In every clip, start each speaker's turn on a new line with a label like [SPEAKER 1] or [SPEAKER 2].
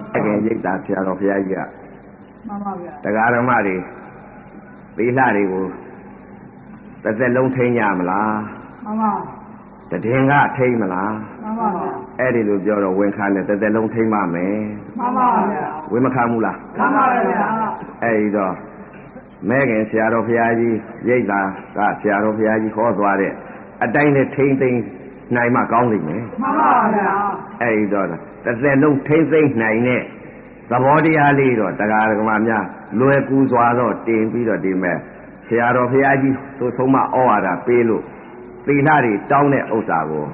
[SPEAKER 1] ရင်ရိတ်တာဆရာတော်ဘုရားကြီးက
[SPEAKER 2] မှန်ပါဗျာ
[SPEAKER 1] တရားဓမ္မတွေသီလတွေကိုတစ်သက်လုံးထိန်းကြမလား
[SPEAKER 2] မှန်ပါ
[SPEAKER 1] တည်င်းကထိန်းမလား
[SPEAKER 2] မှန်ပါဗျာ
[SPEAKER 1] အဲ့ဒီလိုပြောတော့ဝင်ခါနဲ့တစ်သက်လုံးထိန်းပါမယ်
[SPEAKER 2] မှန်ပါဗျာ
[SPEAKER 1] ဝင်မခံဘူးလား
[SPEAKER 2] မှန်ပါဗျာ
[SPEAKER 1] အဲ့ဒီတော့မဲခင်ဆရာတော်ဘုရားကြီးရိတ်တာကဆရာတော်ဘုရားကြီးခေါ်သွားတဲ့အတိုင်းနဲ့ထိန်းသိမ်းနိုင်မှကောင်းလိမ့်မယ်
[SPEAKER 2] မှန်ပါဗျာ
[SPEAKER 1] အဲ့ဒီတော့တစ်သက်လုံးထိမ့်သိမ့်နိုင်တဲ့သဘောတရားလေးတော့တရားဓမ္မများလွယ်ကူစွာတော့တင်ပြီးတော့ဒီမဲ့ဆရာတော်ဘုရားကြီးဆိုဆုံးမဩဝါဒပေးလို့သီလတွေတောင်းတဲ့ဥစ္စာကို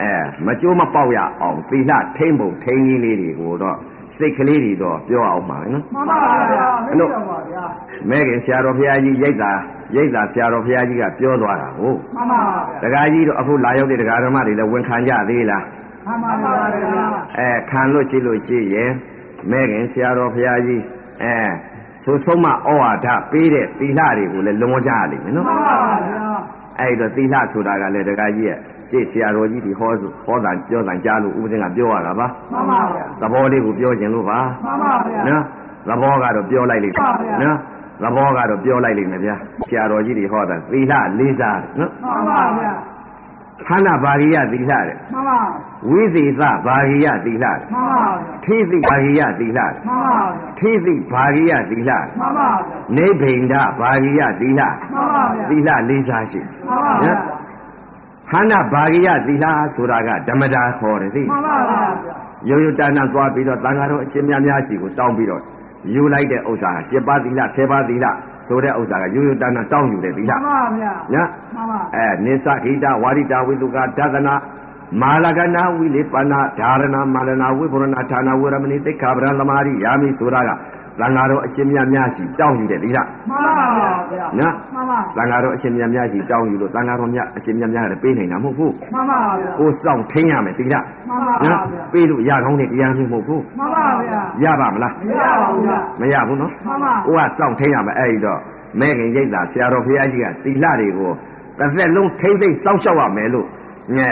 [SPEAKER 1] အဲမကြိုးမပေါက်ရအောင်သီလထိမ့်ဖို့ထိမ့်ကြီးလေးတွေကိုတော့စိတ်ကလေးတွေတော့ပြောအောင်ပါနော်
[SPEAKER 2] မှန်ပါဗျာ
[SPEAKER 1] အဲ့လို
[SPEAKER 2] မှန်ပါဗျာ
[SPEAKER 1] မဲခင်ဆရာတော်ဘုရားကြီးရိတ်တာရိတ်တာဆရာတော်ဘုရားကြီးကပြောသွားတာကို
[SPEAKER 2] မှန်ပါ
[SPEAKER 1] တရားကြီးတော့အခုလာရောက်တဲ့တရားဓမ္မတွေလည်းဝန်ခံကြသေးလား
[SPEAKER 2] မှန်ပါဗျာ
[SPEAKER 1] အဲခံလို့ရှိလို့ရှိရင်မဲခင်ဆရာတော်ဘုရားကြီးအဲသို့ဆုံးမဩဝါဒပေးတဲ့သီလတွေကိုလည်းလွန်ကြရလိမ့်မယ်နော်
[SPEAKER 2] မှန်ပါဗျာ
[SPEAKER 1] အဲဒီတော့သီလဆိုတာကလည်းတကကြီးရဲ့ရှေ့ဆရာတော်ကြီးဒီဟောဆိုဟောတာပြောတာကြားလို့ဥပဒေကပြောရတာပါ
[SPEAKER 2] မှန်ပါဗျာ
[SPEAKER 1] သဘောလေးကိုပြောခြင်းလို့ပါ
[SPEAKER 2] မှန်ပါဗျာ
[SPEAKER 1] နော်သဘောကတော့ပြောလိုက်လိမ့်မယ်
[SPEAKER 2] ဟုတ်ပါဗျာ
[SPEAKER 1] နော်သဘောကတော့ပြောလိုက်လိမ့်မယ်ဗျာဆရာတော်ကြီးဒီဟောတာသီလလေးစားတယ်နော်
[SPEAKER 2] မှန်ပါဗျာ
[SPEAKER 1] ခန္ဓာဘာဂိယသီလတဲ့
[SPEAKER 2] မှန်ပါ
[SPEAKER 1] ဝိသေသဘာဂိယသီလတဲ့
[SPEAKER 2] မှန်ပါ
[SPEAKER 1] ထိသိဘာဂိယသီလတဲ့
[SPEAKER 2] မှန်ပါ
[SPEAKER 1] ထိသိဘာဂိယသီလ
[SPEAKER 2] မှန်ပါ
[SPEAKER 1] နိဗ္ဗိန္ဒဘာဂိယသီလ
[SPEAKER 2] မှန်ပါဗျာ
[SPEAKER 1] သီလလေးစားရှိ
[SPEAKER 2] မှန်ပါဗျာ
[SPEAKER 1] ဟန္နာဘာဂိယသီလဆိုတာကဓမ္မတာခေါ်တယ်သိ
[SPEAKER 2] မှန်ပါဗျာ
[SPEAKER 1] ရိုးရိုးတန်းတန်းသွားပြီးတော့သံဃာတော်အရှင်များများရှိကိုတောင်းပြီးတော့ယူလိုက်တဲ့ဥစ္စာဟာ၈ပါးသီလ၁၀ပါးသီလဆိုတဲ့ဥစ္စာကရိုးရိုးတန်းတန်းတောင်းယူတဲ့သီလ
[SPEAKER 2] မှန်ပါဗျာ
[SPEAKER 1] ညာ
[SPEAKER 2] မှန်ပါ
[SPEAKER 1] အဲနိစ္စခိတဝါရိတဝိတုကဒသနာမာလကနာဝိလေပနာဓာရဏမာလနာဝိပုရဏဌာနဝရမဏိတိခါဗရံလမာရိယာမိဆိုတာကသံဃာတော်အရှင်များများရှိတောင်းယူတဲ့သီလ
[SPEAKER 2] မှန်ပါဗျာ
[SPEAKER 1] နော်
[SPEAKER 2] မှန်ပါ
[SPEAKER 1] တန်ဃာတော်အရှင်မြတ်များရှိတောင်းယူလို့တန်ဃာတော်များအရှင်မြတ်များကလည်းပေးနိုင်တာမဟုတ်ဘူး
[SPEAKER 2] မှန်ပါဗျာ
[SPEAKER 1] ကိုယ်စောင့်ထိန်းရမယ်တိရ
[SPEAKER 2] မှန်ပါဗျာ
[SPEAKER 1] နော်ပေးလို့ရကောင်းတဲ့တရားမျိုးမဟုတ်ဘူး
[SPEAKER 2] မှန်ပါဗျာ
[SPEAKER 1] ရပါမလား
[SPEAKER 2] မရပါဘူးဗျာ
[SPEAKER 1] မရဘူးနော်
[SPEAKER 2] မှန်ပါ
[SPEAKER 1] ကိုယ်ကစောင့်ထိန်းရမယ်အဲ့ဒီတော့မဲခင်ရိတ်တာဆရာတော်ဘုရားကြီးကတိလတွေကိုတစ်သက်လုံးထိမ့်သိမ့်စောင့်ရှောက်ရမယ်လို့ညဲ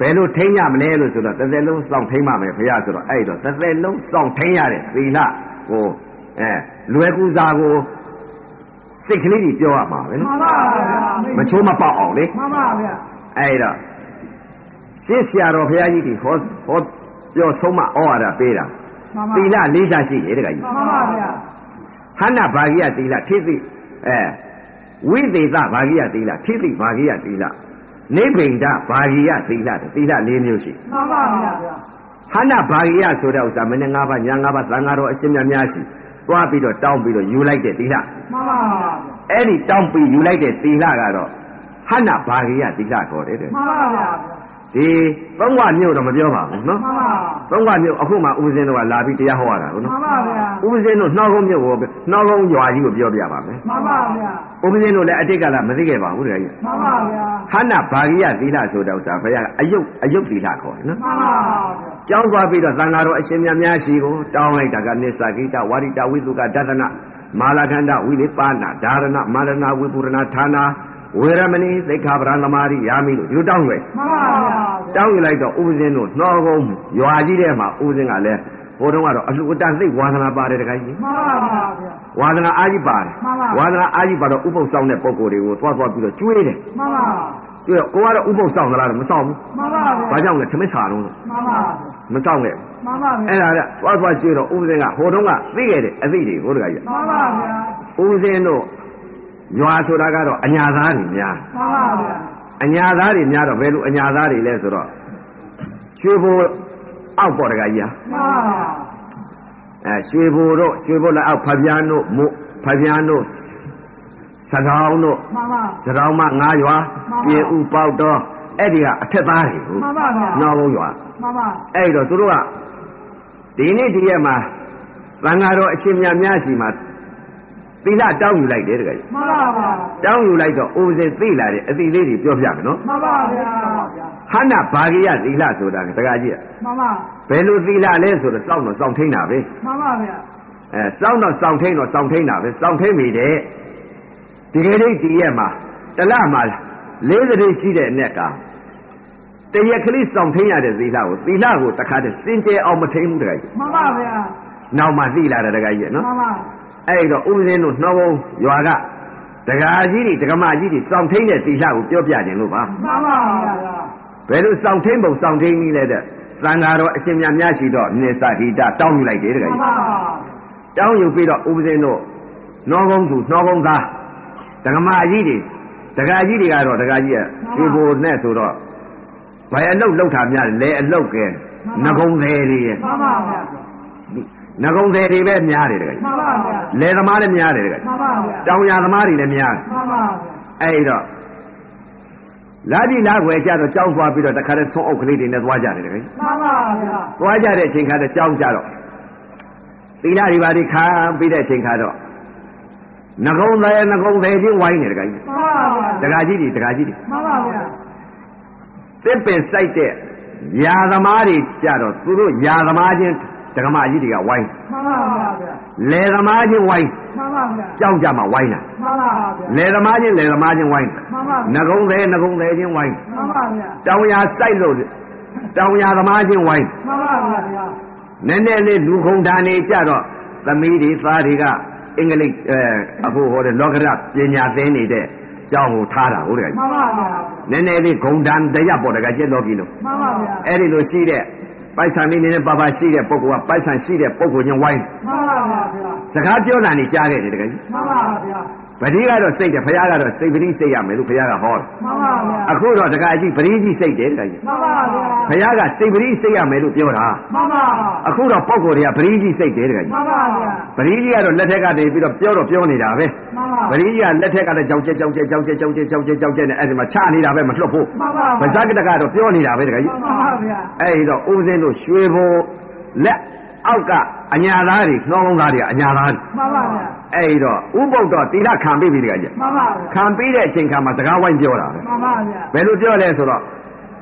[SPEAKER 1] ဘယ်လိုထိမ့်ရမလဲလို့ဆိုတော့တစ်သက်လုံးစောင့်ထိမ့်ပါမယ်ဘုရားဆိုတော့အဲ့ဒီတော့တစ်သက်လုံးစောင့်ထိမ့်ရတဲ့တိလကိုအဲလွယ်ကူစာကိုစိတ်ကလေးကြီးပြောရမှာပဲ
[SPEAKER 2] မှ
[SPEAKER 1] နော်
[SPEAKER 2] န်ပါဗျာ
[SPEAKER 1] မချိုးမပေါက်အောင်လေ
[SPEAKER 2] မှန်ပါဗျာ
[SPEAKER 1] အဲ့ဒါရှင်းဆရာတော်ဘုရားကြီးဒီဟောဟောပြောဆုံးမဩဝါဒပေးတာ
[SPEAKER 2] မှန်ပါ
[SPEAKER 1] သီလလေးစားရှိတယ်တခါကြီး
[SPEAKER 2] မှန်ပါဗျာ
[SPEAKER 1] ဟန္နာဘာဂိယသီလထိသိအဲဝိသေသဘာဂိယသီလထိသိဘာဂိယသီလနိဗ္ဗိန္ဒဘာဂိယသီလတဲ့သီလ၄မျိုးရှိ
[SPEAKER 2] မှန်ပါဗျာ
[SPEAKER 1] ဟန္နာဘာဂိယဆိုတဲ့ဥစ္စာမင်းငါးပါးညာငါးပါးသံဃာတော်အရှင်မြတ်များရှိသွားပြီးတော့တောင်းပြီးတော့ယူလိုက်တဲ့သီလ
[SPEAKER 2] မှန်ပါ
[SPEAKER 1] အဲ့ဒီတောင်းပြီးယူလိုက်တဲ့သီလကတော့ဟန္နာဘာဂိယသီလခေါ်တယ်တဲ့
[SPEAKER 2] မှန်ပါဗျာ
[SPEAKER 1] ဒီသုံးဝမြို့တော့မပြောပါဘူးနော်
[SPEAKER 2] မှန်ပါ
[SPEAKER 1] သုံးဝမြို့အခုမှဦးစင်းတို့ကလာပြီးတရားဟောရတာကို
[SPEAKER 2] မှန်
[SPEAKER 1] နော်
[SPEAKER 2] ပါဗျာ
[SPEAKER 1] ဦးစင်းတို့နှောက်ကုန်းမြို့ကိုနှောက်ကုန်းရွာကြီးကိုပြောပြပါမယ်
[SPEAKER 2] မှန်ပါဗျာ
[SPEAKER 1] ဦးစင်းတို့လည်းအတိတ်ကလာမသိခဲ့ပါဘူးတကယ်ကြီး
[SPEAKER 2] မှန်ပါဗျာ
[SPEAKER 1] ဟန္နာဘာဂိယသီလဆိုတဲ့ဥစ္စာဘုရားကအယုတ်အယုတ်သီလခေါ်တယ်နော်
[SPEAKER 2] မှန်ပါ
[SPEAKER 1] ကျောင်းသွားပြီးတော့သံဃာတော်အရှင်မြတ်များရှိကိုတောင်းလိုက်တာကနိစ္စကိတဝါရိတဝိသုကဒသနမာလာခန္ဓဝိလေပါဏဓာရဏမာရဏဝိပုရဏဌာနာဝေရမဏိသိက္ခာပရံသမာရိယာမိလို့ဒီလိုတောင်းရွယ်
[SPEAKER 2] မှန်ပါဗျာ
[SPEAKER 1] တောင်းယူလိုက်တော့ဥပဇင်းတို့နှောကုန်းရွာကြီးထဲမှာဥပဇင်းကလည်းဟိုတုန်းကတော့အလှူအတန်းသိပ်ဝါသနာပါတယ်တခိုင်းကြီး
[SPEAKER 2] မှန်ပါဗျာ
[SPEAKER 1] ဝါသနာအားကြီးပါတယ်
[SPEAKER 2] မှန်ပါ
[SPEAKER 1] ဝါသနာအားကြီးပါတော့ဥပုပ်ဆောင်တဲ့ပုံကိုယ်တွေကိုသွားသွားပြီးတော့ကျွေးတယ်
[SPEAKER 2] မှန်ပါ
[SPEAKER 1] ကျွေးတော့ကိုကတော့ဥပုပ်ဆောင်သလားတော့မဆောင်ဘူး
[SPEAKER 2] မှန်ပါ
[SPEAKER 1] ဘာ
[SPEAKER 2] ဗျာ
[SPEAKER 1] ကြောင့်လဲသမစ္ဆာတော့လို့
[SPEAKER 2] မှန်ပါ
[SPEAKER 1] မဆောင်ခဲ့
[SPEAKER 2] မှန်ပါဗျာ
[SPEAKER 1] အဲ့ဒါကသွားသွားကျွေးတော့ဥပဇင်းကဟိုတုန်းကသိခဲ့တယ်အသိတွေဟိုတခိုင်းကြီး
[SPEAKER 2] မှန်ပါဗျာ
[SPEAKER 1] ဥပဇင်းတို့ရွာဆိုတာကတော့အညာသားတွေများ
[SPEAKER 2] မှန်ပါဗျာ
[SPEAKER 1] အညာသားတွေများတော့ဘယ်လိုအညာသားတွေလဲဆိုတော့ကျွေးဖို့အောက်ပေါ်တခိုင်းကြီးဟာ
[SPEAKER 2] မှန်ပါ
[SPEAKER 1] အဲရွှေဘိုတို့ရွှေဘိုလည်းအောက်ဖဗျားတို့မို့ဖဗျားတို့စတောင်းတို့
[SPEAKER 2] မှန်ပါ
[SPEAKER 1] စတောင်းမငါးရွာ
[SPEAKER 2] မှန်ပါ
[SPEAKER 1] ပြင်ဥပေါက်တော့အဲ့ဒီကအထက်သားတွေဟုတ်
[SPEAKER 2] မှန်ပါဗျာမှန်
[SPEAKER 1] နောက်ဘုံရွာ
[SPEAKER 2] ပါ
[SPEAKER 1] အဲ့ဒီတော့သူတို့ကဒီနေ့ဒီရက်မှာသံဃာတော်အရှင်မြတ်များရှိမှာသီလတောင်းယူလိုက်တယ်တကယ်
[SPEAKER 2] မှန်ပါဗျာ
[SPEAKER 1] တောင်းယူလိုက်တော့အိုစင်သိလာတဲ့အသီလေးတွေပြောပြမယ်နော်
[SPEAKER 2] မှန်ပါဗျာ
[SPEAKER 1] ဟန္နာဘာဂိယသီလဆိုတာကတကကြီးက
[SPEAKER 2] မှန်ပါ
[SPEAKER 1] ဘယ်လိုသီလလဲဆိုတော့စောင့်တော့စောင့်ထိန်တာပဲ
[SPEAKER 2] မှန်ပါဗျာ
[SPEAKER 1] အဲစောင့်တော့စောင့်ထိန်တော့စောင့်ထိန်တာပဲစောင့်ထိန်မိတယ်တကယ်လို့ဒီရက်မှာတစ်လမှာ၄၀ရက်ရှိတဲ့အ낵ကတ တရက်ကလေးစောင့်ထိန်ရတဲ့သီလကိုသီလကိုတခါတည်းစင်ကြယ်အောင်မထိန်ဘူးတခါကြီး
[SPEAKER 2] မှန်ပါဗျာ
[SPEAKER 1] နောက်မှသိလာတာတခါကြီးနော်
[SPEAKER 2] မှန်ပါ
[SPEAKER 1] အဲ့တော့ဥပဇင်းတို့နှောကုန်းရွာကဒကာကြီးတွေဒကမကြီးတွေစောင့်ထိန်တဲ့သီလကိုပြောပြခြင်းလို့ပါ
[SPEAKER 2] မှန်ပါဗျာ
[SPEAKER 1] ဘယ်လိုစောင့်ထိန်ပုံစောင့်ထိန်ကြီးလဲတဲ့သံဃာတော်အရှင်မြတ်များရှိတော့နေသဟိတတောင်းယူလိုက်တယ်တက
[SPEAKER 2] မှ
[SPEAKER 1] ယ်
[SPEAKER 2] န်
[SPEAKER 1] ကြီး
[SPEAKER 2] ပါ
[SPEAKER 1] တောင်းယူပြီးတော့ဥပဇင်းတို့နှောကုန်းသူနှောကုန်းသားဒကမကြီးတွေဒကာကြီးတွေကတော့ဒကာကြီးကရွှေဘိုနဲ့ဆိုတော့ဘယ်အလုတ်လောက်တာများလဲအလုတ်ကဲငကုံသေးတွေရဲ့
[SPEAKER 2] မှန်ပါဗျာ
[SPEAKER 1] ငကုံသေးတွေပဲများတယ်တကယ်ကြီး
[SPEAKER 2] မှန်ပါဗျာ
[SPEAKER 1] လဲသမားလည်းများတယ်တကယ်
[SPEAKER 2] မှ
[SPEAKER 1] ကြီး
[SPEAKER 2] န်ပါဗျာ
[SPEAKER 1] တောင်ရသမားတွေလည်းများတယ်
[SPEAKER 2] မှန်ပါဗျာ
[SPEAKER 1] အဲ့တော့လာပြီလာခွေကြတော့ကြောင်းသွားပြီးတော့တခါတည်းဆုံးအုပ်ကလေးတွေနဲ့သွားကြတယ်တခါကြီး
[SPEAKER 2] မှန်ပါဗျာ
[SPEAKER 1] သွားကြတဲ့အချိန်ခါတော့ကြောင်းကြတော့သီလတွေပါဒီခါပြီးတဲ့အချိန်ခါတော့ငကုံသားရဲ့ငကုံသေးချင်းဝိုင်းနေတခါကြီး
[SPEAKER 2] မှန်ပါဗျာ
[SPEAKER 1] တခါကြီးတွေတခါကြီးတွေ
[SPEAKER 2] မှန်ပါဗျာ
[SPEAKER 1] တစ်ပင်စိုက်တဲ့ယာသမားတွေကြတော့သူတို့ယာသမားချင်းတက္ကမကြီးတွေကဝိုင်း
[SPEAKER 2] မှန်ပါဗျာ
[SPEAKER 1] လေသမားချင်းဝိုင်း
[SPEAKER 2] မှန်ပါဗျာ
[SPEAKER 1] ကြောင်းကြမှာဝိုင်းတာ
[SPEAKER 2] မှန်ပါဗျာ
[SPEAKER 1] လေသမားချင်းလေသမားချင်းဝိုင်းတာ
[SPEAKER 2] မှန်ပါဗျာ
[SPEAKER 1] ငကုံသေးငကုံသေးချင်းဝိုင်း
[SPEAKER 2] မှန်ပါဗျာ
[SPEAKER 1] တောင်ယာစိုက်လို့တောင်ယာသမားချင်းဝိုင်း
[SPEAKER 2] မှန်ပါဗျာ
[SPEAKER 1] နည်းနည်းလေးလူခုံဓာနေကြတော့သမီးတွေသားတွေကအင်္ဂလိပ်အဲအခုဟောတဲ့လောကရပညာသင်နေတဲ့အကြောင်းကိုထားတာဟုတ်တယ်က
[SPEAKER 2] မှန်ပါဗျာ
[SPEAKER 1] နည်းနည်းလေးဂုံဓာတရပေါ်တကကျက်တော့ပြီလို့
[SPEAKER 2] မှန်ပါဗျာ
[SPEAKER 1] အဲ့ဒီလိုရှိတဲ့ပိုက်ဆံလေးနည်းနည်းပါပါရှိတဲ့ပုဂ္ဂိုလ်ကပိုက်ဆံရှိတဲ့ပုဂ္ဂိုလ်ချင်းဝိုင်း
[SPEAKER 2] မှန်ပါဗျာ
[SPEAKER 1] စကားပြောတာနေကြားခဲ့တယ်တကယ်ကြီး
[SPEAKER 2] မှန်ပါဗျာ
[SPEAKER 1] ပတိကတော့စိတ်တယ်ဖခင်ကတော့စိတ်ပတိစိတ်ရမယ်လို့ဖခင်ကဟောတယ်
[SPEAKER 2] မှန်ပါဗျာ
[SPEAKER 1] အခုတော့တကယ်ကြီးပတိကြီးစိတ်တယ်တကယ်ကြီး
[SPEAKER 2] မှန်ပါဗျာ
[SPEAKER 1] ဖခင်ကစိတ်ပတိစိတ်ရမယ်လို့ပြောတာ
[SPEAKER 2] မှန်ပါ
[SPEAKER 1] အခုတော့ပုံကိုယ်တွေကပရိကြီးစိတ်တယ်တကကြီး
[SPEAKER 2] မှန်ပါဗျာ
[SPEAKER 1] ပရိကြီးကတော့လက်ထက်ကနေပြီးတော့ပြောတော့ပြောနေတာပဲ
[SPEAKER 2] မှန်ပါ
[SPEAKER 1] ပရိကြီးကလက်ထက်ကလည်းကြောက်ကြက်ကြောက်ကြက်ကြောက်ကြက်ကြောက်ကြက်ကြောက်ကြက်ကြောက်ကြက်နဲ့အဲ့ဒီမှာချနေတာပဲမလွတ်ဘူး
[SPEAKER 2] မှန်ပါ
[SPEAKER 1] ဗဇက်ကတကတော့ပြောနေတာပဲတကကြီး
[SPEAKER 2] မှန်ပါဗျာ
[SPEAKER 1] အဲ့ဒီတော့ဦးစင်းတို့ရွှေဘုံလက်အောက်ကအညာသားတွေနှောလုံးသားတွေကအညာသားတွေ
[SPEAKER 2] မှန်ပါဗျာ
[SPEAKER 1] အဲ့ဒီတော့ဥပုပ်တော့သီလခံပြီးပြီတကကြီး
[SPEAKER 2] မှန်ပါဗျာ
[SPEAKER 1] ခံပြီးတဲ့အချိန်ခါမှာစကားဝိုင်းပြောတာပဲ
[SPEAKER 2] မှန်ပါဗျာ
[SPEAKER 1] ဘယ်လိုပြောလဲဆိုတော့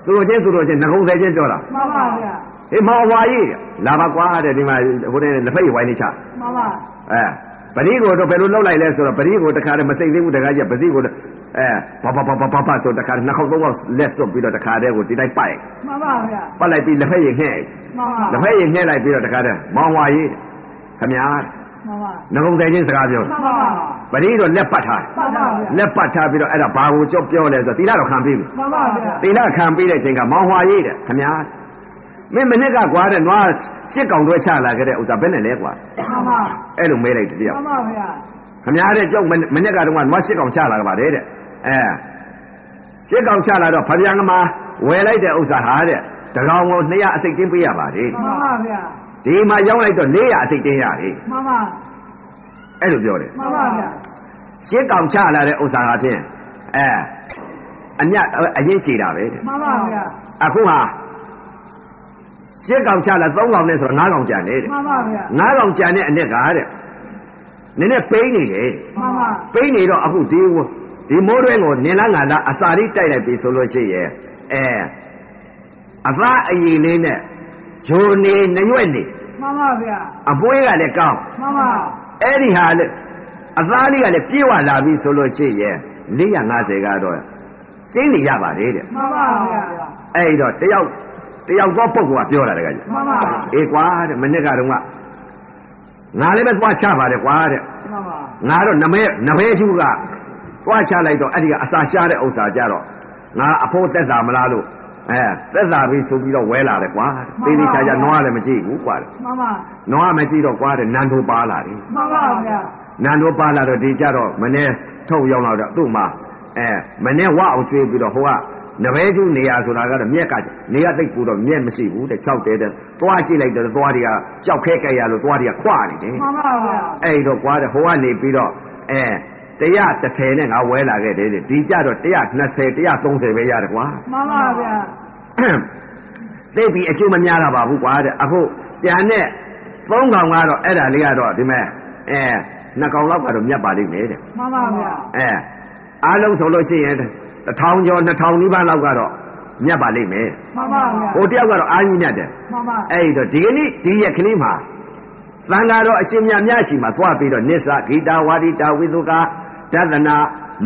[SPEAKER 1] သူတို့ချင်းသူတို့ချင်းငကုံသေးချင်းပြောတာ
[SPEAKER 2] မှန်ပါဗျာ
[SPEAKER 1] အေးမောင်ဝါကြီးလာပါကွာတဲ့ဒီမှာဟိုတဲ့လက်ဖက်ရည်ဝိုင်းနေချ
[SPEAKER 2] မှန်ပါ
[SPEAKER 1] အဲပရိကိုတော့ဘယ်လိုလောက်လိုက်လဲဆိုတော့ပရိကိုတခါတည်းမစိတ်သေးဘူးတခါကျပရိကိုလည်းအဲဘာဘာဘာဘာဘာဘာဆိုတခါတည်းနှစ်ခေါက်သုံးခေါက်လက်စွပ်ပြီးတော့တခါတည်းကိုတိလိုက်ပိုက်
[SPEAKER 2] မှန်ပါဗျာ
[SPEAKER 1] ပတ်လိုက်ပြီးလက်ဖက်ရည်နှဲ့
[SPEAKER 2] မှန်ပါ
[SPEAKER 1] လက်ဖက်ရည်နှဲ့လိုက်ပြီးတော့တခါတည်းမောင်ဝါရေးခမညာ
[SPEAKER 2] မှန်ပါ
[SPEAKER 1] ငကုံသေးချင်းစကားပြော
[SPEAKER 2] မှန်ပါ
[SPEAKER 1] ပရိတော့လက်ပတ်ထားတယ်
[SPEAKER 2] မှန်ပါဗျာ
[SPEAKER 1] လက်ပတ်ထားပြီးတော့အဲ့ဒါဘာကိုကြောက်ပြောလဲဆိုတော့တိလာတော့ခံပြီးပြီ
[SPEAKER 2] မှန်ပါဗျာ
[SPEAKER 1] တိလာခံပြီးတဲ့အချိန်ကမောင်ဝါရေးတဲ့ခမညာမင်းမနစ်ကကွာတဲ့နွားရှစ်ကောင်တွဲချလာခဲ့တဲ့ဥစ္စာဘယ်နဲ့လဲကွာ
[SPEAKER 2] မှန်ပါ
[SPEAKER 1] အဲ့လိုမေးလိုက်တတယောက်
[SPEAKER 2] မှန်ပါဗျာ
[SPEAKER 1] ခမရတဲ့ကြောက်မနေ့မနေ့ကတုန်းကနွားရှစ်ကောင်ချလာကြပါတယ်တဲ့အဲရှစ်ကောင်ချလာတော့ဖဗျံကမှာဝယ်လိုက်တဲ့ဥစ္စာဟာတဲ့တကောင်ကို200အစိတ်တင်းပေးရပါတယ်
[SPEAKER 2] မှန်ပါဗျာ
[SPEAKER 1] ဒီမှာရောင်းလိုက်တော့400အစိတ်တင်းရတယ်
[SPEAKER 2] မှန်ပါ
[SPEAKER 1] အဲ့လိုပြောတယ်
[SPEAKER 2] မှန်ပါဗျာ
[SPEAKER 1] ရှစ်ကောင်ချလာတဲ့ဥစ္စာဟာဖြင့်အဲအမြတ်အရင်ချေတာပဲတဲ့
[SPEAKER 2] မှန်ပါဗျာ
[SPEAKER 1] အခုဟာရှစ်ကောင်ချလာ3ကောင်နဲ့ဆိုတော့9ကောင်ကျန်တယ်တဲ့
[SPEAKER 2] မှန်ပါဗျာ
[SPEAKER 1] 9ကောင်ကျန်တဲ့အနက်ကတဲ့နည်းနည်းပိန်းနေတယ်တဲ့
[SPEAKER 2] မှန်ပါ
[SPEAKER 1] ပိနေတော့အခုဒီဝဒီမိုးတွင်းကိုနင်လာငါလာအစာရိတိုက်လိုက်ပြီဆိုလို့ရှိရဲ့အဲအသာအရင်လေးနဲ့ဂျိုနေနရွက်နေ
[SPEAKER 2] မှန်ပါဗျာ
[SPEAKER 1] အပွေးကလည်းကောင်း
[SPEAKER 2] မှန်ပါ
[SPEAKER 1] အဲ့ဒီဟာလေအသားလေးကလည်းပြေဝလာပြီဆိုလို့ရှိရဲ့450ကတော့ကျင်းနေရပါလေတဲ့
[SPEAKER 2] မှန်ပါဗျာ
[SPEAKER 1] အဲ့ဒီတော့တယောက်တယောက်သောပုဂ္ဂိုလ်ကပြောတာတကကြီး
[SPEAKER 2] မှန်ပါ
[SPEAKER 1] အေးကွာတဲ့မနေ့ကတော့ငါလည်းပဲသွားချပါတယ်ကွာတဲ့
[SPEAKER 2] မှန်ပါ
[SPEAKER 1] ငါတော့နမဲနမဲကျူးကသွားချလိုက်တော့အဲ့ဒီကအစာရှားတဲ့ဥစ္စာကြတော့ငါအဖို့သက်သာမလားလို့အဲသက်သာပြီဆိုပြီးတော့ဝဲလာတယ်ကွာသေးသေးချာချာနွားလည်းမကြည့်ဘူးကွာ
[SPEAKER 2] မှန်ပါ
[SPEAKER 1] နွားမကြည့်တော့ကွာတဲ့နန်တို့ပါလာတယ်
[SPEAKER 2] မှန်ပါဗျာ
[SPEAKER 1] နန်တို့ပါလာတော့ဒီကြတော့မနေ့ထုတ်ရောက်လာတော့သူ့မှာအဲမနေ့ဝအောင်ကျွေးပြီးတော့ဟိုကနမဲကျူးနေရဆိုတာကတော့မြက်ကနေရသိပ်ပူတော့မြက်မရှိဘူးတဲ့၆တဲတဲ့သွားကြည့်လိုက်တော့သွားတွေကကြောက်ခဲကြရလို့သွားတွေကခွာနေတယ်
[SPEAKER 2] မှန်ပါဗျာ
[SPEAKER 1] အဲ့တော့ကွာတဲ့ဟိုကနေပြီးတော့အဲ130နဲ့ငါဝဲလာခဲ့တယ်တဲ့ဒီကြတော့120 130ပဲရတယ်ကွာ
[SPEAKER 2] မှန်ပါဗျာ
[SPEAKER 1] သိပြီအကျိုးမများတာပါဘူးကွာတဲ့အခုကြံနဲ့3កောင်ကတော့အဲ့ဒါလေးကတော့ဒီမဲ့အဲ2កောင်လောက်ကတော့မြတ်ပါလိမ့်မယ်တဲ့
[SPEAKER 2] မှန်ပါဗျာ
[SPEAKER 1] အဲအားလုံးဆိုလို့ရှိရင်1000ကျော်2000နီးပါးလောက်ကတော့မြတ်ပါလိမ့်မယ်
[SPEAKER 2] မှန်ပါဗျာ
[SPEAKER 1] ဟိုတယောက်ကတော့အားကြီးမြတ်တယ်
[SPEAKER 2] မှန်ပါ
[SPEAKER 1] အဲ့ဒီတော့ဒီကနေ့ဒီရက်ကလေးမှာသံဃာတော်အရှင်မြတ်များရှိမှာသွားပြီးတော့နစ္စဂီတာဝါဒိတာဝိသုကာတသနာ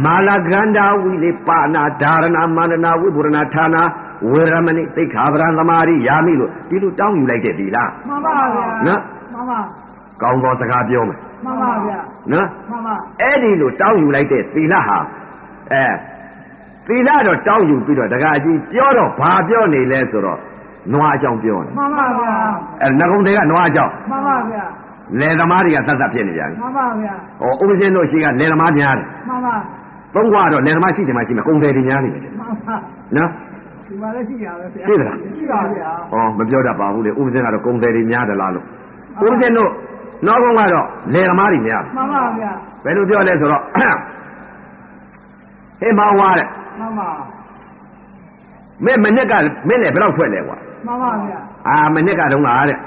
[SPEAKER 1] မာလကန္ဓာဝိလေပါဏာဓာရဏမာနနာဝိပုရဏဌာနာ ဝေရမဏိသိက္ခာပဒံသမာဓိယာမိလို့ဒီလိုတောင်းယူလိုက်တဲ့ဒီလား
[SPEAKER 2] မှန်ပါဗျာ
[SPEAKER 1] နော်
[SPEAKER 2] မှန်ပါ
[SPEAKER 1] ကောင်းသောစကားပြောမယ်
[SPEAKER 2] မှန်ပါဗျာ
[SPEAKER 1] နော်
[SPEAKER 2] မှန်ပါ
[SPEAKER 1] အဲ့ဒီလိုတောင်းယူလိုက်တဲ့သီလဟာအဲသီလတော့တောင်းယူပြီးတော့တကားကြီးပြောတော့ဘာပြောနေလဲဆိုတော့နွားအကြောင်းပြောနေ
[SPEAKER 2] မှန်ပါဗျာ
[SPEAKER 1] အဲငကုံတွေကနွားအကြောင်း
[SPEAKER 2] မှန်ပါဗျာ
[SPEAKER 1] လယ်သမားတွေကသတ်သတ်ဖြစ်နေပြန်ပြီ
[SPEAKER 2] မှန်ပါဗျာ
[SPEAKER 1] ဟောဥပဇင်းတို့ရှိကလယ်သမားများတယ်
[SPEAKER 2] မှန်ပါ
[SPEAKER 1] သုံးခွာတော့လယ်သမားရှိတယ်မှရှိမယ်ကုံတွေတွေများနေတယ်
[SPEAKER 2] မှန်ပါ
[SPEAKER 1] နော်
[SPEAKER 2] ဒီမှာလည်းရှိရပဲဗျာ
[SPEAKER 1] ရှိသလား
[SPEAKER 2] ရှိပါဗျာ
[SPEAKER 1] ။ဩမပြောတတ်ပါဘူးလေဥပဇင်းကတော့ကုံတယ်တွေများသလားလို့။ဥပဇင်းတို့နောက်ကောင်ကတော့လေသမားတွေများတယ်
[SPEAKER 2] မှန်ပါဗျာ
[SPEAKER 1] ။ဘယ်လိုပြောလဲဆိုတော့ ဟေးမောင်ဝါတဲ့
[SPEAKER 2] မှန်ပါ
[SPEAKER 1] မင်းမနက်ကမင်းလည်းဘယ်လောက်ထွက်လဲကွာ
[SPEAKER 2] မှန်ပါဗျာ
[SPEAKER 1] ။အာမနက်ကတုန်းကတဲ့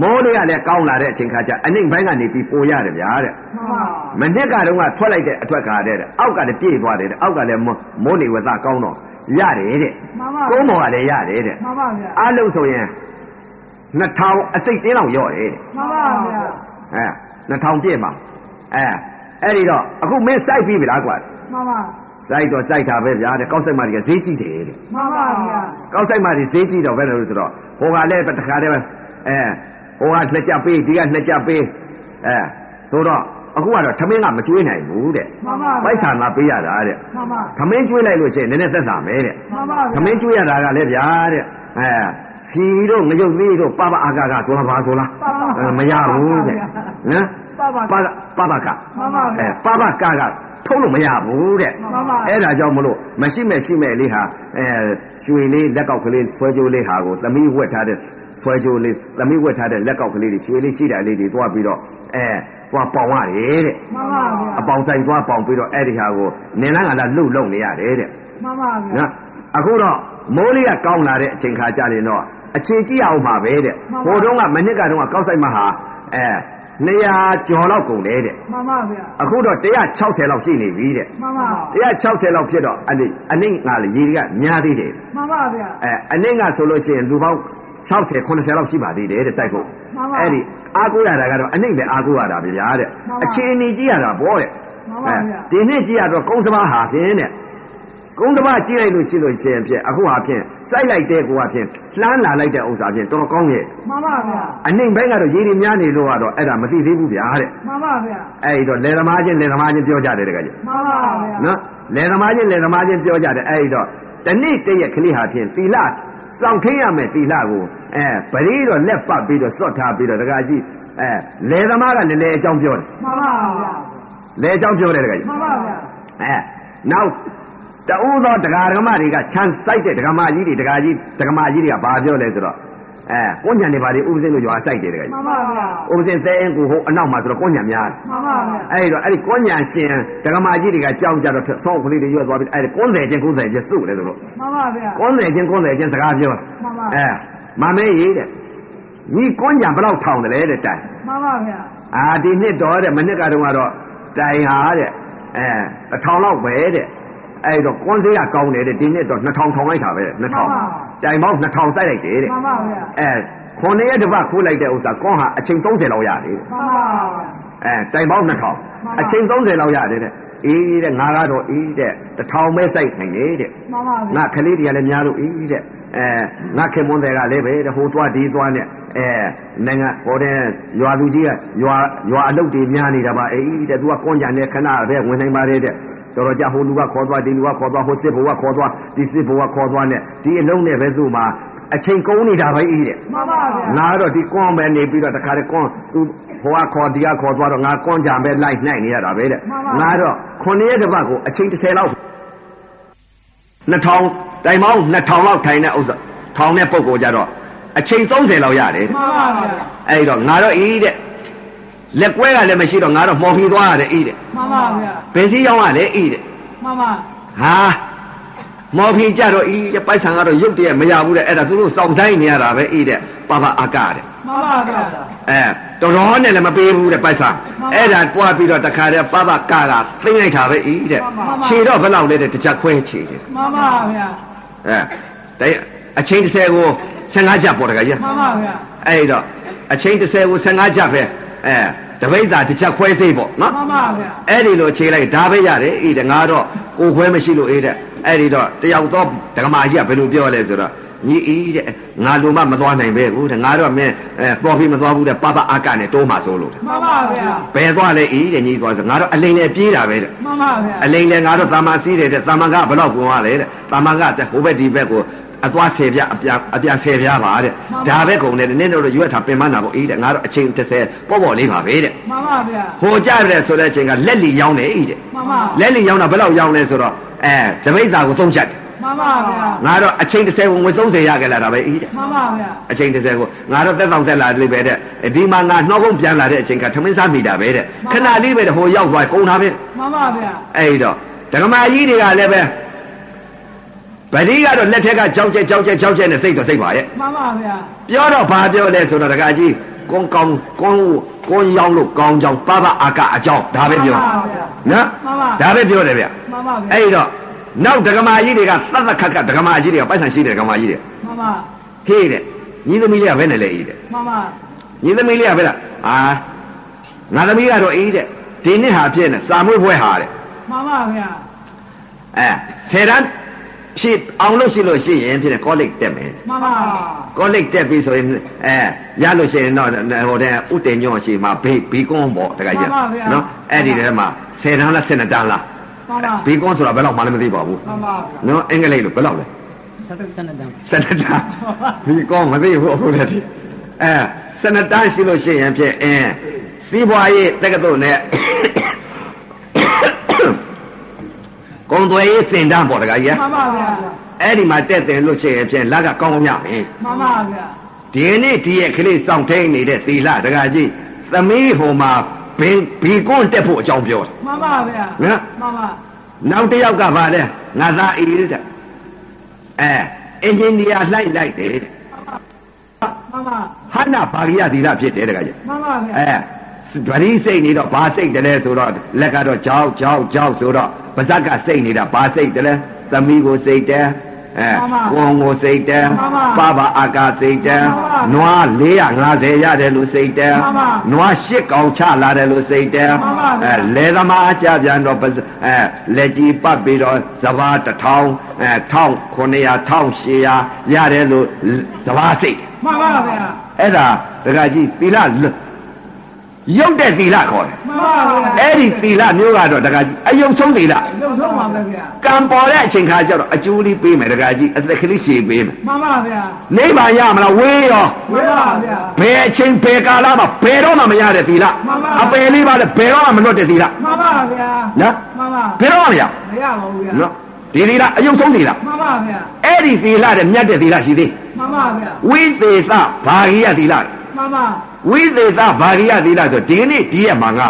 [SPEAKER 1] မိုးတွေကလည်းကောင်းလာတဲ့အချိန်ခါကျအနှိမ်ပိုင်းကနေပြီးပိုရတယ်ဗျာတဲ့
[SPEAKER 2] မှန်ပါ
[SPEAKER 1] ။မနက်ကတုန်းကထွက်လိုက်တဲ့အထွက်ခါတဲ့တဲ့အောက်ကလည်းပြေးသွားတယ်တဲ့အောက်ကလည်းမိုးမိုးနေဝသကောင်းတော့ရတယ်တဲ့
[SPEAKER 2] မှန်ပါ
[SPEAKER 1] ။ကုန်းပေါ်ကလည်းရတယ်တဲ့
[SPEAKER 2] မှန်ပါဗျာ
[SPEAKER 1] ။အားလုံးဆိုရင်2000အစိတ်တင်းလောက်ရော့တယ်တဲ့
[SPEAKER 2] မှန်ပါဗျာ
[SPEAKER 1] အဲ2000ပြည့်မှာအဲအဲ့ဒီတော့အခုမင်းစိုက်ပြီးပြီလားကွာ
[SPEAKER 2] မှန်ပါ
[SPEAKER 1] စိုက်တော့စိုက်တာပဲဗျာတဲ့ကောက်စိုက်မှတကယ်ဈေးကြီးတယ်တဲ့
[SPEAKER 2] မှန်ပါဗျာ
[SPEAKER 1] ကောက်စိုက်မှဒီဈေးကြီးတော့ဘယ်လိုလဲဆိုတော့ဟိုကလည်းတစ်ခါတည်းပဲအဲဟိုကနှစ်ကြပ်ပေးဒီကနှစ်ကြပ်ပေးအဲဆိုတော့အခုကတော့ထမင်းကမကျွေးနိုင်ဘူးတဲ့
[SPEAKER 2] မှန်ပါ
[SPEAKER 1] ပိုက်ဆံလာပေးရတာတဲ့
[SPEAKER 2] မှန်ပါ
[SPEAKER 1] ထမင်းကျွေးလိုက်လို့ရှိရင်နည်းနည်းသက်သာမယ်တဲ့
[SPEAKER 2] မှန်ပါ
[SPEAKER 1] ထမင်းကျွေးရတာကလည်းဗျာတဲ့အဲစီတို့ငရုတ်သေးတို့ပပအာကာကဆိုလားပါဆိုလားအဲမရဘူးတဲ့နော်
[SPEAKER 2] ပါပါ
[SPEAKER 1] ပ
[SPEAKER 2] ပါ
[SPEAKER 1] ပပက
[SPEAKER 2] မှန်ပါဗျာ
[SPEAKER 1] အဲပပကကထုတ်လို့မရဘူးတဲ့
[SPEAKER 2] မှန်ပါ
[SPEAKER 1] အဲ့ဒါကြောင့်မလို့မရှိမဲ့ရှိမဲ့လေးဟာအဲရွှေလေးလက်ကောက်ကလေးဆွဲကြိုးလေးဟာကိုသမီးဝက်ထားတဲ့ဆွဲကြိုးလေးသမီးဝက်ထားတဲ့လက်ကောက်ကလေးတွေရွှေလေးရှိတာလေးတွေသွားပြီးတော့အဲသွားပေါင်ရတယ်တဲ့
[SPEAKER 2] မှန်ပါဗျာ
[SPEAKER 1] အပေါင်တိုင်သွားပေါင်ပြီးတော့အဲ့ဒီဟာကိုနင်းလန်းကလာလှုပ်လှုပ်နေရတယ်တဲ့
[SPEAKER 2] မှန်ပါဗျာ
[SPEAKER 1] နော်အခုတော့မိုးလေးကကောင်းလာတဲ့အချိန်ခါကြရင်တော့အခြေကြည့်အောင်ပါပဲတဲ့
[SPEAKER 2] မှန်ပါ
[SPEAKER 1] ဟိုတုန်းကမနစ်ကတုန်းကကောက်ဆိုင်မှာဟာအဲ200ကျော်လောက်ကုန်တယ်တဲ့
[SPEAKER 2] မှန်ပါဗျာ
[SPEAKER 1] အခုတော့160လောက်ရှိနေပြီတဲ့
[SPEAKER 2] မှန်ပါ
[SPEAKER 1] 160လောက်ဖြစ်တော့အဲ့ဒီအနှိမ့်ကလေရေတွေကများသေးတယ်
[SPEAKER 2] မှန်ပါဗျာ
[SPEAKER 1] အဲအနှိမ့်ကဆိုလို့ရှိရင်လူပေါင်း60 80လောက်ရှိပါသေးတယ်တဲ့စိုက်ဖို့
[SPEAKER 2] မှန်ပါ
[SPEAKER 1] အဲ့ဒီအားကိုးရတာကတော့အနှိမ့်ပဲအားကိုးရတာပဲဗျာတဲ့
[SPEAKER 2] မှန်ပါ
[SPEAKER 1] အခြေအနေကြည့်ရတာပေါ့တဲ့
[SPEAKER 2] မှန်ပါဗျာ
[SPEAKER 1] ဒီနေ့ကြည့်ရတော့ကုန်းစဘာဟာဖြင့်တဲ့ကုန်းစဘာကြည့်လိုက်လို့ရှိလို့ရှိရင်ဖြင့်အခုဟာဖြင့်စိုက်လိုက်တဲ့ကိုဟာဖြင့်လှမ်းလာလိုက်တဲ့ဥစ္စာဖြင့်တော်တော်ကောင်းရဲ့
[SPEAKER 2] မှန်ပါဗျာ
[SPEAKER 1] အနှိမ့်ဘက်ကတော့ရေတွေများနေလို့ကတော့အဲ့ဒါမသိသေးဘူးဗျာတဲ့
[SPEAKER 2] မှန်ပါဗျာ
[SPEAKER 1] အဲ့ဒီတော့လယ်သမားချင်းလယ်သမားချင်းပြောကြတယ်တကယ်ကြီး
[SPEAKER 2] မှန်ပါဗျာ
[SPEAKER 1] နော်လယ်သမားချင်းလယ်သမားချင်းပြောကြတယ်အဲ့ဒီတော့တနေ့တည့်ရက်ကလေးဟာဖြင့်သီလစောင့်ထိန်ရမယ်သီလကိုအဲပရိတော့လက်ပတ်ပြီးတော့စော့ထားပြီးတော့တကကြီးအဲလယ်သမားကလည်းလယ်အကြောင်းပြောတယ်
[SPEAKER 2] မှန်ပါဗျာ
[SPEAKER 1] လယ်အကြောင်းပြောတယ်တကကြီး
[SPEAKER 2] မှန်ပါဗျာ
[SPEAKER 1] အဲနောက်တအိုးသောတရားဓမ္မတွေကခြံဆိုင်တဲ့တရားမကြီးတွေတရားကြီးတရားမကြီးတွေကဘာပြောလဲဆိုတော့အဲကိုညံတွေဘာတွေဥပဇင်းတို့ရွာဆိုင်တယ်တကကြီး
[SPEAKER 2] မှန်ပါဗျာ
[SPEAKER 1] ဥပဇင်းသဲအင်းကိုဟိုအနောက်မှာဆိုတော့ကိုညံများတယ်
[SPEAKER 2] မှန်ပါဗျာ
[SPEAKER 1] အဲ့ဒီတော့အဲ့ဒီကောညာရှင်ဒကမာကြီးတွေကကြောက်ကြတော့ဆောင်းကလေးတွေရွတ်သွားပြီးအဲ့ဒီ90ချင်း90ချင်းစုတယ်သူတို့
[SPEAKER 2] မှန်ပါဗျာ
[SPEAKER 1] 90ချင်း90ချင်းစကားပြော
[SPEAKER 2] မှန်ပါ
[SPEAKER 1] အဲမမဲရေးတဲ့ညီကောညာဘယ်လောက်ထောင်တယ်လဲတဲ့တိုင်
[SPEAKER 2] မှန်ပါဗျာ
[SPEAKER 1] အာဒီနှစ်တော့တဲ့မနှစ်ကတုန်းကတော့တိုင်ဟာတဲ့အဲအထောင်လောက်ပဲတဲ့အဲ့ဒီတော့ကွန်စေးကကောင်းတယ်တဲ့ဒီနှစ်တော့2000ထောင်လိုက်တာပဲတဲ့2000တိုင်ပေါင်း2000စိုက်လိုက်တယ်တဲ့
[SPEAKER 2] မှန်ပါဗျာ
[SPEAKER 1] အဲခုနှစ်ရက်တစ်ပတ်ခိုးလိုက်တဲ့ဥစ္စာကွန်ဟာအချိန်30လောက်ရတယ်တဲ့
[SPEAKER 2] မှန်ပါဗျာ
[SPEAKER 1] အဲတိုင်ပေါင်း
[SPEAKER 2] မှန်
[SPEAKER 1] 2000
[SPEAKER 2] ပါ
[SPEAKER 1] အချိန်30လောက်ရတယ်တဲ့အေးတဲ့ငါကတော့အေးတဲ့တစ်ထောင်ပဲစိုက်နိုင်တယ်တဲ့
[SPEAKER 2] မှန်ပါဗျာ
[SPEAKER 1] ငါကလေးတွေကလည်းများလို့အေးတဲ့အဲငါခင်မွန်းတွေကလည်းပဲတဲ့ဟိုသွားဒီသွားနဲ့အဲနိုင်ငံဟိုတဲ့ရွာသူကြီးကရွာရွာအလုပ်တွေများနေတာပါအေးတဲ့သူကကွန်ကြံနဲ့ခဏပဲဝင်နိုင်ပါတယ်တဲ့တော်တော်ကြဟိုလူကခေါ်သွားဒီလူကခေါ်သွားဟိုစစ်ဘုံကခေါ်သွားဒီစစ်ဘုံကခေါ်သွားနဲ့ဒီအလုံးနဲ့ပဲသူ့မှာအချိန်ကုန်နေတာပဲအေးတဲ့
[SPEAKER 2] မှန်ပါဗျာ
[SPEAKER 1] ငါကတော့ဒီကွန်ပဲနေပြီးတော့တခါတည်းကွန်သူဟိုကခေါ်ဒီကခေါ်သွားတော့ငါကွန်ကြံပဲလိုက်နိုင်နေရတာပဲတဲ့ငါတော့ခုနှစ်ရက်တစ်ပတ်ကိုအချိန်30လောက်2000တိုင်ပေါင်း2000လောက်ထိုင်တဲ့ဥစ္စာထောင်တဲ့ပုံကိုကြတော့အချိန်30လောက်ရတယ်တဲ့
[SPEAKER 2] မှန်ပါဗျာ
[SPEAKER 1] အဲ့ဒီတော့ငါတော့အေးတဲ့လက်ကွဲကလည်းမရှိတော့ငါတော့မော်ဖီသွားရတယ်အေးတဲ့
[SPEAKER 2] မှန်ပါဗျာ
[SPEAKER 1] ဘယ်စီရောက်ရလဲအေးတဲ့
[SPEAKER 2] မှန်ပါ
[SPEAKER 1] ဟာမော်ဖီကြတော့အေးတဲ့ပိုက်ဆံကတော့ရုပ်တရက်မရဘူးတဲ့အဲ့ဒါသူတို့စောင့်ဆိုင်နေရတာပဲအေးတဲ့ပါပါအာကတဲ့
[SPEAKER 2] မှန်ပါဗျာ
[SPEAKER 1] အဲတော်တော်နဲ့လည်းမပေးဘူးတဲ့ပိုက်ဆံ
[SPEAKER 2] မှန်ပါ
[SPEAKER 1] အဲ့ဒါတွားပြီးတော့တခါတည်းပပကတာသိမ့်လိုက်တာပဲဤတဲ့
[SPEAKER 2] မှန်ပါ
[SPEAKER 1] ခြေတော့ဘယ်လောက်လဲတဲ့တစ်ချက်ခွဲခြေတယ်
[SPEAKER 2] မှန်ပါဗျာ
[SPEAKER 1] အဲဒါအချိန်30ကို15ချက်ပေါ်တခါကြီး
[SPEAKER 2] မှန်ပါဗျာ
[SPEAKER 1] အဲ့တော့အချိန်30ကို15ချက်ပဲအဲတပိတ်တာတစ်ချက်ခွဲစိတ်ပေါ့နော်
[SPEAKER 2] မှန်ပါဗျာ
[SPEAKER 1] အဲ့ဒီလိုခြေလိုက်ဒါပဲရတယ်ဤတဲ့ငါတော့ကိုယ်ခွဲမရှိလို့အေးတဲ့ အဲ့ဒီတော့တယောက်တော့ဓမ္မကြီးကဘယ်လိုပြောလဲဆိုတော့ညီအီးတဲ့ငါလိုမှမသွားနိုင်ပဲဘူးတဲ့ငါတော့မင်းအဲပေါ်ပြီးမသွားဘူးတဲ့ပပအကနဲ့တိုးမှဆိုလို့တဲ့
[SPEAKER 2] မှန်ပါဗျာ
[SPEAKER 1] ဘယ်သွားလဲအီးတဲ့ညီသွားဆိုငါတော့အလိန်နဲ့ပြေးတာပဲတဲ့
[SPEAKER 2] မှန်ပါဗျာ
[SPEAKER 1] အလိန်လည်းငါတို့တာမန်စီးတယ်တဲ့တာမန်ကဘလောက်ကုန်ရလဲတဲ့တာမန်ကတဲ့ဟိုဘက်ဒီဘက်ကိုအသွားဆယ်ပြအပြအပြဆယ်ပြပါတဲ့ဒါပဲကုန်တယ်တဲ့နင်းတို့ရွက်ထားပင်မနာပေါ့အေးတဲ့ငါတို့အချိန်30ပေါ့ပေါ့လေးပါပဲတဲ့
[SPEAKER 2] မှန်ပါဗျာ
[SPEAKER 1] ဟိုကြတယ်ဆိုတဲ့အချိန်ကလက်လီရောင်းတယ်အေးတဲ့
[SPEAKER 2] မှန်ပါ
[SPEAKER 1] လက်လီရောင်းတာဘယ်လောက်ရောင်းလဲဆိုတော့အဲတပိတ်သားကိုသုံးချက်တယ်
[SPEAKER 2] မှန်ပါဗျာ
[SPEAKER 1] ငါတို့အချိန်30ဝင်30ရခဲ့လာတာပဲအေးတဲ့
[SPEAKER 2] မှန်ပါဗျာ
[SPEAKER 1] အချိန်30ကိုငါတို့သက်တောင့်သက်လာတယ်ပဲတဲ့ဒီမှာငါနှောက်ကုန်ပြန်လာတဲ့အချိန်ကထမင်းစားမိတာပဲတဲ့ခဏလေးပဲဟိုရောက်သွားကုန်တာပဲ
[SPEAKER 2] မှန်ပါဗျာ
[SPEAKER 1] အဲ့ဒီတော့ဓမ္မကြီးတွေကလည်းပဲဗတိကတော့လက်ထက်ကကြောက်ကြက်ကြောက်ကြက်ကြောက်ကြက်နဲ့စိတ်တော့စိတ်ပါရဲ့
[SPEAKER 2] မှန်ပါဗျာ
[SPEAKER 1] ပြောတော့ဘာပြောလဲဆိုတော့ဓမ္မကြီးကွန်ကောင်ကွန်ကွန်ရောက်လို့ကောင်းကြောင်ပပအာကအကြောင်းဒါပဲပြောနော်ဒါပဲပြောတယ်ဗျ
[SPEAKER 2] မှန်ပါဗျာ
[SPEAKER 1] အဲ့ဒီတော့နောက်ဓမ္မကြီးတွေကသတ်သတ်ခတ်ခတ်ဓမ္မကြီးတွေကပိုက်ဆံရှိတယ်ဓမ္မကြီးတွေ
[SPEAKER 2] မှန်ပါ
[SPEAKER 1] ဟေးတဲ့ညီသမီးလေးကဘယ်နဲ့လဲဤတဲ့
[SPEAKER 2] မှန်ပါ
[SPEAKER 1] ညီသမီးလေးကဘယ်လားအာငါသမီးကတော့ဤတဲ့ဒီနှစ်ဟာပြည့်နေစာမွေးပွဲဟာတဲ့
[SPEAKER 2] မှန်ပါဗျာ
[SPEAKER 1] အဲဆယ်တန်းဖြစ်အောင်လို့ရှိလို့ရှိရင်ဖြစ်တယ်ကောလိပ်တက်မယ်
[SPEAKER 2] မှန်ပါ
[SPEAKER 1] ကောလိပ်တက်ပြီဆိုရင်အဲရလို့ရှိရင်တော့ဟိုတဲ့ဥတည်ညော့ရှိမှာဘေးဘီကွန်းပေါ့တခါကြီးနော်အဲ့ဒီထဲမှာဆယ်တန်းလားဆယ်နှစ်တန်းလား
[SPEAKER 2] မှန်ပါ
[SPEAKER 1] ဘီကွန်းဆိုတာဘယ်လောက်မှလည်းမသိပါဘူး
[SPEAKER 2] မှန်ပါ
[SPEAKER 1] နော်အင်္ဂလိပ်လိုဘယ်လောက်လဲဆယ်နှစ်တန်းဘီကွန်းမသိဘူးအခုလည်းဒီအဲဆယ်နှစ်တန်းရှိလို့ရှိရင်ဖြစ်အင်းစီးပွားရေးတက္ကသိုလ်နဲ့ ကုံသွေးရေးသင်တန်းပေါ့တခါကြီး
[SPEAKER 2] မှန်ပါဗျာ
[SPEAKER 1] အဲ့ဒီမှာတက်တယ်လို့ရှိရင်ဖြင့်လက်ကကောင်းကောင်းရမယ်
[SPEAKER 2] မှန်ပါဗျာ
[SPEAKER 1] ဒီနေ့ဒီရဲ့ကလေးစောင့်ထိန်နေတဲ့သီလတကကြီးသမီးဟိုမှာဘင်းဘီကွန်းတက်ဖို့အကြောင်းပြောတယ်
[SPEAKER 2] မှန်ပါဗျာ
[SPEAKER 1] နော်
[SPEAKER 2] မှန်ပါ
[SPEAKER 1] နောက်တစ်ယောက်ကဗာလဲငါသားအေးတဲ့အဲအင်ဂျင်နီယာလိုက်လိုက်တယ်တဲ့
[SPEAKER 2] မှန်ပါ
[SPEAKER 1] ဟာနာဘာဂိယသီလဖြစ်တယ်တကကြီး
[SPEAKER 2] မှန်ပါဗျာ
[SPEAKER 1] အဲဗတိစိတ်နေတော့ဘာစိတ်တလဲဆိုတော့လက်ကတော့ကြောက်ကြောက်ကြောက်ဆိုတော့ပါဇက်ကစိတ်နေတာဘာစိတ်တလဲသမီးကိုစိတ်တယ်အဲကိုယ်ကိုစိတ်တယ်ပပအာကာစိတ်တယ်နွား450ရတယ်လို့စိတ်တယ်နွား8ကောင်ချလာတယ်လို့စိတ်တယ်အဲလေသမားကြပြန်တော့ပါဇက်အဲလက်ကြီးပတ်ပြီးတော့စဘာ1000အဲ1900 1800ရတယ်လို့စဘာစိတ်တယ်
[SPEAKER 2] မှန်ပါဗျာ
[SPEAKER 1] အဲ့ဒါဒကာကြီးသီလလွတ်ရုပ်တဲ့သီလခေါ်တယ်
[SPEAKER 2] မှန်ပါဗျာ
[SPEAKER 1] အဲ့ဒီသီလမျိုးကတော့ဒကာကြီးအယုံဆုံးသီလ
[SPEAKER 2] လုံဆုံးပါပဲဗျာ
[SPEAKER 1] ကံပေါ်တဲ့အချိန်ခါကျတော့အကျိုးလေးပေးမယ်ဒကာကြီးအသက်ကလေးရှည်ပေးမယ်
[SPEAKER 2] မှန်ပါဗျာ
[SPEAKER 1] နိဗ္ဗာန်ရမလားဝေးရော
[SPEAKER 2] မှန်ပါဗျာ
[SPEAKER 1] ဘယ်အချိန်ဘယ်ကာလမှာဘယ်တော့မှမရတဲ့သီလ
[SPEAKER 2] မှန်ပါ
[SPEAKER 1] အပယ်လေးပါလဲဘယ်တော့မှမလွတ်တဲ့သီလ
[SPEAKER 2] မှန်ပါဗျာ
[SPEAKER 1] နော်
[SPEAKER 2] မှန်ပါ
[SPEAKER 1] ဘယ်တော့မှမရ
[SPEAKER 2] မရပါဘူးဗျာ
[SPEAKER 1] နော်ဒီသီလအယုံဆုံးသီလ
[SPEAKER 2] မှန်ပါဗျာ
[SPEAKER 1] အဲ့ဒီသီလတဲ့မြတ်တဲ့သီလရှိသေး
[SPEAKER 2] မှန်ပါဗျာ
[SPEAKER 1] ဝိသေသဘာဂိယသီလ
[SPEAKER 2] မှန်ပါ
[SPEAKER 1] ဝိသေသဘာရိယသီလဆိုဒီနေ့ဒီရက်မှာငါ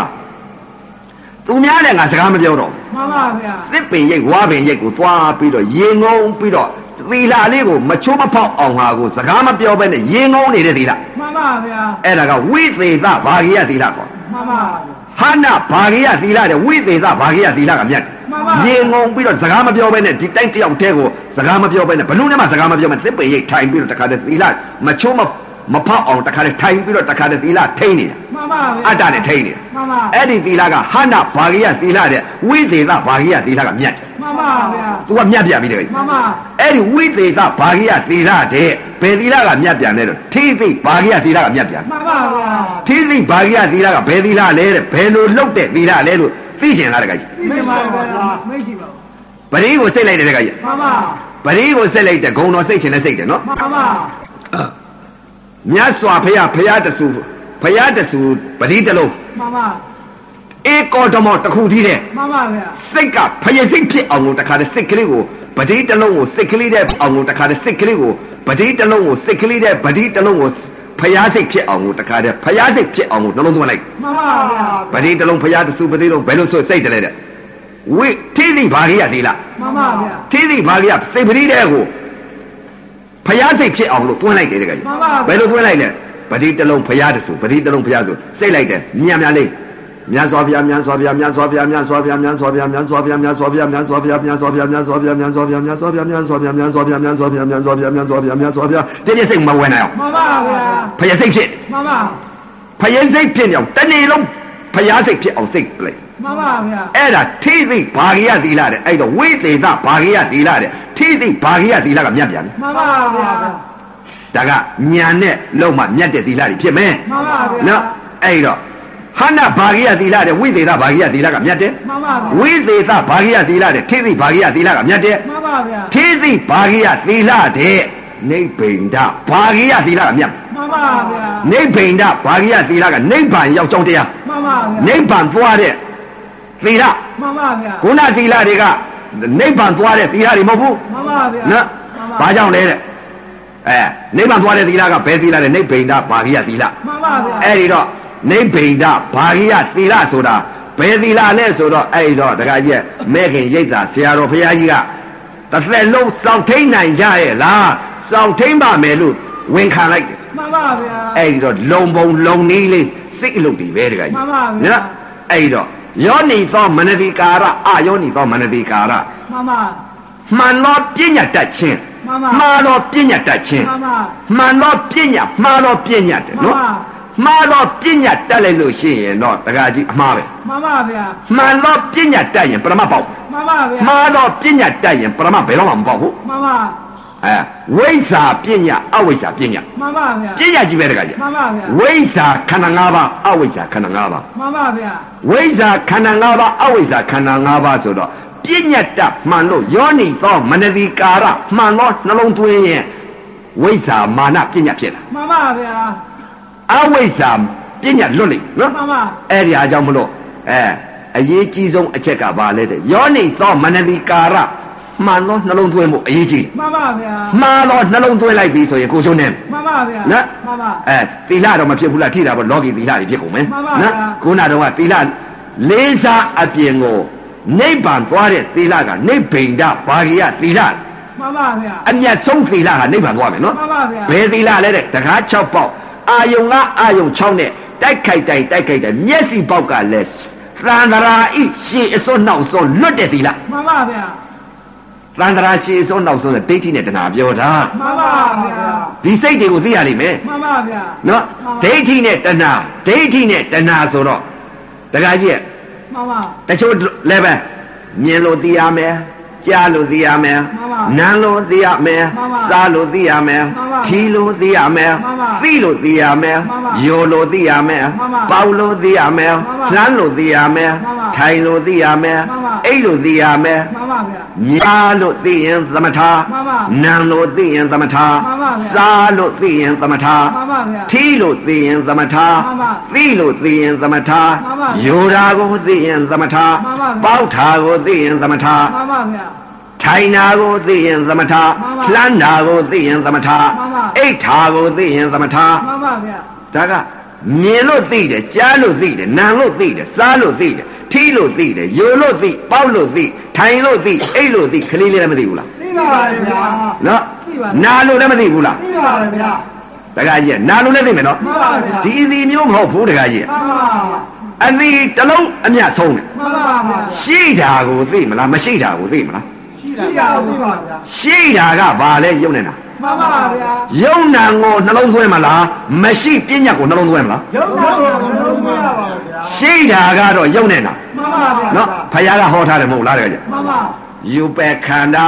[SPEAKER 1] သူများနဲ့ငါစကားမပြောတော့ဘူး
[SPEAKER 2] မှန်ပါဗျာ
[SPEAKER 1] သစ်ပင်ရိတ်ဝါပင်ရိတ်ကိုသွားပြီးတော့ရေငုံပြီးတော့သီလလေးကိုမချိုးမဖောက်အောင်ဟာကိုစကားမပြောဘဲနဲ့ရေငုံနေတဲ့သီလ
[SPEAKER 2] မှန်ပါဗျာ
[SPEAKER 1] အဲ့ဒါကဝိသေသဘာရိယသီလပေါ့
[SPEAKER 2] မှန်ပါ
[SPEAKER 1] ဟာနာဘာရိယသီလတဲ့ဝိသေသဘာရိယသီလကမြတ်တယ်ရေ
[SPEAKER 2] မှန်ပါ
[SPEAKER 1] ငုံပြီးတော့စကားမပြောဘဲနဲ့ဒီတိုက်တစ်ယောက်တည်းကိုစကားမပြောဘဲနဲ့ဘလို့နဲ့မှစကားမပြောဘဲသစ်ပင်ရိတ်ထိုင်ပြီးတော့တခါတည်းသီလမချိုးမမဖောက်အောင်တခါတည်းထိုင်ပြီးတော့တခါတည်းသီလထိန်းနေတာ
[SPEAKER 2] မှန်ပါဗျာ
[SPEAKER 1] အတ္တနဲ့ထိန်းနေတာ
[SPEAKER 2] မှန်ပါ
[SPEAKER 1] အဲ့ဒီသီလကဟာနာဘာဂိယသီလတဲ့ဝိသေသဘာဂိယသီလကမြတ်တယ်
[SPEAKER 2] မှန်ပါဗျာ
[SPEAKER 1] ။ तू ကမြတ်ပြပြီတဲ့
[SPEAKER 2] မှန်ပါ
[SPEAKER 1] ။အဲ့ဒီဝိသေသဘာဂိယသီလတဲ့ဘယ်သီလကမြတ်ပြန်လဲတော့ထိသိဘာဂိယသီလကမြတ်ပြန်
[SPEAKER 2] မှန်ပါဗျာ
[SPEAKER 1] ။ထိသိဘာဂိယသီလကဘယ်သီလလဲတဲ့ဘယ်လိုလုပ်တဲ့သီလလဲလို့သိကျင်လားတကကြီး
[SPEAKER 2] မိမပါဗျာမရှိပါဘူး
[SPEAKER 1] ။ပရိကိုစိတ်လိုက်တယ်တကကြီး
[SPEAKER 2] မှန်ပါ
[SPEAKER 1] ။ပရိကိုစိတ်လိုက်တဲ့ဂုံတော်စိတ်ချင်လဲစိတ်တယ်နော်
[SPEAKER 2] မှန်ပါ
[SPEAKER 1] ။မြတ်စွာဘုရားဘုရားတဆူဘုရားတဆူပရိတလုံး
[SPEAKER 2] မှန်ပါ
[SPEAKER 1] ဧကောဓမောတစ်ခုတည်းတဲ့
[SPEAKER 2] မှန်ပါဗျာ
[SPEAKER 1] စိတ်ကဖယစိတ်ဖြစ်အောင်လို့တခါတည်းစိတ်ကလေးကိုပတိတစ်လုံးကိုစိတ်ကလေးတဲ့အောင်လို့တခါတည်းစိတ်ကလေးကိုပတိတစ်လုံးကိုစိတ်ကလေးတဲ့ပတိတစ်လုံးကိုဖယားစိတ်ဖြစ်အောင်လို့တခါတည်းဖယားစိတ်ဖြစ်အောင်လို့နှလုံးသွင်းလိုက်
[SPEAKER 2] မှန်ပါဗျာ
[SPEAKER 1] ပတိတစ်လုံးဖယားတစ်စုပတိတစ်လုံးဘယ်လိုဆိုစိတ်တလဲတဲ့ဝိသိသိဘာရိယသီလ
[SPEAKER 2] မှန်ပါဗျာ
[SPEAKER 1] သိသိဘာရိယစိတ်ပတိတဲ့ကိုဖယားစိတ်ဖြစ်အောင်လို့သွင်းလိုက်တယ်တခါကြီးဘယ်လိုသွင်းလိုက်လဲပတိတစ်လုံးဖယားတစ်စုပတိတစ်လုံးဖယားစုစိတ်လိုက်တယ်မြန်မြန်လေးမြတ်စွာဘုရားမြတ်စွာဘုရားမြတ်စွာဘုရားမြတ်စွာဘုရားမြတ်စွာဘုရားမြတ်စွာဘုရားမြတ်စွာဘုရားမြတ်စွာဘုရားမြတ်စွာဘုရားမြတ်စွာဘုရားမြတ်စွာဘုရားမြတ်စွာဘုရားမြတ်စွာဘုရားမြတ်စွာဘုရားမြတ်စွာဘုရားမြတ်စွာဘုရားမြတ်စွာဘုရားမြတ်စွာဘုရားတကယ်စိတ်မဝင်နိုင်အောင်
[SPEAKER 2] မှန်ပါဗျာ
[SPEAKER 1] ဖယားစိတ်ဖြစ်
[SPEAKER 2] မှန်ပါ
[SPEAKER 1] ဖယားစိတ်ဖြစ်အောင်တနေ့လုံးဖယားစိတ်ဖြစ်အောင်စိတ်လိုက်
[SPEAKER 3] မှန်ပါဗျာ
[SPEAKER 1] အဲ့ဒါထိသိဘာဂိယသီလတဲ့အဲ့တော့ဝိသေသဘာဂိယသီလတဲ့ထိသိဘာဂိယသီလကမြတ်ပြန်ပြီ
[SPEAKER 3] မှန်ပါဗျာ
[SPEAKER 1] ဒါကညာနဲ့လုံးမှမြတ်တဲ့သီလတွေဖြစ်မယ်
[SPEAKER 3] မှန်ပါဗျာ
[SPEAKER 1] နော်အဲ့တော့ဟန္နာဘာဂိယသီလတဲ့ဝိသေသဘာဂိယသီလကမြတ်တယ်
[SPEAKER 3] မှန်ပါဗျာ
[SPEAKER 1] ဝိသေသဘာဂိယသီလတဲ့ထိသိဘာဂိယသီလကမြတ်တယ်
[SPEAKER 3] မှန်ပါဗျာ
[SPEAKER 1] ထိသိဘာဂိယသီလတဲ့နိဗ္ဗိန္ဒဘာဂိယသီလကမြတ်
[SPEAKER 3] မှန်ပါဗျာ
[SPEAKER 1] နိဗ္ဗိန္ဒဘာဂိယသီလကနိဗ္ဗာန်ရောက်ကြောင်းတရား
[SPEAKER 3] မှန်ပါဗျာ
[SPEAKER 1] နိဗ္ဗာန်သွားတဲ့သီလ
[SPEAKER 3] မှန်ပါဗျာ
[SPEAKER 1] ခုနသီလတွေကနိဗ္ဗာန်သွားတဲ့သီလတွေမဟုတ်ဘူး
[SPEAKER 3] မှန်ပါဗျာ
[SPEAKER 1] နော်ဘာကြောင့်လဲတဲ့အဲနိဗ္ဗာန်သွားတဲ့သီလကဘယ်သီလလဲနိဗ္ဗိန္ဒဘာဂိယသီလ
[SPEAKER 3] မှန်ပါဗျာ
[SPEAKER 1] အဲ့ဒီတော့နိဗ္ဗိန္ဒဘာဂိယသီလဆိုတာဘယ်သီလလဲဆိုတော့အဲ့ဒီတော့တခါကြီးကမဲခင်ရိပ်သာဆရာတော်ဘုရားကြီးကတစ်သက်လုံးစောင့်ထိန်နိုင်ကြရဲ့လားစောင့်ထိန်ပါမယ်လို့ဝန်ခံလိုက်တယ်
[SPEAKER 3] မှန်ပါဗျာ
[SPEAKER 1] အဲ့ဒီတော့လုံပုံလုံနည်းလေးစိတ်အလုပ်တွေပဲတခါကြီး
[SPEAKER 3] မှန်ပါဗျာ
[SPEAKER 1] နော်အဲ့ဒီတော့ယောနိသောမနတိကာရအယောနိသောမနတိကာရ
[SPEAKER 3] မှန်ပါ
[SPEAKER 1] မှန်သောပညာတတ်ခြင်း
[SPEAKER 3] မှန်ပါ
[SPEAKER 1] မှားသောပညာတတ်ခြင်း
[SPEAKER 3] မှန်ပါ
[SPEAKER 1] မှန်သောပညာမှားသောပညာတဲ့နော်
[SPEAKER 3] မှန်ပါ
[SPEAKER 1] မှားသောပညာတတ်လိုက်လို့ရှိရင်တော့တခါကြီးအမှားပဲ
[SPEAKER 3] မှန်ပါဗျာ
[SPEAKER 1] မှန်သောပညာတတ်ရင်ပရမတ်ပေါက်
[SPEAKER 3] မှန်ပါဗျာ
[SPEAKER 1] မှားသောပညာတတ်ရင်ပရမတ်ဘယ်တော့မှမပေါက်ဘူး
[SPEAKER 3] မှန်ပါ
[SPEAKER 1] အဲဝိဇ္ဇာပညာအဝိဇ္ဇာပညာ
[SPEAKER 3] မှန်ပါဗျာ
[SPEAKER 1] ပညာကြီးပဲတခါကြီး
[SPEAKER 3] မှန်ပါဗျာ
[SPEAKER 1] ဝိဇ္ဇာခန္ဓာ၅ပါးအဝိဇ္ဇာခန္ဓာ၅ပါး
[SPEAKER 3] မှန်ပါဗျာ
[SPEAKER 1] ဝိဇ္ဇာခန္ဓာ၅ပါးအဝိဇ္ဇာခန္ဓာ၅ပါးဆိုတော့ပညာတတ်မှန်လို့ယောနိသောမနတိကာရမှန်သောနှလုံးသွင်းရင်ဝိဇ္ဇာမာနပညာဖြစ်လာ
[SPEAKER 3] မှန်ပါဗျာ
[SPEAKER 1] အဝိဇ္ဇာပညာလွတ်လိမ့်မယ်
[SPEAKER 3] မှန်
[SPEAKER 1] နော်
[SPEAKER 3] ပါ
[SPEAKER 1] အဲ့ဒီအကြောင်းမလို့အဲအရေးကြီးဆုံးအချက်ကဘာလဲတဲ့ယောနိသောမနတိကာရမှန်သောနှလုံးသွင်းဖို့အရေးကြီးတယ်
[SPEAKER 3] မှန်ပါဗျာ
[SPEAKER 1] မှားသောနှလုံးသွင်းလိုက်ပြီဆိုရင်ကိုချုံနေမယ်
[SPEAKER 3] မှန်ပါဗျာ
[SPEAKER 1] နော်
[SPEAKER 3] မှန်ပါ
[SPEAKER 1] အဲသီလတော့မဖြစ်ဘူးလားထိတာပေါ့လောကီသီလတွေဖြစ်ကုန်မယ်
[SPEAKER 3] မှန်ပါဗျာ
[SPEAKER 1] ခုနကတော့ကသီလလေးစားအပြင်ကိုနိဗ္ဗာန်သွားတဲ့သီလကနိဗ္ဗိန္ဒဘာဂိယသီလ
[SPEAKER 3] မှန်ပါဗျာ
[SPEAKER 1] အမျက်ဆုံးသီလဟာနိဗ္ဗာန်သွားမယ်နော်
[SPEAKER 3] မှန်ပါဗျာ
[SPEAKER 1] ဘယ်သီလလဲတဲ့တကား6ပေါက်အာယုံကအာယုံ6နဲ့တိုက်ခိုက်တိုင်းတိုက်ခိုက်တိုင်းမျက်စိပေါက်ကလည်းသန္တရာဤရှေအစွန်းနောက်စွန်းလွတ်တဲ့သီလ
[SPEAKER 3] မှန်ပါဗျာ
[SPEAKER 1] သန္တရာရှေအစွန်းနောက်စွန်းဆိုဒိဋ္ဌိနဲ့တဏှာပြောတာ
[SPEAKER 3] မှန်ပါဗျာ
[SPEAKER 1] ဒီစိတ်တွေကိုသိရလိမ့်မယ်
[SPEAKER 3] မှန်ပါဗျာ
[SPEAKER 1] နော်ဒိဋ္ဌိနဲ့တဏှာဒိဋ္ဌိနဲ့တဏှာဆိုတော့တခါကြီးက
[SPEAKER 3] မှန်ပါ
[SPEAKER 1] တချို့လည်းပဲမြင်လို့သိရမယ်ကြားလို့သိရမယ်
[SPEAKER 3] မှန်ပါ
[SPEAKER 1] နားလို့သိရမယ်
[SPEAKER 3] မှန်ပါ
[SPEAKER 1] စားလို့သိရမယ်
[SPEAKER 3] မှန်ပါ
[SPEAKER 1] ထီလို့သိရမယ်
[SPEAKER 3] မှန်ပါ
[SPEAKER 1] သိလို့သိရမယ်
[SPEAKER 3] မှန်ပါ
[SPEAKER 1] ယောလို့သိရမယ်
[SPEAKER 3] မှန်ပါ
[SPEAKER 1] ပေါက်လို့သိရမယ်
[SPEAKER 3] မှန်ပါ
[SPEAKER 1] နှမ်းလို့သိရမယ်
[SPEAKER 3] မှန်ပါ
[SPEAKER 1] ထိုင်လို့သိရမယ်
[SPEAKER 3] မှန်ပါ
[SPEAKER 1] အိတ်လို့သိရမယ်
[SPEAKER 3] မှန်ပါဗျာ
[SPEAKER 1] မြာလို့သိရင်သမထ
[SPEAKER 3] မှန်ပါ
[SPEAKER 1] နံလို့သိရင်သမထ
[SPEAKER 3] မှန်ပါဗျာ
[SPEAKER 1] စားလို့သိရင်သမထ
[SPEAKER 3] မှန်ပါဗျာ
[SPEAKER 1] ထီလို့သိရင်သမထ
[SPEAKER 3] မှန်ပါ
[SPEAKER 1] သိလို့သိရင်သမထ
[SPEAKER 3] မှန်ပါ
[SPEAKER 1] ယိုတာကိုသိရင်သမထ
[SPEAKER 3] မှန်ပါဗျာ
[SPEAKER 1] ပေါက်တာကိုသိရင်သမထ
[SPEAKER 3] မှန်ပါဗျာ
[SPEAKER 1] ထိုင်တာကိုသိရင်သမထ
[SPEAKER 3] မှန်ပါ
[SPEAKER 1] လှမ်းတာကိုသိရင်သမထ
[SPEAKER 3] မှန်ပါ
[SPEAKER 1] အိတ်တာကိုသိရင်သမထ
[SPEAKER 3] မှန်ပါဗျာ
[SPEAKER 1] ဒါကမြင်လို့သိတယ်ကြားလို့သိတယ်နံလို့သိတယ်စားလို့သိတယ်ထီလို့သိတယ်ယိုလို့သိပေါက်လို့သိထိုင်လို့သိအိတ်လို့သိခလေးလေးလည်းမသိဘူးလား
[SPEAKER 3] သိပါရဲ့ဗျာ
[SPEAKER 1] နော်
[SPEAKER 3] သိပါဘူး
[SPEAKER 1] နာလို့လည်းမသိဘူးလား
[SPEAKER 3] သိပါရဲ့ဗျာ
[SPEAKER 1] တခါကြီးကနာလို့လည်းသိမယ်နော်
[SPEAKER 3] မှန်ပါဗျာ
[SPEAKER 1] ဒီအစီမျိုးမဟုတ်ဘူးတခါကြီးက
[SPEAKER 3] မှန်ပါ
[SPEAKER 1] အစီတစ်လုံးအမြတ်ဆုံးတယ်
[SPEAKER 3] မှန်ပါဗျာ
[SPEAKER 1] ရှိတာကိုသိမလားမရှိတာကိုသိမလား
[SPEAKER 3] ရှိတာသိပါဗျာ
[SPEAKER 1] ရှိတာကဘာလဲယုံနေတာ
[SPEAKER 3] မှန်ပါဗျာ
[SPEAKER 1] ယုံနာကိုနှလုံးသွင်းမလားမရှိပြည့်ညတ်ကိုနှလုံးသွင်းမလား
[SPEAKER 3] ရုပ်နာကိုမလုံးမရပါဘူးဗျာ
[SPEAKER 1] ရှိတာကတော့ယုံနေတာ
[SPEAKER 3] မှန်ပါဗျာ
[SPEAKER 1] နော်ဖခင်ကဟောထားတယ်မဟုတ်လားတခါကြီး
[SPEAKER 3] မှန်ပါ
[SPEAKER 1] ယူပယ်ခန္ဓာ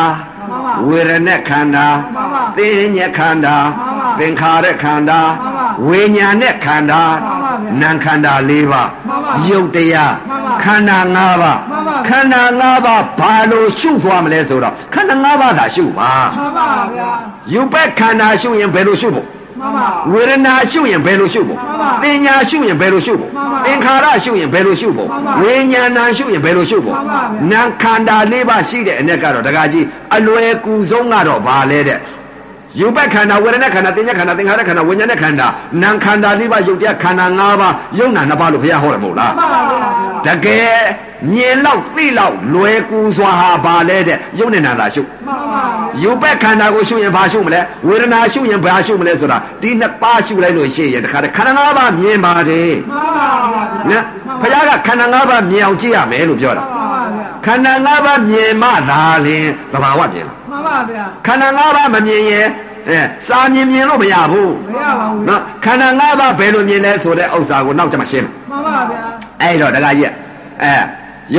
[SPEAKER 3] မှန်ပါ
[SPEAKER 1] ဝေရณะခန္ဓာ
[SPEAKER 3] မှန်ပါ
[SPEAKER 1] သင်ညခန္ဓာ
[SPEAKER 3] မှန်ပါ
[SPEAKER 1] သင်္ခါရခန္ဓာ
[SPEAKER 3] မှန်ပါ
[SPEAKER 1] ဝိညာณะခန္ဓာ
[SPEAKER 3] မှန်ပါဗျာ
[SPEAKER 1] နာမ်ခန္ဓာ၄ပါး
[SPEAKER 3] မှန်ပါ
[SPEAKER 1] ရုပ်တရား
[SPEAKER 3] မှန်ပါ
[SPEAKER 1] ခန္ဓာ၅ပါး
[SPEAKER 3] မှန်ပါ
[SPEAKER 1] ခန္ဓာ၅ပါးဘာလို့ရှုသွားမလဲဆိုတော့ခန္ဓာ၅ပါးသာရှုပါ
[SPEAKER 3] မှန်ပါဗျာ
[SPEAKER 1] ယူပယ်ခန္ဓာရှုရင်ဘယ်လိုရှုဖို့
[SPEAKER 3] မှန်ပါ
[SPEAKER 1] ဝေဒနာရှုရင်ဘယ်လိုရှုဖို့
[SPEAKER 3] မှန်ပါ
[SPEAKER 1] သင်ညာရှုရင်ဘယ်လိုရှုဖို့
[SPEAKER 3] မှန်ပါ
[SPEAKER 1] သင်္ခါရရှုရင်ဘယ်လိုရှုဖို့
[SPEAKER 3] မှန်ပါ
[SPEAKER 1] ဝိညာဏရှုရင်ဘယ်လိုရှုဖို့
[SPEAKER 3] မှန်ပါဗျာ
[SPEAKER 1] နာခန္ဓာလေးပါရှိတဲ့အ ਨੇ ကတော့တကကြီးအလွယ်ကူဆုံးကတော့ဘာလဲတဲ့ယူပခန္ဓာဝေဒနာခန္ဓာသင်ညာခန္ဓာသင်္ခါရခန္ဓာဝိညာဏခန္ဓာနာခန္ဓာလေးပါယုတ်တရားခန္ဓာ၅ပါးယုံနာ၅ပါးလို့ဘုရားဟောတယ်မဟုတ်လား
[SPEAKER 3] မှန်ပါဗျာ
[SPEAKER 1] တကယ်မြင်လောက်သိလောက်လွယ်ကူစွာဟာဘာလဲတဲ့ယုံနဲ့နာတာရှု
[SPEAKER 3] မှန်ပါဗျာ
[SPEAKER 1] ရုပ်ပဲခန္ဓာကိုရှုရင်ဘာရှုမလဲဝေဒနာရှုရင်ဘာရှုမလဲဆိုတာဒီနှစ်ပါးရှုလိုက်လို့ရှိရင်တခါတည်းခန္ဓာငါးပါးမြင်ပါတယ်
[SPEAKER 3] မှန်ပါဗျာ
[SPEAKER 1] နော်ဘုရားကခန္ဓာငါးပါးမြင်အောင်ကြည့်ရမယ်လို့ပြောတာ
[SPEAKER 3] မှန်ပါဗျာ
[SPEAKER 1] ခန္ဓာငါးပါးမြင်မှသာလင်သဘာဝမြင်လား
[SPEAKER 3] မှန်ပါဗျာ
[SPEAKER 1] ခန္ဓာငါးပါးမမြင်ရင်အဲစာမြင်မြင်လို့မရဘူး
[SPEAKER 3] မရပါဘူး
[SPEAKER 1] နော်ခန္ဓာငါးပါးဘယ်လိုမြင်လဲဆိုတဲ့ဥစ္စာကိုနောက်ကျမှရှင်းမယ်
[SPEAKER 3] မှန်ပါဗျာ
[SPEAKER 1] အဲ့တော့ဒကာကြီးကအဲ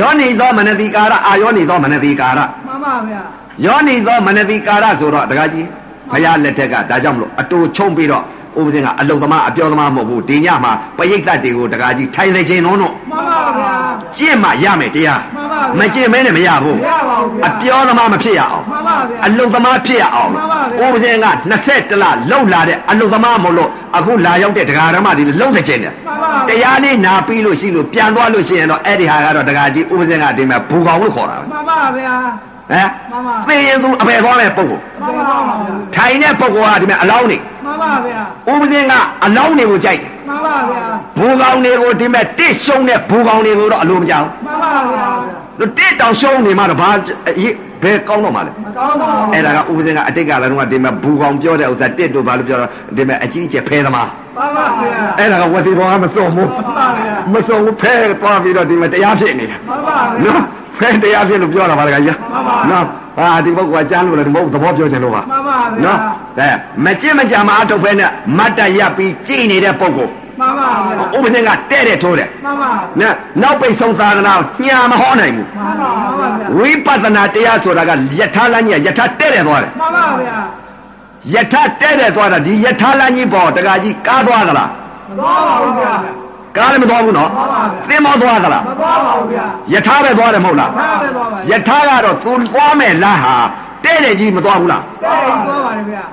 [SPEAKER 1] ယောနိသောမနတိကာရအာယောနိသောမနတိကာရ
[SPEAKER 3] မှန်ပါဗျာ
[SPEAKER 1] ယောနိသောမနတိကာရဆိုတော့တခါကြီးဘုရားလက်ထက်ကဒါကြောင့်မလို့အတူချုံပြီးတော့ဥပဇင်ကအလုသမားအပြောသမားမဟုတ်ဘူးဒီညမှာပရိတ်သတ်တွေကိုတခါကြီးထိုင်စေခြင်းတော့တော့
[SPEAKER 3] မှန်ပါဗျာ
[SPEAKER 1] ကျင့်မှရမယ်တရား
[SPEAKER 3] မှန်ပါဗျာ
[SPEAKER 1] မကျင့်မဲနဲ့မရဘူး
[SPEAKER 3] မရပါဘူးဗျာ
[SPEAKER 1] အပြောသမားမဖြစ်ရအောင်
[SPEAKER 3] မှန်ပါဗျာ
[SPEAKER 1] အလုသမားဖြစ်ရအောင်
[SPEAKER 3] မှန်ပါ
[SPEAKER 1] ဥ
[SPEAKER 3] ဗျာ
[SPEAKER 1] ပဇင်က20လလောက်လာတဲ့အလုသမားမဟုတ်လို့အခုလာရောက်တဲ့တရားဓမ္မတွေလုံးတဲ့ခြင်းနဲ့
[SPEAKER 3] မှန်ပါ
[SPEAKER 1] တ
[SPEAKER 3] ဗျာ
[SPEAKER 1] ရားလေးနာပြီးလို့ရှိလို့ပြန်သွားလို့ရှိရင်တော့အဲ့ဒီဟာကတော့တကာကြီးဥပဇင်ကဒီမှာဘူကောင်လို့ခေါ်တာပဲ
[SPEAKER 3] မှန်ပါဗျာ
[SPEAKER 1] ဟမ်
[SPEAKER 3] မှန်ပါ
[SPEAKER 1] သိရင်သူအပေသွားတဲ့ပုံကိုလ်
[SPEAKER 3] မှန်ပါဗျာ
[SPEAKER 1] ထိုင်တဲ့ပုံကဒီမှာအလောင်းနေ
[SPEAKER 3] မှန်ပါဗျာ
[SPEAKER 1] ဥပဇင်ကအလောင်းတွေကိုကြိုက်တယ်
[SPEAKER 3] မှန်ပါဗျာ
[SPEAKER 1] ဘူကောင်တွေကိုဒီမှာတစ်ရှုံးတဲ့ဘူကောင်တွေကိုတော့အလိုမကြောက်
[SPEAKER 3] မှန်ပါဗျာ
[SPEAKER 1] ဘူးတို့တစ်တောင်ရှုံးနေမှတော့ဘာအေးဘယ်ကောင်းတော့မှလဲ
[SPEAKER 3] မကောင်းပါဘူး
[SPEAKER 1] အဲ့ဒါကဥပဇင်ကအတိတ်ကလည်းတော့ဒီမှာဘူကောင်ပြောတဲ့ဥစ္စာတစ်တို့ဘာလို့ပြောတော့ဒီမှာအကြီးအကျယ်ဖဲသမား
[SPEAKER 3] မှန်ပါဗျာ
[SPEAKER 1] အဲ့ဒါကဝစီဘောကမစုံဘူး
[SPEAKER 3] မှန်ပါဗျာ
[SPEAKER 1] မစုံဘူးဖဲသွားပြီးတော့ဒီမှာတရားဖြစ်နေတယ်
[SPEAKER 3] မှန်ပါဗျာ
[SPEAKER 1] နော်ဖဲတရားဖြစ်လို့ပြောတာပါလေခင်ဗျာ
[SPEAKER 3] မှန်ပါ
[SPEAKER 1] နော်ဟာဒီပုဂ္ဂိုလ်ကကြားလို့လည်းဒီပုဂ္ဂိုလ်သဘောပြောချင်လို့ပါ
[SPEAKER 3] မှန်ပါဗျာ
[SPEAKER 1] နော်ဒါမကြင့်မကြမအထုတ်ဖဲနဲ့မတ်တရပ်ပြီးကြည်နေတဲ့ပုဂ္ဂိုလ်
[SPEAKER 3] မှန်ပါဗျာ
[SPEAKER 1] ဥပဇင်ကတဲ့တဲ့ထိုးတယ်
[SPEAKER 3] မှန်ပါဗျာ
[SPEAKER 1] နော်နောက်ပိတ်ဆုံးသာသနာကိုညာမဟောနိုင်ဘူး
[SPEAKER 3] မှန်ပါဗျာ
[SPEAKER 1] ဝိပဿနာတရားဆိုတာကယထာလမ်းကြီးကယထာတဲ့တဲ့သွားတယ်
[SPEAKER 3] မှန်ပါဗျာ
[SPEAKER 1] ယထာတဲ့တဲ့သွားတာဒီယထာလမ်းကြီးပေါ်တကကြီးကားသွားသလား
[SPEAKER 3] မကောင်းပါဘူးဗျာ
[SPEAKER 1] ကားလည်းမသွားဘူးနော်
[SPEAKER 3] သွားပါဗျာ
[SPEAKER 1] သင်္ဘောသွားသလား
[SPEAKER 3] မကောင်းပါဘူးဗျာ
[SPEAKER 1] ယထာပဲသွားတယ်မဟုတ်လား
[SPEAKER 3] ဘာပဲသွားပါလဲ
[SPEAKER 1] ယထာကတော့သူသွားမယ်လားဟာတဲ့တဲ့ကြီးမသွားဘူးလား
[SPEAKER 3] တဲ့သွားပါလေဗျာ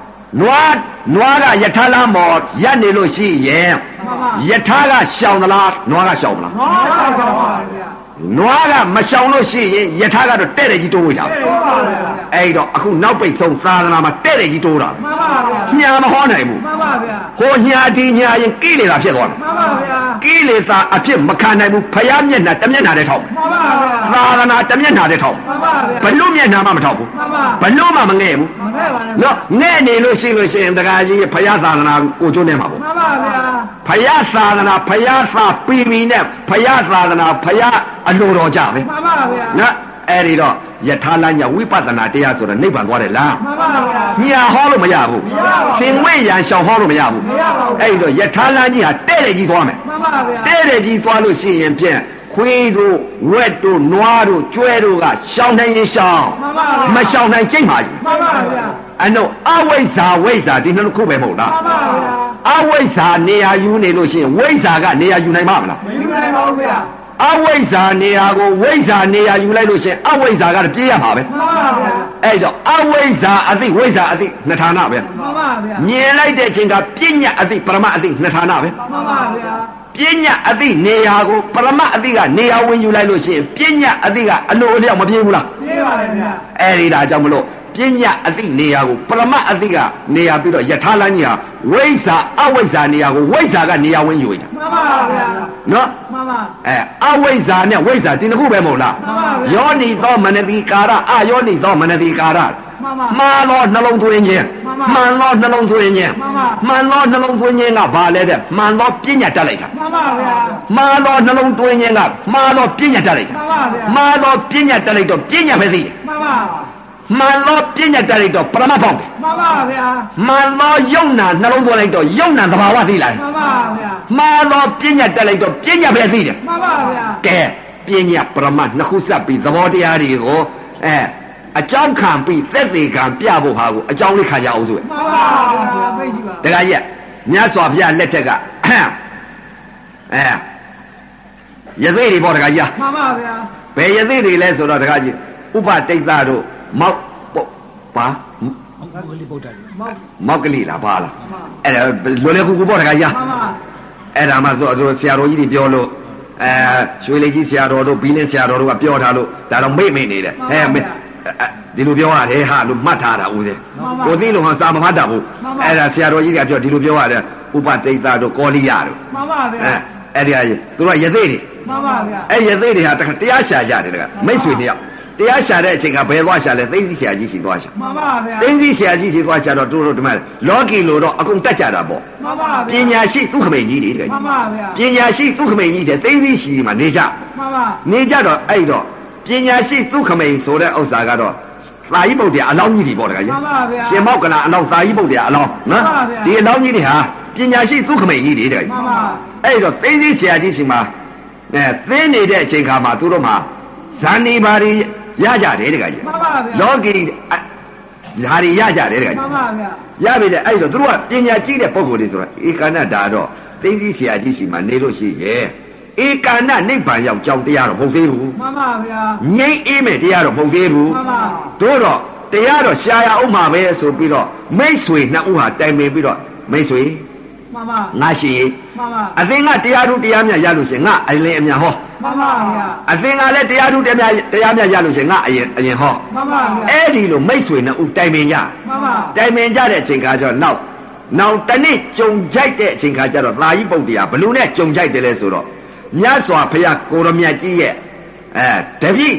[SPEAKER 1] နွားနွားကယထာလမ်းမော်ရက်နေလို့ရှိရင်
[SPEAKER 3] မှန်ပါ
[SPEAKER 1] ယထာကရှောင်သလားနွားကရှောင်မလား
[SPEAKER 3] ဟောဆောက်ပါပါလေဗျာ
[SPEAKER 1] နွားကမရှောင်လို့ရှိရင်ယထာကတော့တဲ့တယ်ကြီးတိုးဝေးတာပဲ
[SPEAKER 3] တဲ့သွားပါလေဗျာ
[SPEAKER 1] အဲ့တော့အခုနောက်ပိတ်ဆုံးသာသနာမှာတဲ့တယ်ကြီးတိုးတာ
[SPEAKER 3] မှန်ပါဗျာ
[SPEAKER 1] ပဲညာမဟောနိုင်ဘူး
[SPEAKER 3] မှန်ပါဗျာ
[SPEAKER 1] ဟိုညာဒီညာရင်ကိလေသာဖြစ်သွားတယ်
[SPEAKER 3] မှန်ပါဗျာ
[SPEAKER 1] ကိလေသာအဖြစ်မခံနိုင်ဘူးဖယားမျက်နှာတစ်မျက်နှာတည်းထောက်မယ်
[SPEAKER 3] မှန်ပါ
[SPEAKER 1] သာသ
[SPEAKER 3] ဗျာ
[SPEAKER 1] နာတစ်မျက်နှာတည်းထောက်မယ်
[SPEAKER 3] မှန်ပါ
[SPEAKER 1] ဘ
[SPEAKER 3] ဗျာ
[SPEAKER 1] လို့မျက်နှာမှမထောက်ဘူး
[SPEAKER 3] မှန်ပါ
[SPEAKER 1] ဘလို့မှမငဲ့ဘူး
[SPEAKER 3] မဖဲပါနဲ့ဗျာ
[SPEAKER 1] နော်ငဲ့နေလို့ရှိလို့ရှိရင်တရားကြီးဖယားသာသနာကိုကျွန်းနေမှာပေါ့
[SPEAKER 3] မှန်ပါဗျာ
[SPEAKER 1] ဖယားသာသနာဖယားသာပီမီနဲ့ဖယားသာသနာဖယားအလိုတော်ကြပဲ
[SPEAKER 3] မှန်ပါဗျာ
[SPEAKER 1] နော်အဲ့ဒီတော့ယထာလညာဝိပဿနာတရားဆိုတာနိဗ္ဗာန်သွားတယ်လား
[SPEAKER 3] မှန်ပါဗျာ
[SPEAKER 1] ညာဟောလို့မရဘူး
[SPEAKER 3] မရပါဘူး
[SPEAKER 1] စင်ဝိညာဉ်ရှောင်ဟောလို့မရဘူး
[SPEAKER 3] မရပါဘူး
[SPEAKER 1] အဲ့ဒီတော့ယထာလကြီးဟာတဲ့တဲ့ကြီးသွားမယ်
[SPEAKER 3] မှန်ပါဗျာ
[SPEAKER 1] တဲ့တဲ့ကြီးသွားလို့ရှိရင်ဖြင့်ခွေးတို့ဝက်တို့နွားတို့ကျွဲတို့ကရှောင်နိုင်ရင်ရှောင်
[SPEAKER 3] မှန်ပါဗျာ
[SPEAKER 1] မရှောင်နိုင်ကြိတ်ပါဘူး
[SPEAKER 3] မှန်ပါဗျာ
[SPEAKER 1] အဲ့တော့အဝိဇ္ဇာဝိဇ္ဇာဒီနှစ်ခုပဲမဟုတ်လား
[SPEAKER 3] မှန်ပါဗျာ
[SPEAKER 1] အဝိဇ္ဇာနေရာယူနေလို့ရှိရင်ဝိဇ္ဇာကနေရာယူနိုင်မှာမလား
[SPEAKER 3] မယူနိုင်ပါဘူးဗျာ
[SPEAKER 1] အဝိဇ္ဇာနေရာကိုဝိဇ္ဇာနေရာယူလိုက်လို့ရှိရင်အဝိဇ္ဇာကတပြေးရမှာပဲ
[SPEAKER 3] မှန်ပါဗျာ
[SPEAKER 1] အဲ့တော့အဝိဇ္ဇာအသိဝိဇ္ဇာအသိနှစ်ဌာနပဲ
[SPEAKER 3] မှန်ပါဗျာ
[SPEAKER 1] မြင်လိုက်တဲ့အချိန်ကပညာအသိပရမအသိနှစ်ဌာနပဲ
[SPEAKER 3] မှန်ပါဗျာ
[SPEAKER 1] ပညာအသိနေရာကိုပရမအသိကနေရာဝင်ယူလိုက်လို့ရှိရင်ပညာအသိကအလိုအလျောက်မပြေးဘူးလား
[SPEAKER 3] ပြေးပါလေဗျာ
[SPEAKER 1] အဲ့ဒီဒါကြောင့်မလို့ပညာအသိနေရာကိုပရမအသိကနေရာပြီးတော့ယထာလန်းကြီးဟာဝိဇ္ဇာအဝိဇ္ဇာနေရာကိုဝိဇ္ဇာကနေရာဝင်ယူလိုက်တာ
[SPEAKER 3] မှန်ပါဗျာ
[SPEAKER 1] နော်
[SPEAKER 3] မှန်ပါ
[SPEAKER 1] အဲအဝိဇ္ဇာနဲ့ဝိဇ္ဇာဒီတစ်ခုပဲမဟုတ်လား
[SPEAKER 3] မှန်ပါဗျာ
[SPEAKER 1] ယောနိသောမနတိကာရအယောနိသောမနတိကာရ
[SPEAKER 3] မှန်ပါ
[SPEAKER 1] မှားသောနှလုံးသွင်းခြင်း
[SPEAKER 3] မှန်
[SPEAKER 1] မှ
[SPEAKER 3] ပါ
[SPEAKER 1] န်သောနှလုံးသွင်းခြင်း
[SPEAKER 3] မှန်ပါ
[SPEAKER 1] မှန်သောနှလုံးသွင်းခြင်းကဘာလဲတဲ့မှန်သောပညာတတ်လိုက်တာ
[SPEAKER 3] မှန်ပါဗျာ
[SPEAKER 1] မှားသောနှလုံးသွင်းခြင်းကမှားသောပညာတတ်လိုက်တာ
[SPEAKER 3] မှန်ပါဗျာမှန်
[SPEAKER 1] မှားသောပညာတတ်လိုက်တော့ပညာပဲသိတယ်
[SPEAKER 3] ပါ
[SPEAKER 1] မှန်သောပညာတတ်လိုက်တော့ပရမပေါက်တယ်
[SPEAKER 3] မှန်ပါဗျာ
[SPEAKER 1] မှန်သောယုံနာနှလုံးသွင်းလိုက်တော့ယုံနာသဘာဝသိလာတယ်
[SPEAKER 3] မှန်ပါဗျာ
[SPEAKER 1] မှားသောပညာတတ်လိုက်တော့ပညာပဲသိတယ်
[SPEAKER 3] မှန်ပါဗျာ
[SPEAKER 1] ကဲပညာပရမတ်နှစ်ခုဆက်ပြီးသဘောတရားတွေကိုအဲအကြောင်းခံပြီးသက်သေခံပြဖို့ဟာကိုအကြောင်းလေးခံကြအောင်ဆိုရယ်
[SPEAKER 3] မှန်ပါဗျာပြည့်ကြည့်ပါ
[SPEAKER 1] တခါကြီးကမြတ်စွာဘုရားလက်ထက်ကအဲယသိတွေပေါ့တခါကြီးက
[SPEAKER 3] မှန်ပါဗျာ
[SPEAKER 1] ဘယ်ယသိတွေလဲဆိုတော့တခါကြီးဥပတိတ်သတို့မောက်ပုတ်ပါ
[SPEAKER 3] မှန်
[SPEAKER 1] မောက်ကလေးလားပါလားအဲ့ဒါလွယ်လွယ်ကူကူပေါ့တခါကြီးက
[SPEAKER 3] ပါ
[SPEAKER 1] အဲ့ဒါမှဆိုသူတို့ဆရာတော်ကြီးတွေပြောလို့အဲရွှေလေးကြီးဆရာတော်တို့ဘီလင်းဆရာတော်တို့ကပြောထားလို့ဒါတော့မိတ်မိတ်နေတယ်
[SPEAKER 3] မှ
[SPEAKER 1] ဟဲ့
[SPEAKER 3] န်ပါ
[SPEAKER 1] မိတ်အဲ့ဒီလိုပြောရတယ်ဟာလို့မှတ်ထားတာဦးစေ
[SPEAKER 3] မှန်ပါ
[SPEAKER 1] ကိုသိလို့ဟောစာမမှတ်တာဘူး
[SPEAKER 3] မှန်ပါ
[SPEAKER 1] အဲ့ဒါဆရာတော်ကြီးတွေကပြောဒီလိုပြောရတယ်ဥပတိတ်တာတို့ကောလိယတို့
[SPEAKER 3] မှန်ပါဗျာ
[SPEAKER 1] အဲအဲ့ဒီဟာကြီးသူတို့ကရသေးတယ်
[SPEAKER 3] မှန်ပါဗျာ
[SPEAKER 1] အဲ့ရသေးတယ်ဟာတခါတရားရှာရတယ်တခါမိတ်ဆွေတယောက်တရားရှာတဲ့အချိန်ကဘယ်သွားရှာလဲသိသိဆရာကြီးရှိသွားရှာ
[SPEAKER 3] မှန်ပါဗျာ
[SPEAKER 1] သိသိဆရာကြီးရှိသွားရှာတော့တို့တို့ဒီမှာလောကီလိုတော့အကုန်တက်ကြတာပေါ့
[SPEAKER 3] မှန်ပါ
[SPEAKER 1] ပ
[SPEAKER 3] ဗျာ
[SPEAKER 1] ညာရှိသူခမိန်ကြီးတွေတခါကြီး
[SPEAKER 3] မှန်ပါဗျာ
[SPEAKER 1] ပညာရှိသူခမိန်ကြီးတဲ့သိသိရှိရှိမှနေကြ
[SPEAKER 3] မှန်ပါ
[SPEAKER 1] နေကြတော့အဲ့တော့ပညာရှိသူခမိန်ဆိုတဲ့ဥစ္စာကတော့သာယိဗုဒ္ဓအလောင်းကြီးတွေပေါ့တခါကြီး
[SPEAKER 3] မှန်ပါဗျာ
[SPEAKER 1] ရှင်မောက်ကလာအလောင်းသာယိဗုဒ္ဓအလောင်းနော်
[SPEAKER 3] မှန်ပါဗျာ
[SPEAKER 1] ဒီအလောင်းကြီးတွေဟာပညာရှိသူခမိန်ကြီးတွေတခါကြီး
[SPEAKER 3] မှန်ပါ
[SPEAKER 1] အဲ့တော့သိသိဆရာကြီးရှင်မှာအဲသင်းနေတဲ့အချိန်ခါမှာသူတို့မှာ ဇန်နေပါရီရကြတယ်တကကြီး
[SPEAKER 3] မှန်ပါဗျာ
[SPEAKER 1] လောကီအဓာရီရကြတယ်တက
[SPEAKER 3] မှ
[SPEAKER 1] ကြီး
[SPEAKER 3] န်ပါဗျာ
[SPEAKER 1] ရပြီလေအဲ့တော့သူတို့ကပညာကြီးတဲ့ပုံကိုယ်တွေဆိုတာဧကဏဒါတော့သိသိဆရာကြီးရှိမှနေလို့ရှိရဲ့ဧကဏနိဗ္ဗာန်ရောက်ကြောင်းတရားတော့မဟုတ်သေးဘူး
[SPEAKER 3] မှန်ပါဗျာ
[SPEAKER 1] ငြိမ့်အေးမဲ့တရားတော့မဟုတ်သေးဘူး
[SPEAKER 3] မှန်ပါ
[SPEAKER 1] တို့တော့တရားတော့ရှားရအောင်မှာပဲဆိုပြီးတော့မိတ်ဆွေနှစ်ဦးဟာတိုင်ပင်ပြီးတော့မိတ်ဆွေ
[SPEAKER 3] မှန်ပါ
[SPEAKER 1] ငါရှိရင်
[SPEAKER 3] မှန်ပါ
[SPEAKER 1] အသင်ကတရားထူးတရားမြတ်ရလို့ရှရင်ငါအရင်အမြန်ဟော
[SPEAKER 3] မှန်ပါဗျာ
[SPEAKER 1] အသင်ကလည်းတရားထူးတရားမြတ်တရားမြတ်ရလို့ရှရင်ငါအရင်အရင်ဟော
[SPEAKER 3] မှန်ပါဗျာ
[SPEAKER 1] အဲ့ဒီလိုမိတ်ဆွေနှစ်ဦးတိုင်ပင်ကြ
[SPEAKER 3] မှန်ပါ
[SPEAKER 1] တိုင်ပင်ကြတဲ့အချိန်ခါကျတော့နောက်နောက်တစ်နေ့ကြုံကြိုက်တဲ့အချိန်ခါကျတော့သာယီပုတ်တရားဘလူနဲ့ကြုံကြိုက်တယ်လဲဆိုတော့မြတ်စွာဘုရားကိုရမြတ်ကြီးရဲ့အဲတပည့်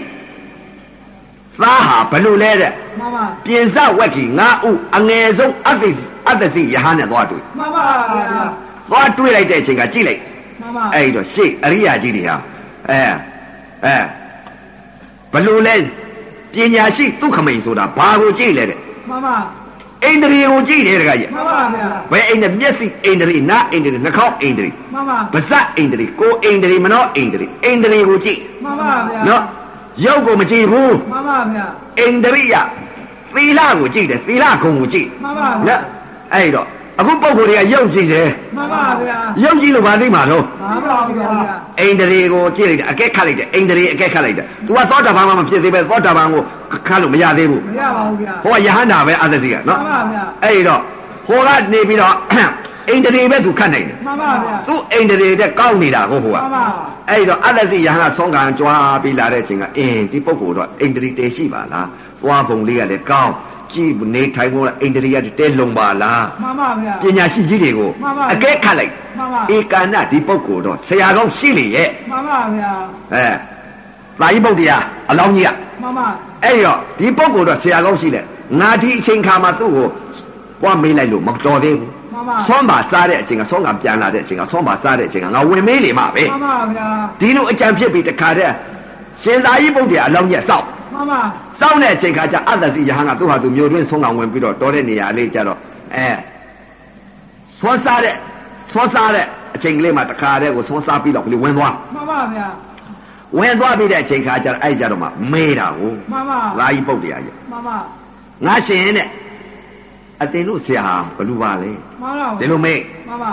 [SPEAKER 1] သားဟာဘလူလဲတဲ့
[SPEAKER 3] မှန်ပါ
[SPEAKER 1] ပြင်စဝက်ကြီးငါဥအငယ်ဆုံးအသိအသစီယဟန်နဲ့သွားတွေ့
[SPEAKER 3] မှန်ပါဗျာ
[SPEAKER 1] သွားတွေ့လိုက်တဲ့အချိန်ကကြည့်လိုက်
[SPEAKER 3] မှန်ပါ
[SPEAKER 1] အဲ့ဒီတော့ရှေ့အရိယာကြီးတွေဟာအဲအဲဘလူလဲပညာရှိဒုက္ခမိန်ဆိုတာဘာကိုကြည့်လဲတဲ့
[SPEAKER 3] မှန်ပါ
[SPEAKER 1] အိန္ဒြေကိုကြည့်တယ်တခါကြီး
[SPEAKER 3] မှန်ပါဗျာ
[SPEAKER 1] ဘယ်အိမ်နဲ့မျက်စိအိမ်တရီနားအိမ်တရီနှာခေါင်းအိမ်တရီ
[SPEAKER 3] မှန်ပါ
[SPEAKER 1] ပါးစပ်အိမ်တရီကိုယ်အိမ်တရီမနောအိမ်တရီအိမ်တရီကိုကြည့်
[SPEAKER 3] မှန်ပါဗျာ
[SPEAKER 1] နော်ရုပ်ကိုမကြည့်ဘူး
[SPEAKER 3] မှန်ပါဗျာ
[SPEAKER 1] အိမ်တရီရသီလကိုကြည့်တယ်သီလဂုံကိုကြည့်
[SPEAKER 3] မှန်ပါဗျာ
[SPEAKER 1] နော်အဲ့တော့အခုပုံကိုယ်တွေကရုပ်ကြည့်တယ်
[SPEAKER 3] မှန်ပါဗျာ
[SPEAKER 1] ရုပ်ကြည့်လို့မသိမှာတော့
[SPEAKER 3] မှန်ပါဗျာ
[SPEAKER 1] အိမ်တရီကိုကြည့်လိုက်တယ်အကဲခတ်လိုက်တယ်အိမ်တရီအကဲခတ်လိုက်တယ် तू ကသောတာပန်မှမဖြစ်သေးပဲသောတာပန်ကိုခတ်လို့မရသေးဘူး
[SPEAKER 3] မရပါဘူးဗျာ
[SPEAKER 1] ဟိုကယဟန္တာပဲအသစီက
[SPEAKER 3] မှ
[SPEAKER 1] နော်
[SPEAKER 3] န်ပါဗျာ
[SPEAKER 1] အဲ့ဒီတော့ဟိုကနေပြီးတော့ အိမ်တရီပဲ तू ခတ်နိုင်တယ်
[SPEAKER 3] မှန်ပါဗျာ
[SPEAKER 1] သူ့အိမ်တရေတဲ့ကောက်နေတာကိုဟိုက
[SPEAKER 3] မှန်ပါ
[SPEAKER 1] အဲ့တော့အတ္တစီယဟန်ကဆုံးကံကြွားပြီးလာတဲ့အချိန်ကအင်းဒီပုဂ္ဂိုလ်တော့အိမ်တရေတဲရှိပါလားသွားပုံလေးကလည်းကောင်းကြည့်နေထိုင်ဖို့ကအိမ်တရေကတဲလုံပါလား
[SPEAKER 3] မှန်ပါဗျာ
[SPEAKER 1] ပညာရှိကြီးတွေကို
[SPEAKER 3] မှန်ပါ
[SPEAKER 1] အကဲခတ်လိုက်
[SPEAKER 3] မှန်ပါ
[SPEAKER 1] ဧကန္နဒီပုဂ္ဂိုလ်တော့ဆရာကောင်းရှိလေရဲ့
[SPEAKER 3] မှန်ပါဗျာ
[SPEAKER 1] အဲသာယပုတ္တရာအလောင်းကြီးက
[SPEAKER 3] မှန်ပါ
[SPEAKER 1] အဲ့တော့ဒီပုဂ္ဂိုလ်တော့ဆရာကောင်းရှိလေငါဒီအချိန်ခါမှာသူ့ကိုသွားမေးလိုက်လို့မတော်သေးဘူး
[SPEAKER 3] မှန်ပါ
[SPEAKER 1] ဆွမ်းပါစားတဲ့အချိန်ကဆွမ်းကပြန်လာတဲ့အချိန်ကဆွမ်းပါစားတဲ့အချိန်ကငါဝင်မေးလေမှာပဲ
[SPEAKER 3] မှန်ပါဗျာ
[SPEAKER 1] ဒီလိုအကြံဖြစ်ပြီးတခါတည်းရှင်သာရိပုတ္တရာအလောင်းကြီးစောက်
[SPEAKER 3] မှန်ပါ
[SPEAKER 1] စောက်တဲ့အချိန်ခါကျအတ္တစီယဟန်ကသူ့ဟာသူမျိုးတွင်းဆုံးအောင်ဝင်ပြီးတော့တော်တဲ့နေရာလေးကျတော့အဲသွန်းစားတဲ့သွန်းစားတဲ့အချိန်ကလေးမှာတခါတည်းကိုသွန်းစားပြီးတော့ကလေးဝင်သွား
[SPEAKER 3] မှန်ပါဗျာ
[SPEAKER 1] ဝင်သွားပြီးတဲ့အချိန်ခါကျတော့အဲ့ကျတော့မှမေးတာကို
[SPEAKER 3] မှန်ပါ
[SPEAKER 1] သာရိပုတ္တရာကြီး
[SPEAKER 3] မှန်ပါ
[SPEAKER 1] ငါရှင်တဲ့အတင်တို့ဆရာဟာဘလူပါလဲ
[SPEAKER 3] မှန်ပါ
[SPEAKER 1] ဒီလိုမေး
[SPEAKER 3] မှန်ပါ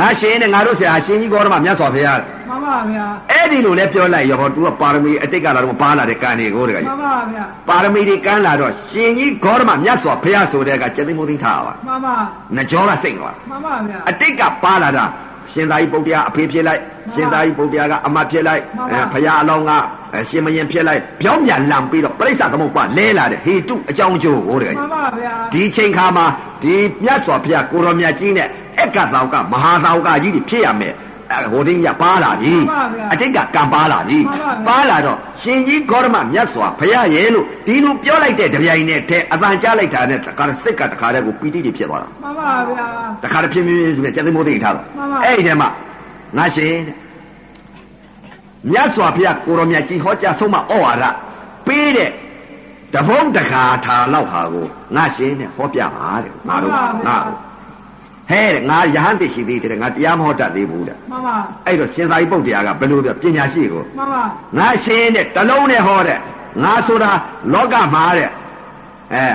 [SPEAKER 1] ငါရှင်တဲ့ငါတို့ဆရာရှင်ကြီးကောဓမမြတ်စွာဘုရား
[SPEAKER 3] မှန်ပါဗျာ
[SPEAKER 1] အဲ့ဒီလိုလဲပြောလိုက်ရောဟောသူကပါရမီအတိတ်ကလာတော့ပါလာတဲ့ကံတွေကိုတကကြီး
[SPEAKER 3] မှန်ပါဗျာ
[SPEAKER 1] ပါရမီတွေကမ်းလာတော့ရှင်ကြီးဂေါရမမြတ်စွာဘုရားဆိုတဲ့ကကျက်သိမ်းမိုးသိမ်းထားပါ
[SPEAKER 3] မှန်ပါ
[SPEAKER 1] နကြောကစိတ်သွား
[SPEAKER 3] မှန်ပါဗျာ
[SPEAKER 1] အတိတ်ကပါလာတာရှင်သာရိပုတ္တရာအဖေဖြစ်လိုက်ရှင်သာရိပုတ္တရာကအမဖြစ်လိုက်
[SPEAKER 3] မှန်ပါ
[SPEAKER 1] အဲဘုရားအလောင်းကအဲရှင်မယင်ဖြစ်လိုက်ပြောင်းပြန်လံပြီးတော့ပြိဿသမုပ္ပါလဲလာတဲ့ဟေတုအကြောင်းအကျိုးဟိုတကယ်
[SPEAKER 3] မှန်ပါဗျာ
[SPEAKER 1] ဒီချိန်ခါမှာဒီမြတ်စွာဘုရားကိုရောမြတ်ကြီးနဲ့အက္ကတောင်ကမဟာတောင်ကကြီးတွေဖြစ်ရမယ်အဲဟိုတင်းကြီးကပါလာပြီအတိတ်ကကံပါလာပြီပါလာတော့ရှင်ကြီးဂေါရမမြတ်စွာဘုရားရဲ့လို့ဒီလိုပြောလိုက်တဲ့တပြိုင်နက်တည်းအပန်ကြားလိုက်တာနဲ့တခါစိတ်ကတခါတည်းကိုပီတိတွေဖြစ်သွားတာ
[SPEAKER 3] မှန်ပါဗျာ
[SPEAKER 1] တခါတည်းဖြစ်ဖြစ်ဆိုပြီးကျက်သိမ်းမိုးသိမ်းထားတော့
[SPEAKER 3] မှန်ပါ
[SPEAKER 1] အဲ့ဒီထဲမှာငါရှင်တဲ့မြတ်စွာဘုရားကိုရောမြတ်ကြီးဟောကြားဆုံးမဩဝါဒပေးတဲ့တပုံးတခါထာလောက်ဟာကိုငါရှင်တဲ့ဟောပြပါတဲ့ငါတို့ငါတို့ဟဲ့တဲ့ငါရဟန်းသိရှိသေးတယ်တဲ့ငါတရားမဟောတတ်သေးဘူးတဲ့
[SPEAKER 3] မှန်ပါ
[SPEAKER 1] အဲ့တော့ရှင်သာရိပုတ္တရာကဘယ်လိုပြောပညာရှိကို
[SPEAKER 3] မှန်ပါ
[SPEAKER 1] ငါရှင်တဲ့တလုံးနဲ့ဟောတဲ့ငါဆိုတာလောကမှာတဲ့အဲ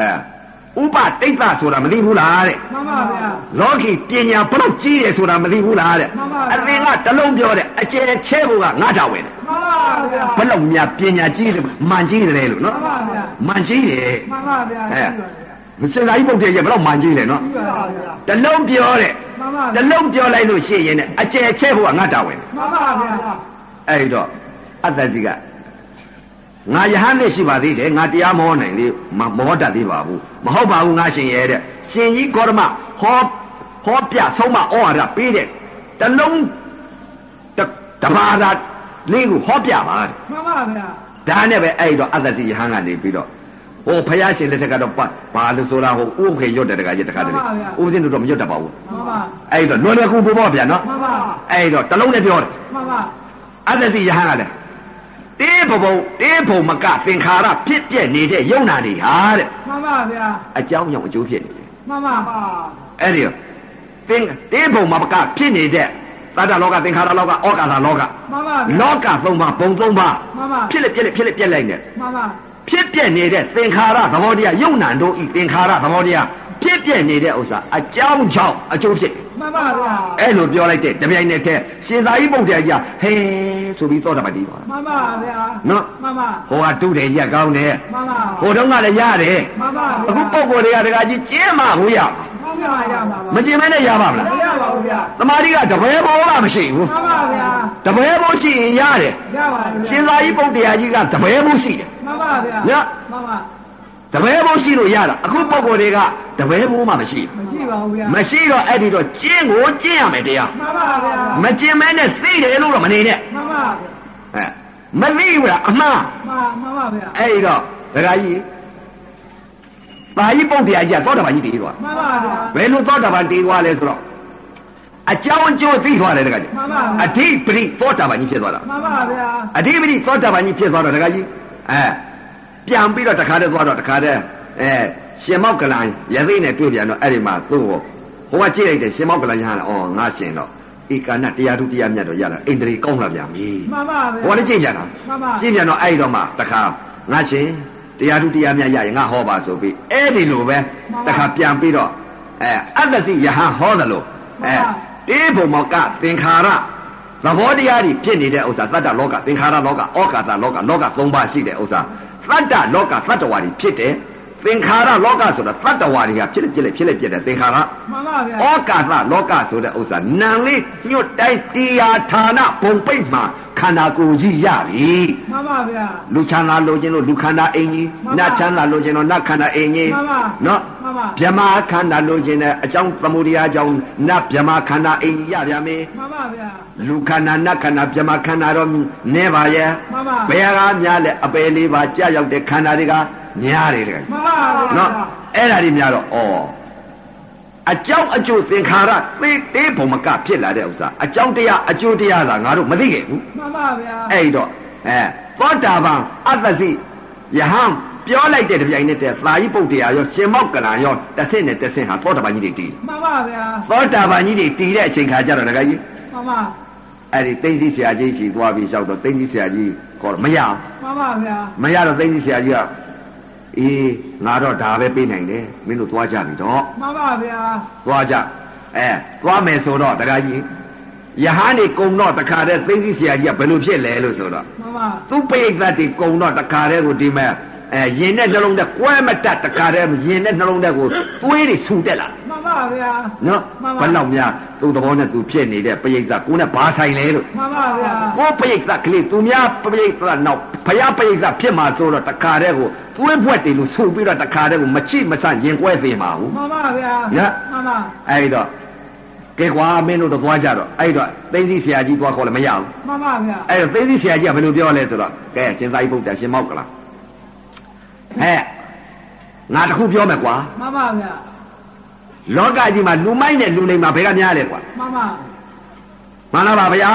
[SPEAKER 1] အဲဥပတိတ်တဆိုတာမသိဘူးလားတဲ့
[SPEAKER 3] မှန်ပါဗျာ
[SPEAKER 1] လောကီပညာဘလို့ကြီးတယ်ဆိုတာမသိဘူးလားတဲ့
[SPEAKER 3] မှန်ပါဗျာ
[SPEAKER 1] အသင်ကတလုံးပြောတဲ့အကျယ်ချဲဖို့ကငါတာဝင်တယ်
[SPEAKER 3] မှန်ပါဗျာ
[SPEAKER 1] ဘလို့များပညာကြီးတယ်မှန်ကြီးတယ်လို့နော်
[SPEAKER 3] မှန်ပါဗျာ
[SPEAKER 1] မှန်ကြီးတယ်
[SPEAKER 3] မှန်ပါဗျာ
[SPEAKER 1] အဲရှင်သာရိပုတ္တရာကြီးကဘလို့မှန်ကြီးတယ်နော်
[SPEAKER 3] ပြီးပါဗျာ
[SPEAKER 1] တလုံးပြောတဲ့
[SPEAKER 3] မှန်ပါ
[SPEAKER 1] တ
[SPEAKER 3] ဗျာ
[SPEAKER 1] လုံးပြောလိုက်လို့ရှိရင်တဲ့အကျယ်ချဲဖို့ကငါတာဝင်တယ်
[SPEAKER 3] မှန်ပါဗျာ
[SPEAKER 1] အဲ့တော့အတ္တကြီးကငါယဟန်နဲ့ရှိပါသေးတယ်ငါတရားမဟောနိုင်သေးမမဟောတတ်သေးပါဘူးမဟုတ်ပါဘူးငါရှင်ရဲ့တဲ့ရှင်ကြီးဂေါတမဟောဟောပြဆုံးမဩဝါဒပေးတဲ့တလုံးတတဘာသာလေးကိုဟောပြပါတဲ့
[SPEAKER 3] မှန်ပါဗျာ
[SPEAKER 1] ဒါနဲ့ပဲအဲ့တော့အတ္တစီယဟန်ကနေပြီးတော့ဟိုဖယားရှင်လက်ထက်ကတော့ပါဘာလို့ဆိုတာဟိုဥခေရွတ်တယ်တကကြီးတခါတည်းဥပဇင်းတို့တော့မရွတ်တတ်ပါဘူး
[SPEAKER 3] မှန်ပါ
[SPEAKER 1] အဲ့တော့လွယ်လွယ်ကူပူပေါ့ဗျာနော်
[SPEAKER 3] မှန်ပါ
[SPEAKER 1] အဲ့တော့တလုံးနဲ့ပြောတယ်
[SPEAKER 3] မှန်ပါ
[SPEAKER 1] အတ္တစီယဟန်ကလည်းတေးဘဘုံတေးဘုံမကသင်္ခါရဖြစ်ပြက်နေတဲ့ယုံနာတွေဟာတဲ့
[SPEAKER 3] မှန်ပါဗျာ
[SPEAKER 1] အကြောင်းကြောင့်အကျိုးဖြစ်နေတယ်
[SPEAKER 3] မှန်ပါ
[SPEAKER 1] အဲ့ဒီတော့သင်တေးဘုံမကဖြစ်နေတဲ့ တတ္တလောကသင်္ခါရလောကဩကာသလောက
[SPEAKER 3] မှန်ပါဗျာ
[SPEAKER 1] လောကသုံးပါးဘုံသုံးပါး
[SPEAKER 3] မှန်ပါ
[SPEAKER 1] ဖြစ်လက်ပြက်လက်ဖြစ်လက်ပြက်လိုက်နဲ့
[SPEAKER 3] မှန်ပါ
[SPEAKER 1] ဖြစ်ပြက်နေတဲ့သင်္ခါရသဘောတရားယုံနံတို့ဤသင်္ခါရသဘောတရားဖြစ်ပြက်နေတဲ့ဥစ္စာအကြောင်းကြောင့်အကျိုးဖြစ်တယ်
[SPEAKER 3] မှန်ပါဗျာ
[SPEAKER 1] အဲ့လိုပြောလိုက်တဲ့တပြိုင်နက်တည်းရှင်သာရိပုတ္တရာကြီးကဟဲဆိုပြီးသောတာပတိပါလား
[SPEAKER 3] မှန်ပါဗျာ
[SPEAKER 1] နော်
[SPEAKER 3] မှန်ပါ
[SPEAKER 1] ဟိုကတုတယ်ရက်ကောင်းတယ်
[SPEAKER 3] မှန်ပါ
[SPEAKER 1] ဟိုတုန်းကလည်းရတယ်
[SPEAKER 3] မှန်ပါ
[SPEAKER 1] အခုပုံပေါ်တွေကတကကြီးကျင်းမှဘူးရ
[SPEAKER 3] မှန်ပါရပါပါ
[SPEAKER 1] မကျင်းမဲနဲ့ရပါမလား
[SPEAKER 3] မရပါဘူးဗျာ
[SPEAKER 1] တမာတိကတပည့်ဘောကမရှိဘူး
[SPEAKER 3] မှန်ပါဗျာ
[SPEAKER 1] တပည့်ဘောရှိရင်ရတယ်
[SPEAKER 3] ရပါတယ်
[SPEAKER 1] ရှင်သာရိပုတ္တရာကြီးကတပည့်ဘောရှိတယ်
[SPEAKER 3] မှန်ပါဗျာ
[SPEAKER 1] ည
[SPEAKER 3] မှန်ပါ
[SPEAKER 1] တပည့်ဘောရှိလို့ရတာအခုပုံပေါ်တွေကတပည့်ဘောမှမရှိဘူး
[SPEAKER 3] မရှိပါဘူးဗျာ
[SPEAKER 1] မရှိတော့အဲ့ဒီတော့ကျင်းကိုကျင်းရမယ်တရား
[SPEAKER 3] မှန်ပါဗျာ
[SPEAKER 1] မကျင်းမဲနဲ့သိတယ်လို့တော့မနေနဲ့
[SPEAKER 3] မှန်ပါဗျာ
[SPEAKER 1] ဟဲ့မသိဘူးလားအမှား
[SPEAKER 3] မှန်မှန်ပါဗျာ
[SPEAKER 1] အဲ့ဒီတော့ဒကာကြီးပါဠိပုတ်တရားကြီးကသောတာပန်ကြီးတည်သွား
[SPEAKER 3] မှန်ပါဗျာ
[SPEAKER 1] ဘယ်လိုသောတာပန်တည်သွားလဲဆိုတော့အကြောင်းအကျိုးသိသွားတယ်ဒကာကြီး
[SPEAKER 3] မှန်ပါဗျာ
[SPEAKER 1] အဓိပတိသောတာပန်ကြီးဖြစ်သွားတာ
[SPEAKER 3] မှန်ပါဗျာ
[SPEAKER 1] အဓိပတိသောတာပန်ကြီးဖြစ်သွားတော့ဒကာကြီးအဲပြန်ပြီးတော့တခါတည်းသွားတော့တခါတည်းအဲရှင်မောက်ကလန်ရသိနဲ့တွေ့ပြန်တော့အဲ့ဒီမှာသူ့ကိုဟိုကကြည့်လိုက်တယ်ရှင်မောက်ကလန်ရဟန်းလာအော်ငါရှင်တော့ဧကနာတရားထုတရားမြတ်တော့ရလာအိန္ဒြေကောင်းလာပြန်ပြီ
[SPEAKER 3] မှန်ပါဗျာ
[SPEAKER 1] ဟောလည်းကြင်ကြတာ
[SPEAKER 3] မှန်ပါ
[SPEAKER 1] ကြင်ကြတော့အဲ့ဒီတော့မှတခါငါချင်းတရားထုတရားမြတ်ရရင်ငါဟောပါဆိုပြီးအဲ့ဒီလိုပဲတခါပြန်ပြီးတော့အဲအတ္တစီယဟန်ဟောတယ်လို့အဲတေဘုံမောကသင်္ခါရသဘောတရားတွေဖြစ်နေတဲ့ဥစ္စာတတ္တလောကသင်္ခါရလောကဩကာသလောကလောက၃ပါးရှိတဲ့ဥစ္စာတတ္တလောကသတ္တဝါတွေဖြစ်တယ်သင်္ခါရလောကဆိုတာသတ္တဝါတွေကဖြစ်လက်ဖြစ်လက်ဖြစ်လက်ဖြစ်တဲ့သင်္ခါရ
[SPEAKER 3] မှန်ပါဗျာ
[SPEAKER 1] ဩကာသလောကဆိုတဲ့ဥစ္စာနာလေးညွတ်တိုင်းတရားဌာနဘုံပိတ်မှာခန္ဓာကိုယ်ကြီးရပြီ
[SPEAKER 3] မှန်ပါဗျာ
[SPEAKER 1] လူချမ်းသာလိုချင်လို့လူခန္ဓာအင်ကြီး
[SPEAKER 3] မှန်ပါ
[SPEAKER 1] နတ်ချမ်းသာလိုချင်လို့နတ်ခန္ဓာအင်ကြီး
[SPEAKER 3] မှန်ပါ
[SPEAKER 1] နော်
[SPEAKER 3] မှန်ပါ
[SPEAKER 1] ဗြဟ္မာခန္ဓာလိုချင်တဲ့အကြောင်းသမုဒိယအကြောင်းနတ်ဗြဟ္မာခန္ဓာအင်ကြီးရဗျာမင်း
[SPEAKER 3] မှန်ပါဗျာ
[SPEAKER 1] လူခန္ဓာနတ်ခန္ဓာဗြဟ္မာခန္ဓာတော့နဲပါရဲ့
[SPEAKER 3] မှန်ပါ
[SPEAKER 1] ဘယ်ဟာများလဲအပယ်လေးပါကြာရောက်တဲ့ခန္ဓာတွေကများတယ်တကယ်
[SPEAKER 3] မှန်ပါဗျာ
[SPEAKER 1] နော်အဲ့ဒါတွေများတော့ဩအကြောင်းအကျိုးသင်္ခါရသေတေဘုံမကဖြစ်လာတဲ့ဥစ္စာအကြောင်းတရားအကျိုးတရားသာငါတို့မသိခဲ့ဘူး
[SPEAKER 3] မှန်ပါဗျာ
[SPEAKER 1] အဲ့ဒီတော့အဲသောတာပန်အတ္တစီယဟန်ပြောလိုက်တဲ့တပြိုင်နက်တည်းသာယိပုတ်တရားရောရှင်မောက်ကလန်ရောတစ်ဆင့်နဲ့တစ်ဆင့်ဟာသောတာပန်ကြီးတွေတည်
[SPEAKER 3] မှန်ပါဗျာ
[SPEAKER 1] သောတာပန်ကြီးတွေတည်တဲ့အချိန်ခါကျတော့ဒကာကြီး
[SPEAKER 3] မှန်ပါ
[SPEAKER 1] အဲ့ဒီသိသိဆရာကြီးကြီးသွားပြီးရောက်တော့သိသိဆရာကြီးခေါ်တော့မရဘူး
[SPEAKER 3] မှန်ပါဗျာ
[SPEAKER 1] မရတော့သိမ့်ကြီးဆရာကြီးကအေးငါတော့ဒါပဲပြေးနိုင်တယ်မင်းတို့သွားကြပြီတော့
[SPEAKER 3] မှန်ပါဗျာ
[SPEAKER 1] သွားကြအဲသွားမယ်ဆိုတော့တရားကြီးယဟန်နေကုံတော့တခါတည်းသိမ့်ကြီးဆရာကြီးကဘယ်လိုဖြစ်လဲလို့ဆိုတော့
[SPEAKER 3] မှန်ပါ
[SPEAKER 1] သူ့ပိဋကတ်တွေကုံတော့တခါတည်းကိုဒီမဲ့အဲရင်နဲ့နှလုံးနဲ့ကွဲမတတ်တခါတည်းရင်နဲ့နှလုံးနဲ့ကိုသွေးတွေဆူတက်လာ
[SPEAKER 3] မှန်ပါဗျာ
[SPEAKER 1] နော်
[SPEAKER 3] မှန်ပါ
[SPEAKER 1] ဘယ်လောက်များသူ့သဘောနဲ့သူဖြစ်နေတဲ့ပိဋကတ်ကိုနဲ့ဘာဆိုင်လဲလို့
[SPEAKER 3] မှန်ပါဗျာ
[SPEAKER 1] ကိုယ်ပိဋကကလေးသူများပိဋကနောက်ဘုရားပိဋကဖြစ်မှာဆိုတော့တခါတည်းကိုသွေးဘွက်တွေလို့ဆိုပြီးတော့တခါတည်းကိုမချိမဆန့်ရင်ကွဲသေးမှာဘူး
[SPEAKER 3] မှန်ပါဗျာမှန်ပါ
[SPEAKER 1] အဲဒီတော့ကဲကွာမင်းတို့တော့သွားကြတော့အဲဒီတော့သိသိဆရာကြီးသွားခေါ်လည်းမရဘူး
[SPEAKER 3] မှန်ပါဗျာ
[SPEAKER 1] အဲဒီတော့သိသိဆရာကြီးကဘယ်လိုပြောလဲဆိုတော့ကဲရှင်သာရိပုတ္တရာရှင်မောက်ကလားဟဲ့ငါတစ်ခုပြောမယ်ကွာ
[SPEAKER 3] မှန်ပါဗျာ
[SPEAKER 1] လောကကြီးမှာလူမိုက်နဲ့လူလိမ္မာဘယ်ကများလဲကွာ
[SPEAKER 3] မှန်ပါ
[SPEAKER 1] မှန်လားပါဗျာ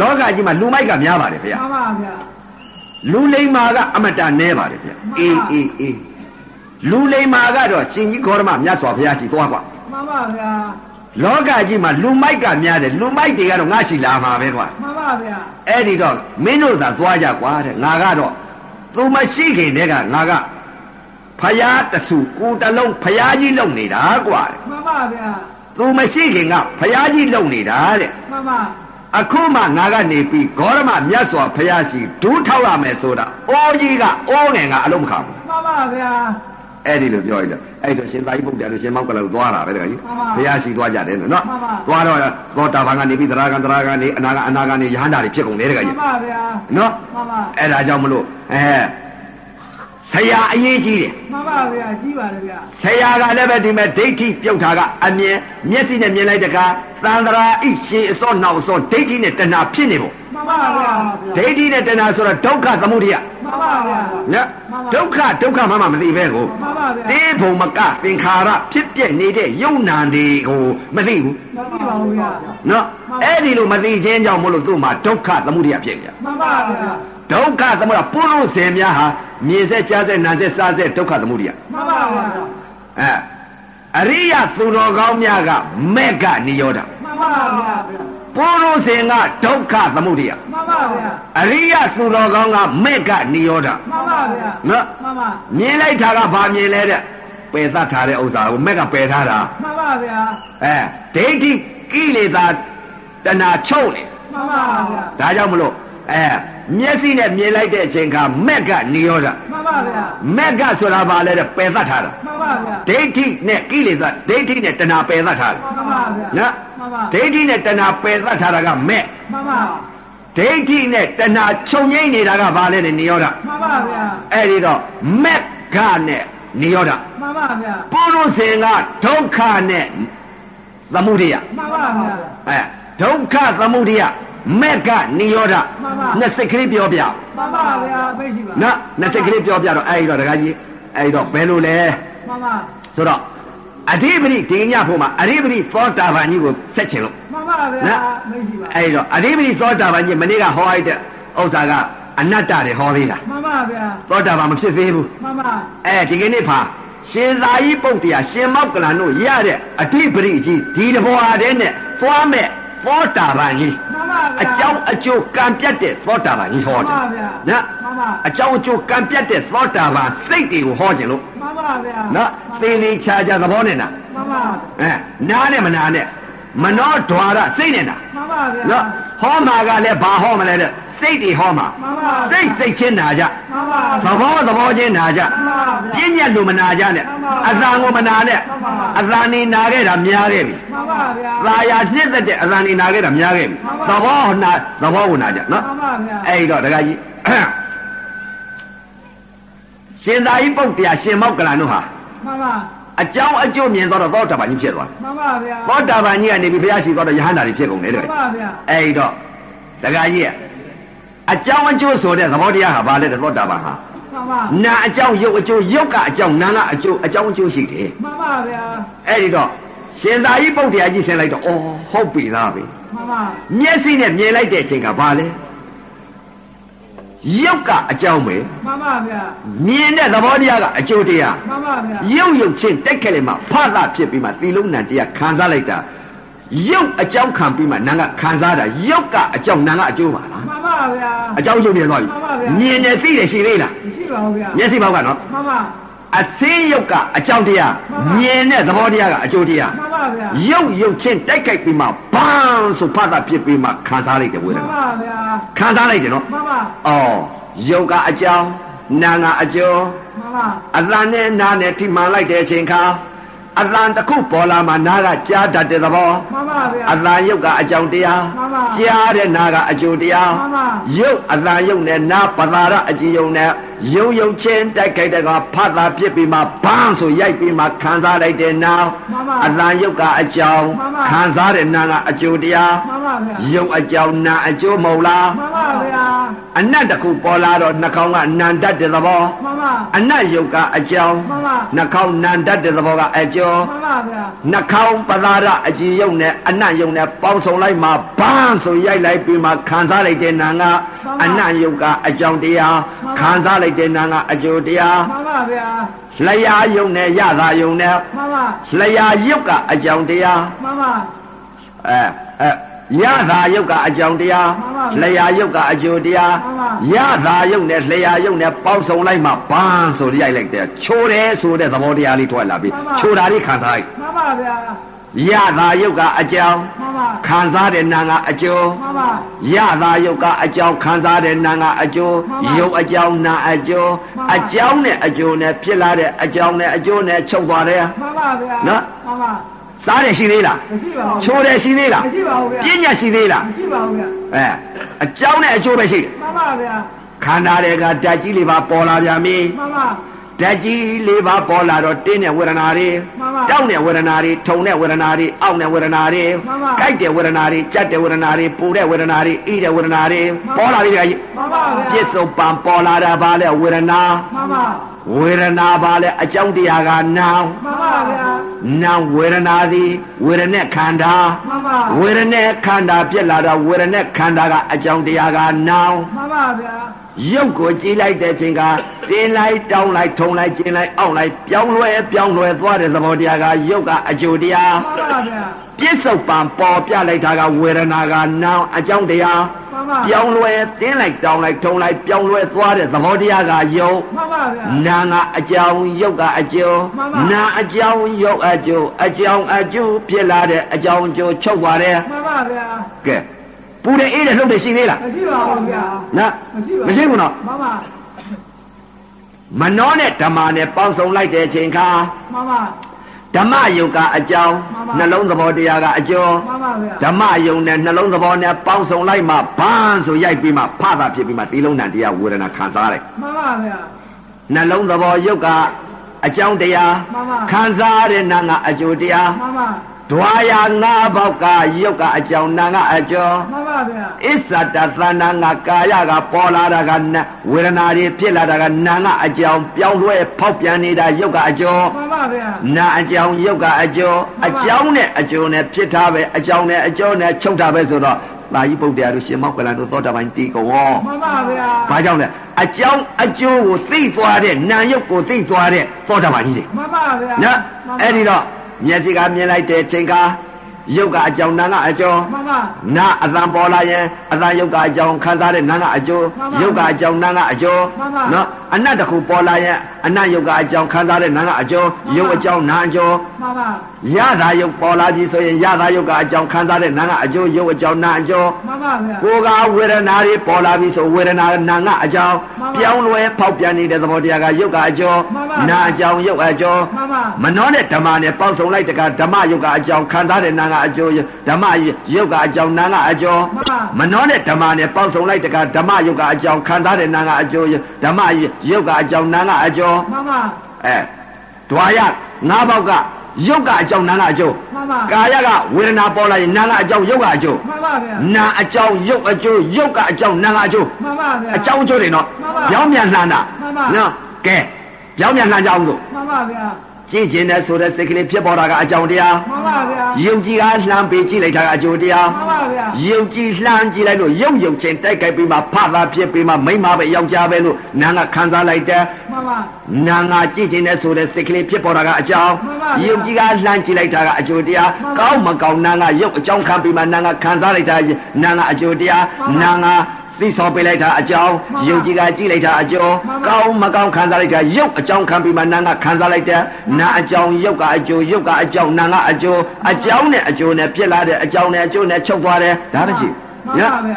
[SPEAKER 1] လောကကြီးမှာလူမိုက်ကများပါတယ်ဗျာ
[SPEAKER 3] မှန်ပါဗျာ
[SPEAKER 1] လူလိမ္မာကအမတန်နဲပါတယ်ဗျ
[SPEAKER 3] မှန်ပါ
[SPEAKER 1] အေးအေးအေးလူလိမ္မာကတော့ရှင်ကြီးခေါရမမြတ်စွာဘုရားရှိသွားကွာ
[SPEAKER 3] မှန်ပါဗျာ
[SPEAKER 1] လောကကြီးမှာလူမိုက်ကများတယ်လူမိုက်တွေကတော့ငါရှိလာမှာပဲကွာ
[SPEAKER 3] မှန်ပါဗျာ
[SPEAKER 1] အဲ့ဒီတော့မင်းတို့သာသွားကြကွာတဲ့ငါကတော့သူမရှိခင်တည်းကငါကဖျားတစ်စုကိုယ်တစ်လုံးဖျားကြီးလုံနေတာကွာတဲ့
[SPEAKER 3] မှန်ပါဗျာ
[SPEAKER 1] သူမရှိခင်ကဖျားကြီးလုံနေတာတဲ့
[SPEAKER 3] မှန်ပါ
[SPEAKER 1] အခုမှငါကနေပြီးဂေါရမမြတ်စွာဘုရားရှိဒူးထောက်ရမယ်ဆိုတာအိုးကြီးကအိုးငယ်ကအလုံးမခံဘူး
[SPEAKER 3] မှန်ပါဗျာ
[SPEAKER 1] အဲ့ဒီလိုပြောရည်တော့အဲ့တော့ရှင်သာရိပုတ္တရာတို့ရှင်မောက်ကလည်းသွားတာပဲတခါကြီး
[SPEAKER 3] မှန်ပါ
[SPEAKER 1] ဘုရားရှိသွားကြတယ်နော်
[SPEAKER 3] မှန်ပါ
[SPEAKER 1] သွားတော့သောတာပန်ကနေပြီးသရဂံသရဂံနေအနာဂံအနာဂံနေယဟန္တာတွေဖြစ်ကုန်တယ်တခါ
[SPEAKER 3] မှ
[SPEAKER 1] ကြီး
[SPEAKER 3] န်ပါဗျာ
[SPEAKER 1] နော်
[SPEAKER 3] မှန်ပါ
[SPEAKER 1] အဲ့ဒါကြောင့်မလို့အဲဆရာအရေးကြီးတယ်
[SPEAKER 3] မှန်ပါဗျာကြီးပါတယ်ဗျာ
[SPEAKER 1] ဆရာကလည်းပဲဒီမဲ့ဒိဋ္ဌိပြုတ်တာကအမြင်မျက်စိနဲ့မြင်လိုက်တခါသံသရာဣရှင်အစောနောက်အစောဒိဋ္ဌိနဲ့တဏှာဖြစ်နေပုံ
[SPEAKER 3] မှန်ပါဗျာ
[SPEAKER 1] ဒိဋ္ဌိနဲ့တဏှာဆိုတော့ဒုက္ခသမုဒယ
[SPEAKER 3] မှန်ပါဗျာ
[SPEAKER 1] နော်
[SPEAKER 3] မှန်ပါ
[SPEAKER 1] ဒုက္ခဒုက္ခမှမှမသိပဲကို
[SPEAKER 3] မှန်ပါဗျာ
[SPEAKER 1] တေဘုံမကသင်္ခါရဖြစ်ပြနေတဲ့ယုံနာတွေကိုမသိဘူး
[SPEAKER 3] မသိပါဘူးဗျာ
[SPEAKER 1] နော်အဲ့ဒီလိုမသိခြင်းကြောင့်မလို့သူ့မှာဒုက္ခသမုဒယဖြစ်ကြ
[SPEAKER 3] မှန်ပါဗျာ
[SPEAKER 1] ဒုက္ခသမုဒယပုရုဇဉ်များဟာမြင်ဆက်ကြားဆက်နာဆက်စားဆက်ဒုက္ခသမုဒယ
[SPEAKER 3] မှန်ပါဗျာ
[SPEAKER 1] အဲအရိယသူတော်ကောင်းများကမက်ကနိရောဓ
[SPEAKER 3] မှန်ပါဗျာ
[SPEAKER 1] ပု စဉ်ကဒုက္ခသမုဒယ
[SPEAKER 3] မှန်ပါဗျာ
[SPEAKER 1] အရိယသူတော်ကောင်းကမေကနိရောဓ
[SPEAKER 3] မှန်ပါဗျာ
[SPEAKER 1] နော်
[SPEAKER 3] မှန်ပါ
[SPEAKER 1] မြင်လိုက်တာကဘာမြင်လဲတဲ့ပယ်သတ်ထားတဲ့ဥစ္စာကိုမေကပယ်ထားတာ
[SPEAKER 3] မှန်ပါဗျာ
[SPEAKER 1] အဲဒိဋ္ဌိကိလေသာတဏှာချုပ်နေ
[SPEAKER 3] မှန်ပါဗျာ
[SPEAKER 1] ဒါကြောင့်မလို့အဲမျက်စိနဲ့မြင်လိုက်တဲ့အချိန်ကမေကနိရောဓ
[SPEAKER 3] မှန်ပါဗျာ
[SPEAKER 1] မေကဆိုတာဘာလဲတဲ့ပယ်သတ်ထားတာ
[SPEAKER 3] မှန်ပါဗျာ
[SPEAKER 1] ဒိဋ္ဌိနဲ့ကိလေသာဒိဋ္ဌိနဲ့တဏှာပယ်သတ်ထားတယ်
[SPEAKER 3] မှန်ပါဗျာ
[SPEAKER 1] နော်
[SPEAKER 3] မှန်ပါ
[SPEAKER 1] ဒိဋ္ဌိနဲ့တဏှာပယ်သတ်ထားတာကမဲ့
[SPEAKER 3] မှန်ပါ
[SPEAKER 1] ဒိဋ္ဌိနဲ့တဏှာခြုံငိမ့်နေတာကဘာလဲနဲ့နိရောဓ
[SPEAKER 3] မှန်ပါဗျာ
[SPEAKER 1] အဲ့ဒီတော့မက်ကနဲ့နိရောဓ
[SPEAKER 3] မှန်ပါဗျာ
[SPEAKER 1] ပုရုษင်ကဒုက္ခနဲ့သမှုရိယ
[SPEAKER 3] မှန်ပါဗျာ
[SPEAKER 1] အဲဒုက္ခသမှုရိယမက်ကနိရောဓ
[SPEAKER 3] မှန်ပါ
[SPEAKER 1] နှစ်စိတ်ကလေးပြောပြ
[SPEAKER 3] မှန်ပါဗျာသိရှိပါ
[SPEAKER 1] နော်နှစ်စိတ်ကလေးပြောပြတော့အဲ့ဒီတော့ဒကာကြီးအဲ့ဒီတော့ဘယ်လိုလဲ
[SPEAKER 3] မှန်ပါ
[SPEAKER 1] ဆိုတော့အဓိပတိဒီညဖို့မှာအဓိပတိသောတာပန်ကြီးကိုဆက်ချင်လို့
[SPEAKER 3] မှန်ပါဗျာသိရှိပါ
[SPEAKER 1] အဲ့ဒီတော့အဓိပတိသောတာပန်ကြီးမနေ့ကဟောလိုက်တဲ့ဥစ္စာကအနတ္တတွေဟောသေးတာ
[SPEAKER 3] မှန်ပါဗျာ
[SPEAKER 1] သောတာပန်မဖြစ်သေးဘူး
[SPEAKER 3] မှန်ပါ
[SPEAKER 1] အဲဒီကနေ့ဖာရှင်သာယီပုတ်တရားရှင်မောက်ကလန်တို့ရတဲ့အတိပရိကြီးဒီတဘောအားတဲ့နဲ့သွားမဲ့သောတာပန်ကြီး
[SPEAKER 3] မှန်ပါဗျာ
[SPEAKER 1] အကြောင်းအကျိုးကံပြတ်တဲ့သောတာပန်ကြီးဟော
[SPEAKER 3] မှန်
[SPEAKER 1] တယ်
[SPEAKER 3] ပါဗျာ
[SPEAKER 1] နော်
[SPEAKER 3] မှန်ပါ
[SPEAKER 1] အကြောင်းအကျိုးကံပြတ်တဲ့သောတာပန်စိတ်တွေကိုဟောခြင်းလို့
[SPEAKER 3] မှန်ပါဗျာ
[SPEAKER 1] နော်သေလေးချာချာသဘောနဲ့နာ
[SPEAKER 3] မှန်ပါ
[SPEAKER 1] အဲနားနဲ့မနာနဲ့မနောဓွာရစိတ်နဲ့နာ
[SPEAKER 3] မှန်ပါဗျာ
[SPEAKER 1] နော်ဟောမှာကလည်းဘာဟောမလဲတဲ့စိတ်တွေဟောမှာ
[SPEAKER 3] မှန်ပါ
[SPEAKER 1] စိတ်စိတ်ချင်းနာကြ
[SPEAKER 3] မှန်
[SPEAKER 1] သ
[SPEAKER 3] ပါဗျာ
[SPEAKER 1] ဘောသဘောချင်းနာကြ
[SPEAKER 3] မှန်ပါ
[SPEAKER 1] ပြ
[SPEAKER 3] ဗျာ
[SPEAKER 1] င်းညက်လို့မနာကြနဲ့
[SPEAKER 3] မှန်ပါ
[SPEAKER 1] အသာကိုမနာနဲ့
[SPEAKER 3] မှန်ပါ
[SPEAKER 1] အသာနေနာခဲ့တာများခဲ့ပြီ
[SPEAKER 3] မှန်ပါဗျာ
[SPEAKER 1] သာယာနှစ်သက်တဲ့အသာနေနာခဲ့တာများခဲ့ပြီ
[SPEAKER 3] မှန်
[SPEAKER 1] သ
[SPEAKER 3] ပါ
[SPEAKER 1] ဘောနာသဘောကိုနာကြနော်
[SPEAKER 3] မှန်ပါဗျာ
[SPEAKER 1] အဲ့ဒီတော့ဒကာကြီး ရှင်သာရိပုတ္တရာရှင်မောက္ကလန်တို့ဟာ
[SPEAKER 3] မှန်ပါ
[SPEAKER 1] အကြောင်းအကျိုးမြင်သောတော့သောတာပန်ကြီးဖြစ်သွားတယ်
[SPEAKER 3] မှန်ပါဗျာ
[SPEAKER 1] သောတာပန်ကြီးကနေပြီးဘုရားရှိခိုးတော့ယဟန္တာတွေဖြစ်ကုန်တယ်
[SPEAKER 3] မှ
[SPEAKER 1] တဲ့
[SPEAKER 3] န်ပါဗျာ
[SPEAKER 1] အဲ့ဒီတော့ဒကာကြီးရဲ့အကြောင်းအကျိုးဆိုတဲ့သဘောတရားဟာဘာလဲတဲ့သောတာပန်ဟာ
[SPEAKER 3] မှန်ပါ
[SPEAKER 1] နာအကြောင်းရုပ်အကျိုးရုပ်ကအကြောင်းနာကအကျိုးအကြောင်းအကျိုးရှိတယ်
[SPEAKER 3] မှန်ပါဗျာ
[SPEAKER 1] အဲ့ဒီတော့ရှင်သာရိပုတ္တရာကြီးဆင်းလိုက်တော့အော်ဟုတ်ပြီလားဗျ
[SPEAKER 3] မှန်ပါ
[SPEAKER 1] မျက်စိနဲ့မြင်လိုက်တဲ့အချိန်ကဘာလဲရုပ်ကအကြောင်းပဲ
[SPEAKER 3] မှန်ပါဗျာ
[SPEAKER 1] မြင်တဲ့သဘောတရားကအကျိုးတရား
[SPEAKER 3] မှန်ပါဗျာ
[SPEAKER 1] ရုပ်ရုပ်ချင်းတိုက်ခက်လေမှဖသဖြစ်ပြီးမှသီလုံးနံတရားခံစားလိုက်တာရုပ်အကြောင်းခံပြီးမှနာကခံစားတာရုပ်ကအကြောင်းနာကအကျိုးပါလား
[SPEAKER 3] မှန်ပါဗျာ
[SPEAKER 1] အကြောင်းရုပ်မြင်သွားပြီ
[SPEAKER 3] မှန်ပါဗျာ
[SPEAKER 1] မြင်တယ်သိတယ်ရှိသေးလား
[SPEAKER 3] ရှိပါဦးဗျာ
[SPEAKER 1] မျက်စိဘောက်ကနော်
[SPEAKER 3] မှန်ပါ
[SPEAKER 1] အသိရုပ်ကအကြောင်းတရားမြင်တဲ့သဘောတရားကအကျိုးတရား
[SPEAKER 3] မှန်ပါဗျာ
[SPEAKER 1] ရုပ်ရုပ်ချင်းတိုက်ခိုက်ပြီးမှဘန်းဆိုဖတ်တာဖြစ်ပြီးမှခံစားလိုက်တယ်ဝေဒ
[SPEAKER 3] မှန်
[SPEAKER 1] နာ
[SPEAKER 3] ပါဗျာ
[SPEAKER 1] ခံစားလိုက်တယ်နော်
[SPEAKER 3] မှန်ပါ
[SPEAKER 1] အော်ရုပ်ကအကြောင်းနာငါအကျော်
[SPEAKER 3] မှန်ပါ
[SPEAKER 1] အသံနဲ့နားနဲ့ထိမှန်လိုက်တဲ့အချိန်ခါအသံတစ်ခုပေါ်လာမှနားကကြားတတ်တဲ့သဘော
[SPEAKER 3] မှန်ပါဗျာ
[SPEAKER 1] အသံရုပ်ကအကြောင်းတရား
[SPEAKER 3] မှန်ပါ
[SPEAKER 1] ကြားတဲ့နားကအကျိုးတရား
[SPEAKER 3] မှန်ပါ
[SPEAKER 1] ရုပ်အသံရုပ်နဲ့နားပသာရအကြည့်ရုံနဲ့ရုပ်ရုပ်ချင်းတိုက်ခိုက်တဲ့ကဖတ်တာဖြစ်ပြီးမှဘန်းဆိုရိုက်ပြီးမှခံစားလိုက်တဲ့နား
[SPEAKER 3] မှန်ပါ
[SPEAKER 1] အတန်ယုတ်ကအကြောင်း
[SPEAKER 3] မှန်ပါ
[SPEAKER 1] ခံစားတဲ့နာကအကျိုးတရား
[SPEAKER 3] မှန်ပါဗျာ
[SPEAKER 1] ယုတ်အကြောင်းနာအကျိုးမဟုတ်လား
[SPEAKER 3] မှန်ပါဗျာ
[SPEAKER 1] အနတ်တစ်ခုပေါ်လာတော့နှာခေါင်းကနန္တတ်တဲ့သဘော
[SPEAKER 3] မှန်ပါ
[SPEAKER 1] အနတ်ယုတ်ကအကြောင်း
[SPEAKER 3] မှန်ပါ
[SPEAKER 1] နှာခေါင်းနန္တတ်တဲ့သဘောကအကျော်
[SPEAKER 3] မှန်ပါဗျာ
[SPEAKER 1] နှာခေါင်းပသာရအကြည်ယုတ်နဲ့အနတ်ယုတ်နဲ့ပေါင်းစုံလိုက်မှဘန်းဆိုရိုက်လိုက်ပြီးမှခံစားလိုက်တဲ့နာကအနတ်ယုတ်ကအကြောင်းတရားခံစားလိုက်တဲ့နာကအကျိုးတရား
[SPEAKER 3] မှန်ပါဗျာ
[SPEAKER 1] လျာယုတ်နဲ့ရတာယုတ်နဲ့
[SPEAKER 3] မှန်ပါ
[SPEAKER 1] လျာယုတ်ကအကြောင်းတရား
[SPEAKER 3] မှန်ပါ
[SPEAKER 1] အဲအဲရတာယုတ်ကအကြောင်းတရား
[SPEAKER 3] မှန်ပါဗျာ
[SPEAKER 1] လျာယုတ်ကအကျိုးတရား
[SPEAKER 3] မှန်ပါ
[SPEAKER 1] ရတာယုတ်နဲ့လျာယုတ်နဲ့ပေါင်းစုံလိုက်မှဘန်းဆိုရိုက်လိုက်တယ်ချိုးတယ်ဆိုတဲ့သဘောတရားလေးထွက်လာပြီချိုးတာလေးခံစားလိုက်
[SPEAKER 3] မှန်ပါဗျာ
[SPEAKER 1] ရတာယုတ်ကအကြောင်း
[SPEAKER 3] မှန်ပါ
[SPEAKER 1] ခံစားတဲ့နာငါအကျိုး
[SPEAKER 3] မှန်ပါ
[SPEAKER 1] ရတာယုတ်ကအကြောင်းခံစားတဲ့နာငါအကျိုး
[SPEAKER 3] မှန်ပါ
[SPEAKER 1] ယုတ်အကြောင်းနာအကျိုး
[SPEAKER 3] မှန်ပါ
[SPEAKER 1] အကြောင်းနဲ့အကျိုးနဲ့ဖြစ်လာတဲ့အကြောင်းနဲ့အကျိုးနဲ့ချုပ်သွားတယ်
[SPEAKER 3] မှန်ပါဗျာမှန်ပါ
[SPEAKER 1] စားတယ်ရှိသေးလား
[SPEAKER 3] မရှိပါဘူး
[SPEAKER 1] ချိုးတယ်ရှိသေးလား
[SPEAKER 3] မရှိပါဘူးဗျာ
[SPEAKER 1] ပြည့်ညတ်ရှိသေးလား
[SPEAKER 3] မရှိပါဘူးဗျာ
[SPEAKER 1] အဲအကြောင်းနဲ့အကျိုးပဲရှိတယ်
[SPEAKER 3] မှန်ပါဗျာ
[SPEAKER 1] ခန္ဓာတွေကဓာတ်ကြီးလေးပါပေါ်လာပြန်ပြီ
[SPEAKER 3] မှန်ပါ
[SPEAKER 1] ဓာတ်ကြီးလေးပါပေါ်လာတော့တင်းတဲ့ဝေဒနာတွေ
[SPEAKER 3] မှန်ပါ
[SPEAKER 1] တောက်တဲ့ဝေဒနာတွေထုံတဲ့ဝေဒနာတွေအောင့်တဲ့ဝေဒနာတွေ
[SPEAKER 3] မှန်ပါ
[SPEAKER 1] ကြိုက်တဲ့ဝေဒနာတွေကြက်တဲ့ဝေဒနာတွေပူတဲ့ဝေဒနာတွေအိတဲ့ဝေဒနာတွေ
[SPEAKER 3] မှန်ပါ
[SPEAKER 1] ပေါ်လာပြီဓာတ်ကြီး
[SPEAKER 3] မှန်ပါဗျာ
[SPEAKER 1] ပြစ်စုံပံပေါ်လာတာပါလဲဝေဒနာ
[SPEAKER 3] မှန်ပါ
[SPEAKER 1] ဝေဒနာပါလဲအကြောင်းတရားကနာမ်
[SPEAKER 3] မှန်ပါဗျာ
[SPEAKER 1] နာမ်ဝေဒနာသည်ဝေဒနဲ့ခန္ဓာ
[SPEAKER 3] မှန်ပါ
[SPEAKER 1] ဝေဒနဲ့ခန္ဓာပြက်လာတော့ဝေဒနဲ့ခန္ဓာကအကြောင်းတရားကနာမ်
[SPEAKER 3] မှန်ပါဗျာ
[SPEAKER 1] ရုပ်ကိုကြည်လိုက်တဲ့အချိန်ကတင်းလိုက်တောင်းလိုက်ထုံလိုက်ကျင်းလိုက်အောင့်လိုက်ပြောင်းလဲပြောင်းလဲသွားတဲ့သဘောတရားကရုပ်ကအကျိုးတရား
[SPEAKER 3] မှန်ပါဗျာ
[SPEAKER 1] ပြစ္ဆုတ်ပံပေါ်ပြလိုက်တာကဝေဒနာကနာမ်အကြောင်းတရား
[SPEAKER 3] မှန်ပါဗျာ
[SPEAKER 1] ပြောင်းလဲတင်းလိုက်တောင်းလိုက်ထုံလိုက်ပြောင်းလဲသွားတဲ့သဘောတရားကယုံ
[SPEAKER 3] မှန်ပါဗျာ
[SPEAKER 1] နာကအကြောင်းယုတ်ကအကျိုး
[SPEAKER 3] မှန်ပါ
[SPEAKER 1] နာအကြောင်းယုတ်အကျိုးအကြောင်းအကျိုးဖြစ်လာတဲ့အကြောင်းအကျိုးချုပ်သွားတယ်
[SPEAKER 3] မှန်ပါဗျာ
[SPEAKER 1] ကဲပူတဲ့အေးတဲ့လှုပ်တဲ့ရှိသေးလား
[SPEAKER 3] မရှိပါဘူးဗျာ
[SPEAKER 1] နော်
[SPEAKER 3] မ
[SPEAKER 1] မ
[SPEAKER 3] ရှိပါ
[SPEAKER 1] ရှိဘူးနော်
[SPEAKER 3] မှန်ပါ
[SPEAKER 1] မနောနဲ့ဓမ္မနဲ့ပေါင်းစုံလိုက်တဲ့အချိန်ခါ
[SPEAKER 3] မှန်ပါ
[SPEAKER 1] ဓမ္မယုတ်ကအကြောင်း
[SPEAKER 3] မှန်ပါ
[SPEAKER 1] နှလုံးသဘောတရားကအကျိုး
[SPEAKER 3] မှန်ပါဗျာ
[SPEAKER 1] ဓမ္မယုံနဲ့နှလုံးသဘောနဲ့ပေါင်းစုံလိုက်မှဘာဆိုရိုက်ပြီးမှဖတာဖြစ်ပြီးမှဒီလုံးတန်တရားဝေဒနာခံစားလိုက်
[SPEAKER 3] မှန်ပါဗျာ
[SPEAKER 1] နှလုံးသဘောယုတ်ကအကြောင်းတရား
[SPEAKER 3] မှန်ပါ
[SPEAKER 1] ခံစားရတဲ့နာကအကျိုးတရား
[SPEAKER 3] မှန်ပါ
[SPEAKER 1] ဒွာရငါးပေါက်ကယုတ်ကအကြောင်းနာကအကျော်
[SPEAKER 3] မှန်ပါဗျာ
[SPEAKER 1] အစ္ဆတသဏ္ဏငါကာယကပေါ်လာတာကနာဝေဒနာတွေဖြစ်လာတာကနာကအကြောင်းပြောင်းလဲဖောက်ပြန်နေတာယုတ်ကအကျော်
[SPEAKER 3] မှန်ပါဗျာ
[SPEAKER 1] နာအကြောင်းယုတ်ကအကျော်
[SPEAKER 3] မှ
[SPEAKER 1] အ
[SPEAKER 3] န်ပါ
[SPEAKER 1] ကြောင်းနဲ့အကျိုးနဲ့ဖြစ်တာပဲအကြောင်းနဲ့အကျော်နဲ့ချုပ်တာပဲဆိုတော့သာယိပုတ္တရာတို့ရှင်မောက္ကလန်တို့သောတာပန်တီကော
[SPEAKER 3] မှန်ပါဗျာ
[SPEAKER 1] ။ဘာကြောင့်လဲအကြောင်းအကျိုးကိုသိသွားတဲ့နာယုတ်ကိုသိသွားတဲ့သောတာပန်ကြီးတွေ
[SPEAKER 3] မှန်ပါဗျာ
[SPEAKER 1] ။နော်အဲ့ဒီတော့မျက်စိကမြင်လိုက်တဲ့အချိန်ကယုတ်ကအကြောင်းနာကအကျော်
[SPEAKER 3] မှန်ပါ
[SPEAKER 1] နာအသံပေါ်လာရင်အသံယုတ်ကအကြောင်းခံစားတဲ့နာကအကျိုးယုတ်ကအကြောင်းနာကအကျော်နော်အနတ်တစ်ခုပေါ်လာရင်အနတ်ယုတ်ကအကြောင်းခံစားတဲ့နာကအကျော်ယုတ်အကြောင်းနာအကျော်
[SPEAKER 3] မှန်ပါ
[SPEAKER 1] ရတာယုတ်ပေါ်လာပြီဆိုရင်ရတာယုတ်ကအကြောင်းခံစားတဲ့နာကအကျိုးယုတ်အကြောင်းနာအကျော်
[SPEAKER 3] မှန်ပါဗျာ
[SPEAKER 1] ကိုယ်ကဝေဒနာတွေပေါ်လာပြီဆိုဝေဒနာနာငါအကြောင်း
[SPEAKER 3] မှန်ပါ
[SPEAKER 1] ပြောင်းလဲဖောက်ပြန်နေတဲ့သဘောတရားကယုတ်ကအကျော်
[SPEAKER 3] မှန်ပါ
[SPEAKER 1] နာအကြောင်းယုတ်အကျော်
[SPEAKER 3] မှန်ပါ
[SPEAKER 1] မနှောတဲ့ဓမ္မနဲ့ပေါင်းစုံလိုက်တကဓမ္မယုတ်ကအကြောင်းခံစားတဲ့နာငါအကျော်ဓမ္မယုတ်ကအကြောင်းနာငါအကျော်
[SPEAKER 3] မှန်ပါ
[SPEAKER 1] မနောနဲ့ဓမ္မနဲ့ပေါင်းစုံလိုက်တကဓမ္မယုတ်ကအကြောင်းခံစားတဲ့နာငါအကျော်ဓမ္မယုတ်ကအကြောင်းနာငါအကျော်
[SPEAKER 3] မှန်ပါ
[SPEAKER 1] အဲဒွါယငါးပေါက်ကယုတ်ကအကြောင်းနာငါအကျော်
[SPEAKER 3] မှန်ပါ
[SPEAKER 1] ကာယကဝေဒနာပေါ်လာရင်နာငါအကြောင်းယုတ်ကအကျော်
[SPEAKER 3] မှန်ပါဗျာ
[SPEAKER 1] နာအကြောင်းရုပ်အကျိုးရုပ်ကအကြောင်းနာကအကျိုး
[SPEAKER 3] မှန်ပါဗျာ
[SPEAKER 1] အကြောင်းအကျိုးတွေနော်
[SPEAKER 3] မှန်ပါ
[SPEAKER 1] ပြောင်းပြန်လှန်တာ
[SPEAKER 3] မှန်ပါ
[SPEAKER 1] နော်ကဲပြောင်းပြန်လှန်ကြအောင်ဆို
[SPEAKER 3] မှန်ပါဗျာ
[SPEAKER 1] ကြည့်ခြင်းနဲ့ဆိုတဲ့စိတ်ကလေးဖြစ်ပေါ်တာကအကြောင်းတရား
[SPEAKER 3] မှန်ပါဗျာ
[SPEAKER 1] ယုံကြည်ကလှမ်းပေးကြည့်လိုက်တာကအကျိုးတရား
[SPEAKER 3] မှန်ပါဗျာ
[SPEAKER 1] ယုံကြည်လှမ်းကြည့်လိုက်လို့ယုံယုံချင်းတိုက်ခိုက်ပြီးမှဖတာဖြစ်ပြီးမှမိမ့်မပဲယောက်ျားပဲလို့နာကခံစားလိုက်တယ်
[SPEAKER 3] မှန်ပါ
[SPEAKER 1] နာငါကြည့်ခြင်းနဲ့ဆိုတဲ့စိတ်ကလေးဖြစ်ပေါ်တာကအကြောင်း
[SPEAKER 3] မှန်ပါဗျာ
[SPEAKER 1] ယုံကြည်ကလှမ်းကြည့်လိုက်တာကအကျိုးတရား
[SPEAKER 3] မှန်ပါ
[SPEAKER 1] ကောင်းမကောင်းနာငါရုပ်အကြောင်းခံပြီးမှနာငါခံစားလိုက်တာနာငါအကျိုးတရား
[SPEAKER 3] မှ
[SPEAKER 1] နာ
[SPEAKER 3] န်ပါ
[SPEAKER 1] ငါသိစောပေးလိုက်တာအကြောင်း
[SPEAKER 3] မှန်ပါ
[SPEAKER 1] ယုံကြည်ကကြည့်လိုက်တာအကျော်
[SPEAKER 3] မှန်ပါ
[SPEAKER 1] ကောင်းမကောင်းခံစားလိုက်တာရုပ်အကြောင်းခံပြီးမှနာငါခံစားလိုက်တဲ့နာအကြောင်းရုပ်ကအကျိုးရုပ်ကအကြောင်းနာငါအကျိုးအကြောင်းနဲ့အကျိုးနဲ့ပြစ်လာတဲ့အကြောင်းနဲ့အကျိုးနဲ့ချုပ်သွားတယ်ဒါပဲရှိ
[SPEAKER 3] မှန်
[SPEAKER 1] နော်
[SPEAKER 3] ပါဗျာ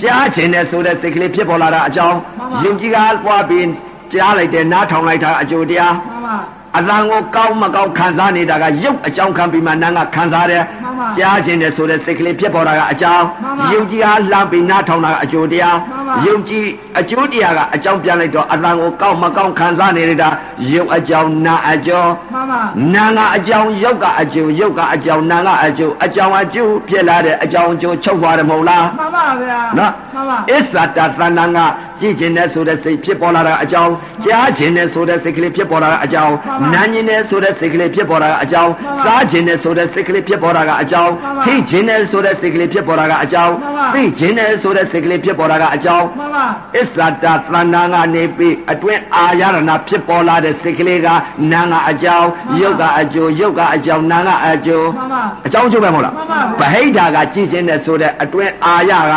[SPEAKER 1] ကြားခြင်းနဲ့ဆိုတဲ့စိတ်ကလေးဖြစ်ပေါ်လာတာအကြောင်း
[SPEAKER 3] မှန်ပါ
[SPEAKER 1] ယုံကြည်ကားသွားပြီးကြားလိုက်တဲ့နားထောင်လိုက်တာအကျိုးတရား
[SPEAKER 3] မှန်ပါ
[SPEAKER 1] အသံကိုကောင်းမကောင်းခံစားနေတာကရုပ်အကြောင်းခံပြီးမှနာကခံစားတယ်
[SPEAKER 3] မှန်ပါ
[SPEAKER 1] ကြားခြင်းနဲ့ဆိုတဲ့စိတ်ကလေးဖြစ်ပေါ်လာတာကအကြောင်း
[SPEAKER 3] မှန်ပါ
[SPEAKER 1] ယုံကြည်ကားလှမ်းပြီးနားထောင်တာကအကျိုးတရား
[SPEAKER 3] မှန်ပါ
[SPEAKER 1] ယုံကြည်အကျိုးတရားကအကြောင်းပြန်လိုက်တော့အသံကိုကောင်းမကောင်းခံစားနေတာရုပ်အကြောင်းနာအကြောင်း
[SPEAKER 3] မှန်ပါ
[SPEAKER 1] နာငါအကြောင်းယောက်ကအကျိုးယောက်ကအကြောင်းနာငါအကျိုးအကြောင်းအကျိုးဖြစ်လာတဲ့အကြောင်းအကျိုးချုပ်သွားတယ်မဟုတ်လား
[SPEAKER 3] မှန်ပါဗျာ
[SPEAKER 1] နော်
[SPEAKER 3] မှန်ပါ
[SPEAKER 1] အစ္ဆတသဏ္ဏကကြည်ကျင်တဲ့ဆိုတဲ့စိတ်ဖြစ်ပေါ်လာတာအကြောင်းကြားကျင်တဲ့ဆိုတဲ့စိတ်ကလေးဖြစ်ပေါ်လာတာအကြောင်းနာကျင်တဲ့ဆိုတဲ့စိတ်ကလေးဖြစ်ပေါ်လာတာအကြောင်းစားကျင်တဲ့ဆိုတဲ့စိတ်ကလေးဖြစ်ပေါ်လာတာအကြောင်းထိကျင်တဲ့ဆိုတဲ့စိတ်ကလေးဖြစ်ပေါ်လာတာအကြောင်းသိကျင်တဲ့ဆိုတဲ့စိတ်ကလေးဖြစ်ပေါ်လာတာအကြောင်း
[SPEAKER 3] မှန်ပါ
[SPEAKER 1] အစ္ဆတသဏ္ဏကနေပြီးအတွင်းအာရဏဖြစ်ပေါ်လာတဲ့စိတ်ကလေးကနာငါအကြောင်းယုတ်ကအကျိုးယုတ်ကအကြောင်းနာငါအကျိုး
[SPEAKER 3] မှန်ပါ
[SPEAKER 1] အကြောင်းအကျိုးပဲမဟုတ်လား
[SPEAKER 3] မှန်ပါဗျာ
[SPEAKER 1] ဗဟိတာကကြည်ချင်းတဲ့ဆိုတဲ့အတွင်းအာရက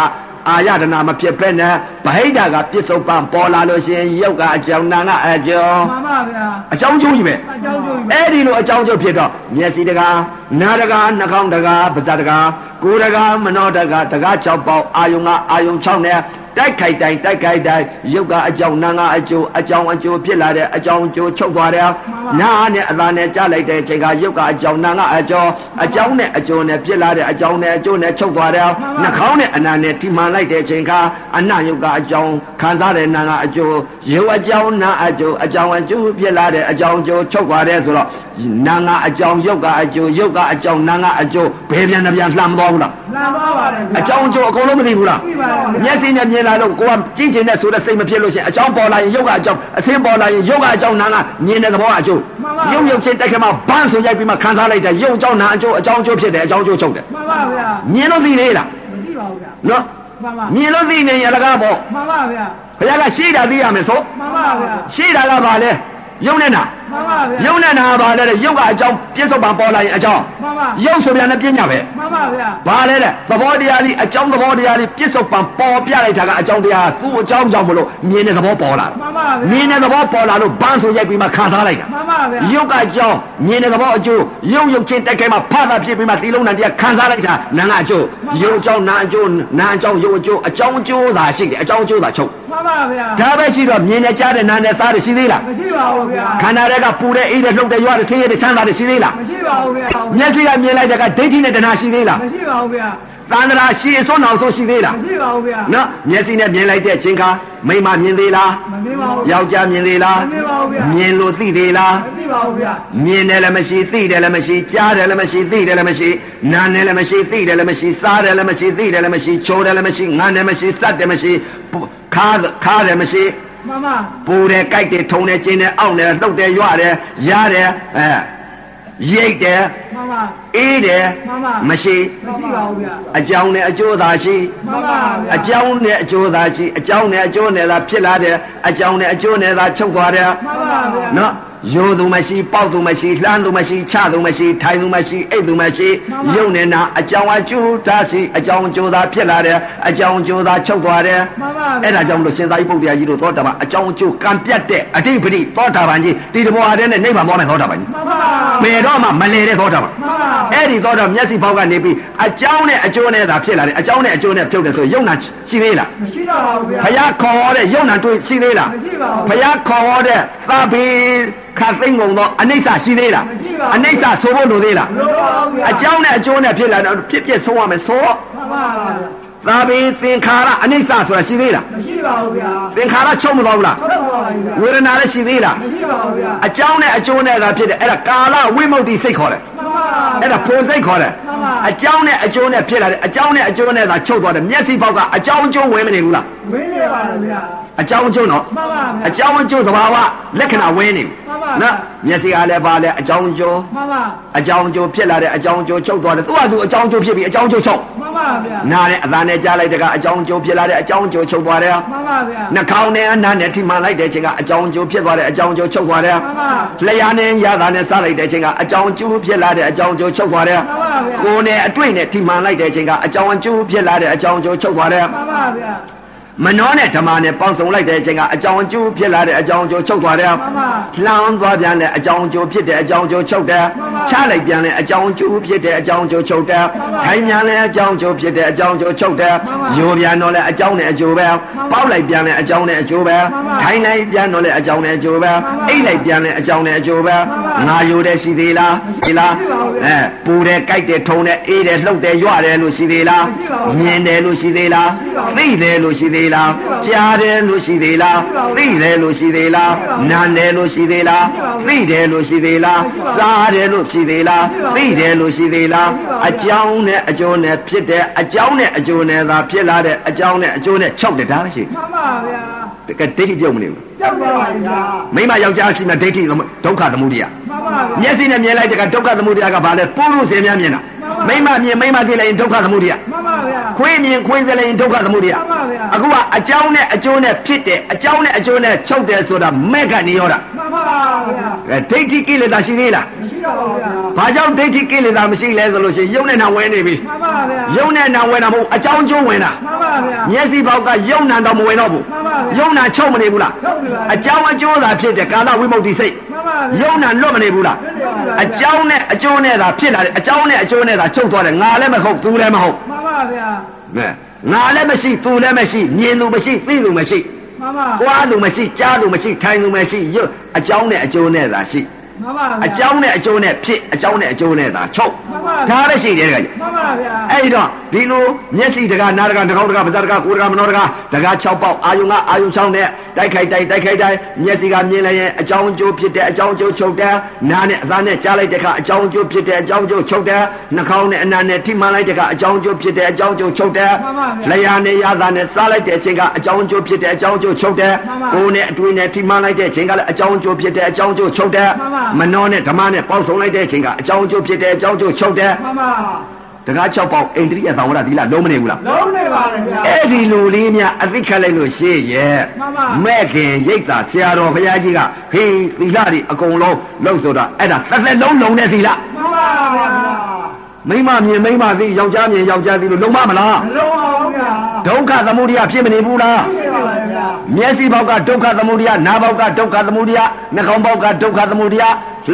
[SPEAKER 1] အာရဒနာမဖြစ်ပဲနဲ့ဗဟိတာကပြစ္ဆုတ်ပံပေါ်လာလို့ရှရင်ယုတ်ကအကြောင်းနာကအကျော်
[SPEAKER 3] မှန်ပါဗျာ
[SPEAKER 1] အကြောင်းအကျိုးကြီးပဲ
[SPEAKER 3] အကြောင်းကျိုးကြီး
[SPEAKER 1] အဲ့ဒီလိုအကြောင်းအကျိုးဖြစ်တော့မျက်စိတကားနားတကားနှာခေါင်းတကားပါးစပ်တကားကိုယ်တကားမနှောတကားတကား၆ပေါက်အာယုံကအာယုံ၆နဲ့တိုက်ခိုက်တိုင်းတိုက်ခိုက်တိုင်းယုတ်ကအကြောင်းနာကအကျိုးအကြောင်းအကျိုးဖြစ်လာတဲ့အကြောင်းအကျိုးချုပ်သွားတယ်နားနဲ့အသာနဲ့ကြားလိုက်တဲ့အချိန်ကယုတ်ကအကြောင်းနာကအကျော်အကြောင်းနဲ့အကျိုးနဲ့ဖြစ်လာတဲ့အကြောင်းနဲ့အကျိုးနဲ့ချုပ်သွားတယ်နှာခေါင်းနဲ့အနာနဲ့ထိမှန်လိုက်တဲ့အချိန်ကအနာယုတ်ကအကြောင်းခံစားတဲ့နာကအကျိုးယုတ်အကြောင်းနာအကျိုးအကြောင်းအကျိုးဖြစ်လာတဲ့အကြောင်းအကျိုးချုပ်သွားတယ်ဆိုတော့နာကအကြောင်းယုတ်ကအကျိုးယုတ်ကအကြောင်းနာကအကျိုးဘယ်ပြန်နှပြန်လှမ်းမသွားဘူးလား
[SPEAKER 3] လမ်းပါပါတယ်ဗျာ
[SPEAKER 1] အကြောင်းအကျိုးအကုန်လုံးမသိဘူးလား
[SPEAKER 3] ပြပါ
[SPEAKER 1] မျ
[SPEAKER 3] ဗျာ
[SPEAKER 1] က်စိနဲ့မြင်လာလို့ကိုကကြည့်ချင်တဲ့ဆိုတဲ့စိတ်မဖြစ်လို့ရှရင်အကြောင်းပေါ်လာရင်ယုတ်ကအကြောင်းအသင်းပေါ်လာရင်ယုတ်ကအကြောင်းနာကမြင်တဲ့သဘောကအကျိုးယုတ်ယုတ်ချင်းတိုက်ခါမှာဘန်းဆိုရိုက်ပြီးမှခံစားလိုက်တဲ့ယုတ်အကြောင်းနာအကျိုးအကြောင်းအကျိုးဖြစ်တယ်အကြောင်းအကျိုးချုပ်တယ်
[SPEAKER 3] မှန်ပါဗျာ
[SPEAKER 1] မြင်လို့သိလေလား
[SPEAKER 3] မရှိပါဘူးဗျာ
[SPEAKER 1] နော်
[SPEAKER 3] မှန်ပါ
[SPEAKER 1] မြင်လို့သိနေရင်အလကားပေါ့
[SPEAKER 3] မှန်ပါဗျာ
[SPEAKER 1] ဘုရားကရှေ့တာသိရမယ်ဆို
[SPEAKER 3] မှန်ပါဗျာ
[SPEAKER 1] ရှေ့တာကဘာလဲယုတ်နဲ့နာ
[SPEAKER 3] မှ မှန်ပါဗျာ
[SPEAKER 1] ရုပ်နဲ့နာပါလဲတဲ့ရုပ်ကအကြောင်းပြစ္ဆုတ်ပါပေါ်လာရင်အကြောင်း
[SPEAKER 3] မှန်ပါ
[SPEAKER 1] ရုပ်ဆိုပြန်တဲ့ပညာပဲ
[SPEAKER 3] မှန်ပါဗျာ
[SPEAKER 1] ဘာလဲတဲ့သဘောတရားကြီးအကြောင်းသဘောတရားကြီးပြစ္ဆုတ်ပံပေါ်ပြလိုက်တာကအကြောင်းတရားသူ့အကြောင်းကြောင့်မလို့မြင်တဲ့သဘောပေါ်လာ
[SPEAKER 3] မှ
[SPEAKER 1] တာ
[SPEAKER 3] န်ပါ
[SPEAKER 1] မြ
[SPEAKER 3] ဗျာ
[SPEAKER 1] င်တဲ့သဘောပေါ်လာလို့ဘန်းဆိုရိုက်ပြီးမှခံစားလိုက်တာ
[SPEAKER 3] မှန်ပါဗျာ
[SPEAKER 1] ရုပ်ကအကြောင်းမြင်တဲ့သဘောအကျိုးရုပ်ရုပ်ချင်းတက်ခဲမှာဖတာဖြစ်ပြီးမှဒီလုံးနဲ့တရားခံစားလိုက်တာနာနာအကျိုးရုပ်အကြောင်းနာအကျိုးနာအကြောင်းရုပ်အကျိုးအကြောင်းအကျိုးသာရှိတယ်အကြောင်းအကျိုးသာချုပ်
[SPEAKER 3] မှန်ပါဗျာ
[SPEAKER 1] ဒါပဲရှိတော့မြင်နေကြတဲ့နာနဲ့စားတယ်ရှိသေးလား
[SPEAKER 3] မရှိပါဘူးဗျာ
[SPEAKER 1] ခန္ဓာတွေကပူတဲ့အိတဲ့လှုပ်တဲ့ရွာတဲ့ဆင်းရဲတဲ့ချမ်းသာတဲ့ရှိသေးလား
[SPEAKER 3] မရှိပါဘူးဗျာ
[SPEAKER 1] မျက်စိကမြင်လိုက်တဲ့ကဒိဋ္ဌိနဲ့တဏှာရှိသေးလား
[SPEAKER 3] မရှိပါဘူးဗျာ
[SPEAKER 1] သန္တရာရှိအစွန်းအောင်ဆုံးရှိသေးလား
[SPEAKER 3] မရှိပါဘူးဗျာ
[SPEAKER 1] နော်မျက်စိနဲ့မြင်လိုက်တဲ့အချိန်ကမိန်းမမြင်သေးလား
[SPEAKER 3] မနေပါဘူး
[SPEAKER 1] ယောက်ျားမြင်သေးလား
[SPEAKER 3] မနေပါဘူးဗျာ
[SPEAKER 1] မြင်လို့သိသေးလား
[SPEAKER 3] မသိပါဘူးဗျာ
[SPEAKER 1] မြင်တယ်လည်းမရှိသိတယ်လည်းမရှိကြားတယ်လည်းမရှိသိတယ်လည်းမရှိနားတယ်လည်းမရှိသိတယ်လည်းမရှိစားတယ်လည်းမရှိသိတယ်လည်းမရှိချိုးတယ်လည်းမရှိငန်းတယ်မရှိစက်တယ်မရှိပူခါခါတယ်မရှိ
[SPEAKER 3] မှန်ပါ
[SPEAKER 1] ပူတယ်ကြိုက်တယ်ထုံတယ်ကျင်းတယ်အောင့်တယ်လှုပ်တယ်ရွတယ်ရားတယ်အဲရိတ်တယ်
[SPEAKER 3] မှန်ပါ
[SPEAKER 1] အေးတယ်
[SPEAKER 3] မှန်ပါမ
[SPEAKER 1] မရှိ
[SPEAKER 3] ရှိပါဘူးဗျာ
[SPEAKER 1] အကြောင်းနဲ့အကျိုးသာရှိ
[SPEAKER 3] မှန်ပါဗျာ
[SPEAKER 1] အကြောင်းနဲ့အကျိုးသာရှိအကြောင်းနဲ့အကျိုးနဲ့သာဖြစ်လာတယ်အကြောင်းနဲ့အကျိုးနဲ့သာချုပ်သွားတယ်
[SPEAKER 3] မှန်ပါဗျာ
[SPEAKER 1] နော်ရိုးသူမရှိပေါက်သူမရှိလှမ်းသူမရှိချသူမရှိထိုင်သူမရှိအိတ်သူမရှိ
[SPEAKER 3] မှန်ပါ
[SPEAKER 1] ယုံနေနာအကြောင်းအကျိုးသာရှိအကြောင်းအကျိုးသာဖြစ်လာတယ်အကြောင်းအကျိုးသာချုပ်သွားတယ်
[SPEAKER 3] မှန်ပါဗျာ
[SPEAKER 1] အဲ့ဒါကြောင့်မလို့ရှင်သာရိပုတ္တရာကြီးတို့သောတာပန်အကြောင်းအကျိုးကံပြတ်တဲ့အဓိပတိသောတာပန်ကြီးတိတဘောအတဲ့နဲ့နိဗ္ဗာန်သွားမယ်သောတာပန်ကြီး
[SPEAKER 3] မှန်ပါ
[SPEAKER 1] ဘယ်တော့မှမလဲတဲ့သောတာပန်
[SPEAKER 3] မှန်ပါ
[SPEAKER 1] အဲ့ဒီသောတာပန်မျက်စိပေါက်ကနေပြီးအကြောင်းနဲ့အကျိုးနဲ့သာဖြစ်လာတယ်အကြောင်းနဲ့အကျိုးနဲ့ဖြုတ်တယ်ဆိုယုံနာရှိသေးလား
[SPEAKER 3] မရှိတော့ပါဘူးဗျာ
[SPEAKER 1] ဘုရားခေါ်ဟောတဲ့ယုံနာတွေ့ရှိသေးလား
[SPEAKER 3] မရှိပါ
[SPEAKER 1] ဘု
[SPEAKER 3] ဘူး
[SPEAKER 1] ရားခေါ်ဟောတဲ့သာဘိခတ်သိမ့်ကုန်သောအနိစ္စရှိသေးလား
[SPEAKER 3] မရှိပါဘူး
[SPEAKER 1] အနိစ္စဆိုဖို့လိုသေးလား
[SPEAKER 3] မလိုပါဘူးဗျာ
[SPEAKER 1] အကြောင်းနဲ့အကျိုးနဲ့ဖြစ်လာတော့ဖြစ်ဖြစ်ဆုံးရမယ်ဆို
[SPEAKER 3] မှန်ပါဗျာ
[SPEAKER 1] သာဘိသင်္ခါရအနိစ္စဆိုတာရှိသေးလား
[SPEAKER 3] မရှိပါဘူးဗျာ
[SPEAKER 1] သင်္ခါရချုပ်မသွားဘူးလား
[SPEAKER 3] ဟုတ်ပါပါဗျာ
[SPEAKER 1] ဝေဒနာလည်းရှိသေးလား
[SPEAKER 3] မရှိပါဘူးဗျာ
[SPEAKER 1] အကြောင်းနဲ့အကျိုးနဲ့သာဖြစ်တယ်အဲ့ဒါကာလဝိမု ക്തി စိတ်ခေါ်တယ်
[SPEAKER 3] မှန်ပါ
[SPEAKER 1] အဲ့ဒါပုံစိတ်ခေါ်တယ်
[SPEAKER 3] မှန်ပါ
[SPEAKER 1] အကြောင်းနဲ့အကျိုးနဲ့ဖြစ်လာတယ်အကြောင်းနဲ့အကျိုးနဲ့သာချုပ်သွားတယ်မျက်စိပေါက်ကအကြောင်းအကျိုးဝင်မနေဘူးလား
[SPEAKER 3] မင်းနေပါလားဗျာ
[SPEAKER 1] အကြောင်းအကျိုးနော်
[SPEAKER 3] မှန်ပါဗျာ
[SPEAKER 1] အကြောင်းအကျိုးသဘာဝလက္ခဏာဝဲနေ
[SPEAKER 3] မှန်ပါ
[SPEAKER 1] နော်မျက်စိအားလည်းပါလဲအကြောင်းအကျိုး
[SPEAKER 3] မှန်ပါ
[SPEAKER 1] အကြောင်းအကျိုးဖြစ်လာတဲ့အကြောင်းအကျိုးချုပ်သွားတယ်သူ့ဟာသူအကြောင်းအကျိုးဖြစ်ပြီးအကြောင်းအကျိုးချုပ်
[SPEAKER 3] မှန်ပါဗျာ
[SPEAKER 1] နားနဲ့အသားနဲ့ကြားလိုက်တကအကြောင်းအကျိုးဖြစ်လာတဲ့အကြောင်းအကျိုးချုပ်သွားတယ်
[SPEAKER 3] မှန်ပါဗျာ
[SPEAKER 1] နှာခေါင်းနဲ့အနားနဲ့ထိမှန်လိုက်တဲ့အချိန်ကအကြောင်းအကျိုးဖြစ်သွားတဲ့အကြောင်းအကျိုးချုပ်သွားတယ်
[SPEAKER 3] မှန်ပါ
[SPEAKER 1] လျှာနဲ့ရတာနဲ့စားလိုက်တဲ့အချိန်ကအကြောင်းအကျိုးဖြစ်လာတဲ့အကြောင်းအကျိုးချုပ်သွားတယ်
[SPEAKER 3] မှန်ပါဗျာ
[SPEAKER 1] ကိုယ်နဲ့အတွေ့နဲ့ထိမှန်လိုက်တဲ့အချိန်ကအကြောင်းအကျိုးဖြစ်လာတဲ့အကြောင်းအကျိုးချုပ်သွားတယ်
[SPEAKER 3] မှန်ပါဗျာ
[SPEAKER 1] မနှောနဲ့ဓမ္မနဲ့ပေါင်းစုံလိုက်တဲ့အချိန်ကအကြောင်းအကျိုးဖြစ်လာတဲ့အကြောင်းအကျိုးချုပ်သွားတယ်
[SPEAKER 3] မှန်ပါ
[SPEAKER 1] လောင်းသွားပြန်တဲ့အကြောင်းအကျိုးဖြစ်တဲ့အကြောင်းအကျိုးချုပ်တယ်
[SPEAKER 3] မှန်ပါ
[SPEAKER 1] ချလိုက်ပြန်တဲ့အကြောင်းအကျိုးဖြစ်တဲ့အကြောင်းအကျိုးချုပ်တယ်
[SPEAKER 3] မှန်ပါ
[SPEAKER 1] ထိုင်ပြန်တဲ့အကြောင်းအကျိုးဖြစ်တဲ့အကြောင်းအကျိုးချုပ်တယ်
[SPEAKER 3] မှန်ပါ
[SPEAKER 1] ယိုပြန်တော့လည်းအကြောင်းနဲ့အကျိုးပဲ
[SPEAKER 3] န်ပါ
[SPEAKER 1] ပေါက်လိုက်ပြန်လည်းအကြောင်းနဲ့အကျိုးပဲ
[SPEAKER 3] မှန်ပါ
[SPEAKER 1] ထိုင်လိုက်ပြန်တော့လည်းအကြောင်းနဲ့အကျိုးပဲ
[SPEAKER 3] မှန်ပါ
[SPEAKER 1] အိတ်လိုက်ပြန်လည်းအကြောင်းနဲ့အကျိုးပဲ
[SPEAKER 3] မှန်ပါ
[SPEAKER 1] ငါယိုတဲ့ရှိသေးလား
[SPEAKER 3] မရှိ
[SPEAKER 1] ဒီလား
[SPEAKER 3] ပါဘူး
[SPEAKER 1] အဲပူ
[SPEAKER 3] ဗျာ
[SPEAKER 1] တယ်ကြိုက်တယ်ထုံတယ်အေးတယ်လှုပ်တယ်ရွတယ်လို့ရှိသေးလား
[SPEAKER 3] မရှိပါဘူးဗျာ
[SPEAKER 1] မြင်တယ်လို့ရှိသေးလား
[SPEAKER 3] မရှိ
[SPEAKER 1] သိတယ်လို့ရှိသေးလား
[SPEAKER 3] မရှိပါဘူး
[SPEAKER 1] ကြားတယ်လို့ရှိသေးလား
[SPEAKER 3] မရှိ
[SPEAKER 1] သိ
[SPEAKER 3] ပါဘူး
[SPEAKER 1] တယ်လို့ရှိသေးလား
[SPEAKER 3] မရှိပါဘူး
[SPEAKER 1] နားတယ်လို့ရှိသေးလား သိတယ်လို့ရှိသေးလားစားတယ်လို့ရှိသေးလားသိတယ်လို့ရှိသေးလားအကြောင်းနဲ့အကျိုးနဲ့ဖြစ်တယ်အကြောင်းနဲ့အကျိုးနဲ့သာဖြစ်လာတဲ့အကြောင်းနဲ့အကျိုးနဲ့ချုပ်တယ်ဒါပဲရှိ
[SPEAKER 3] မှန်ပါဗျာ
[SPEAKER 1] တယ်တကယ်ဒိဋ္ဌိပြုတ်မနေဘူး
[SPEAKER 3] ကြောက်ပါပါဗျာ
[SPEAKER 1] မိမယောက်ျားရှိမှဒိဋ္ဌိသမုဒုက္ခသမုဒိယ
[SPEAKER 3] မှန်ပါ
[SPEAKER 1] မျ
[SPEAKER 3] ဗျာ
[SPEAKER 1] က်စိနဲ့မြင်လိုက်တဲ့ကဒုက္ခသမုဒိယကဘာလဲပုရုษေများမြင်တာမိမမြင်မိမသိလိုက်ရင်ဒုက္ခသမုဒိယ
[SPEAKER 3] မှန်ပါဗျာ
[SPEAKER 1] ခွေးမြင်ခွေးသိလိုက်ရင်ဒုက္ခသမုဒိယ
[SPEAKER 3] မှန်ပါဗျာ
[SPEAKER 1] အခုကအကြောင်းနဲ့အကျိုးနဲ့ဖြစ်တယ်အကြောင်းနဲ့အကျိုးနဲ့ချုပ်တယ်ဆိုတာမဲ့ကနေရောတာ
[SPEAKER 3] မှန်ပါဗျာ
[SPEAKER 1] အဲဒိဋ္ဌိကိလေသာရှိသေးလား
[SPEAKER 3] မရှိတော့ပါ
[SPEAKER 1] ။ဘာ
[SPEAKER 3] ဗျာ
[SPEAKER 1] ကြောင့်ဒိဋ္ဌိကိလေသာမရှိလဲဆိုလို့ရှိရင်ယုံနဲ့နာဝဲနေပြီ
[SPEAKER 3] မှန်ပါဗျာ
[SPEAKER 1] ။ယုံနဲ့နာဝဲတာမဟုတ်အကြောင်းကျိုးဝင်တာ
[SPEAKER 3] မှန်ပါဗျာ
[SPEAKER 1] ။မျက်စိပေါက်ကယုံနာတော့မဝင်တော့ဘူး
[SPEAKER 3] မှန်ပါဗျာ
[SPEAKER 1] ယုံနာချုပ်မနေဘူးလား
[SPEAKER 3] ချုပ်နေပါဗျာ
[SPEAKER 1] အကြောင်းအကျိုးသာဖြစ်တဲ့ကာလဝိမု ക്തി စိတ်
[SPEAKER 3] မှန်ပါ
[SPEAKER 1] ။
[SPEAKER 3] ဗျာ
[SPEAKER 1] ယုံနာလွတ်မနေဘူးလားအကြောင်းနဲ့အကျိုးနဲ့သာဖြစ်လာတယ်အကြောင်းနဲ့အကျိုးနဲ့သာချုပ်သွားတယ်ငါလည်းမဟုတ်သူလည်းမဟုတ်
[SPEAKER 3] မှန်ပါဗျာ
[SPEAKER 1] မဲငါလည်းမရှိသူလည်းမရှိမြင်သူမရှိသိသူမရှိ
[SPEAKER 3] မှန်ပါ
[SPEAKER 1] ကြွားသူမရှိကြားသူမရှိထိုင်သူမရှိယုံအကြောင်းနဲ့အကျိုးနဲ့သာရှိ
[SPEAKER 3] မှန်ပါ
[SPEAKER 1] အကြောင်းနဲ့အကျိုးနဲ့ဖြစ်အကြောင်းနဲ့အကျိုးနဲ့သာချုပ်
[SPEAKER 3] မှန်ပါ
[SPEAKER 1] ဒါလည်းရှိတယ်တကယ်ကြီး
[SPEAKER 3] မှန်ပါဗျာ
[SPEAKER 1] အဲ့ဒီတော့ဒီလိုမျက်စိတကနားတကတကောက်တကပါးစားတကကိုယ်တကမနောတကတက6ပေါက်အာယုံကအာယုံ6နဲ့တိုက်ခိုက်တိုက်တိုက်ခိုက်တိုက်မျက်စိကမြင်လိုက်ရင်အကြောင်းအကျိုးဖြစ်တဲ့အကြောင်းအကျိုးချုပ်တယ်နားနဲ့အသားနဲ့ကြားလိုက်တဲ့အခါအကြောင်းအကျိုးဖြစ်တဲ့အကြောင်းအကျိုးချုပ်တယ်နှာခေါင်းနဲ့အနားနဲ့ထိမှန်လိုက်တဲ့အခါအကြောင်းအကျိုးဖြစ်တဲ့အကြောင်းအကျိုးချုပ်တယ်လျာနဲ့ရသားနဲ့စားလိုက်တဲ့အချိန်ကအကြောင်းအကျိုးဖြစ်တဲ့အကြောင်းအကျိုးချုပ်တယ်ကိုယ်နဲ့အတွေ့နဲ့ထိမှန်လိုက်တဲ့အချိန်ကလည်းအကြောင်းအကျိုးဖြစ်တဲ့အကြောင်းအကျိုးချုပ်တယ်မနှောနဲ့ဓမ္မနဲ့ပေါင်းစုံလိုက်တဲ့အချိန်ကအကြောင်းအကျိုးဖြစ်တဲ့အကြောင်းအကျိုးချုပ်တယ်
[SPEAKER 3] မှန်ပါ
[SPEAKER 1] ဒ တကား6ပေါက်အိန္ဒြိယသံဝရသီလလုံးမနေဘူးလား
[SPEAKER 3] လုံးနေပါလေဗျာ
[SPEAKER 1] အဲ့ဒီလူလေးများအသိခတ်လိုက်လို့ရှေ့ရဲ့
[SPEAKER 3] မှန်ပါ
[SPEAKER 1] မဲ့ခင်ရိတ်တာဆရာတော်ဘုရားကြီးကဟေးသီလတွေအကုန်လုံးလောက်ဆိုတာအဲ့ဒါတစ်သက်လုံးလုံးတဲ့သီလ
[SPEAKER 3] မှန်ပါဗျာ
[SPEAKER 1] မိမမြင်မိမသိယောက်ျားမြင်ယောက်ျားသိလို့လုံးမမလား
[SPEAKER 3] မလုံးအောင်ဗျာ
[SPEAKER 1] ဒုက္ခသမုဒယဖြစ်မနေဘူးလား
[SPEAKER 3] နေပါလေဗျာ
[SPEAKER 1] မျက်စိဘောက်ကဒုက္ခသမုဒယနားဘောက်ကဒုက္ခသမုဒယနှာခေါင်းဘောက်ကဒုက္ခသမုဒယ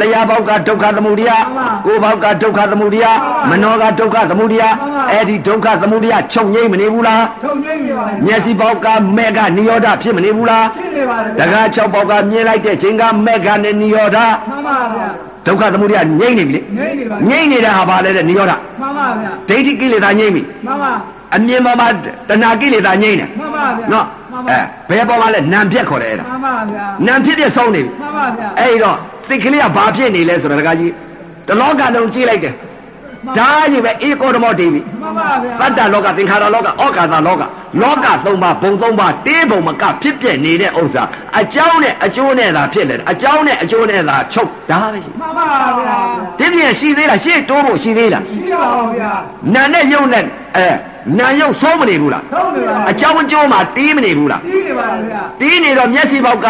[SPEAKER 1] လျှာဘောက်ကဒုက္ခသမုဒယကိုယ်ဘောက်ကဒုက္ခသမုဒယမနောကဒုက္ခသမုဒယအဲ့ဒီဒုက္ခသမုဒယချုပ်ငိမ့်မနေဘူးလား
[SPEAKER 3] ထုံကျင်းနေပါလေ
[SPEAKER 1] မျက်စိဘောက်ကမဲ့ကနိရောဓဖြစ်မနေဘူးလား
[SPEAKER 3] ဖြစ်နေပါလေ
[SPEAKER 1] တ
[SPEAKER 3] ဗျာ
[SPEAKER 1] ခါ၆ဘောက်ကမြင်လိုက်တဲ့ချိန်ကမဲ့ကနဲ့နိရောဓ
[SPEAKER 3] မှန်ပါဗျာ
[SPEAKER 1] ဒုက္ခသမုဒယငိမ့်နေပြီ
[SPEAKER 3] နေနေပါ
[SPEAKER 1] လေငိမ့်နေတာဟာဘာလဲတဲ့နိရောဓ
[SPEAKER 3] မှန်ပါဗျာ
[SPEAKER 1] ဒိဋ္ဌိကိလေသာငိမ့်ပြီ
[SPEAKER 3] မှန်ပါ
[SPEAKER 1] အမြင်ပေါ်မှာတဏှာကိလေသာငိမ့်တယ်
[SPEAKER 3] မှန်ပါဗျာ
[SPEAKER 1] နော်အဲဘယ်ပေါ်မှာလဲနံပြက်ခေါ်တယ်အဲ့ဒါ
[SPEAKER 3] မှန်ပါဗျာ
[SPEAKER 1] နံပြက်ပြက်ဆုံးနေပြီ
[SPEAKER 3] မှန်ပါဗျာ
[SPEAKER 1] အဲ့ဒီတော့စိတ်ကလေးကဘာဖြစ်နေလဲဆိုတော့ဒကာကြီးတလောကလုံးကြည့်လိုက်တယ်ဒါကြီးပဲအေကောဓမောဒေဝီ
[SPEAKER 3] မှန်ပါ
[SPEAKER 1] တ
[SPEAKER 3] ဗျာ
[SPEAKER 1] တ္တလောကသင်္ခါရလောကဩကာသလောကလောကသုံးပါးဘုံသုံးပါးတင်းဘုံမကဖြစ်ပြနေတဲ့ဥစ္စာအကြောင်းနဲ့အကျိုးနဲ့သာဖြစ်လေအကြောင်းနဲ့အကျိုးနဲ့သာချုပ်ဒါပဲရှိ
[SPEAKER 3] မှန်ပါဗျာ
[SPEAKER 1] ဒီပြင်ရှိသေးလားရှေ့တိုးဖို့ရှိသေးလား
[SPEAKER 3] ရှိပါအောင်ဗျာ
[SPEAKER 1] နာနဲ့ယုံနဲ့အဲနာယုံဆုံးမနေဘူးလား
[SPEAKER 3] ထုံနေပါ
[SPEAKER 1] အကြောင်းအကျိုးမှာတင်းမနေဘူးလား
[SPEAKER 3] ရှိနေပါလေဗျာ
[SPEAKER 1] တင်းနေတော့မျက်စိပေါက်က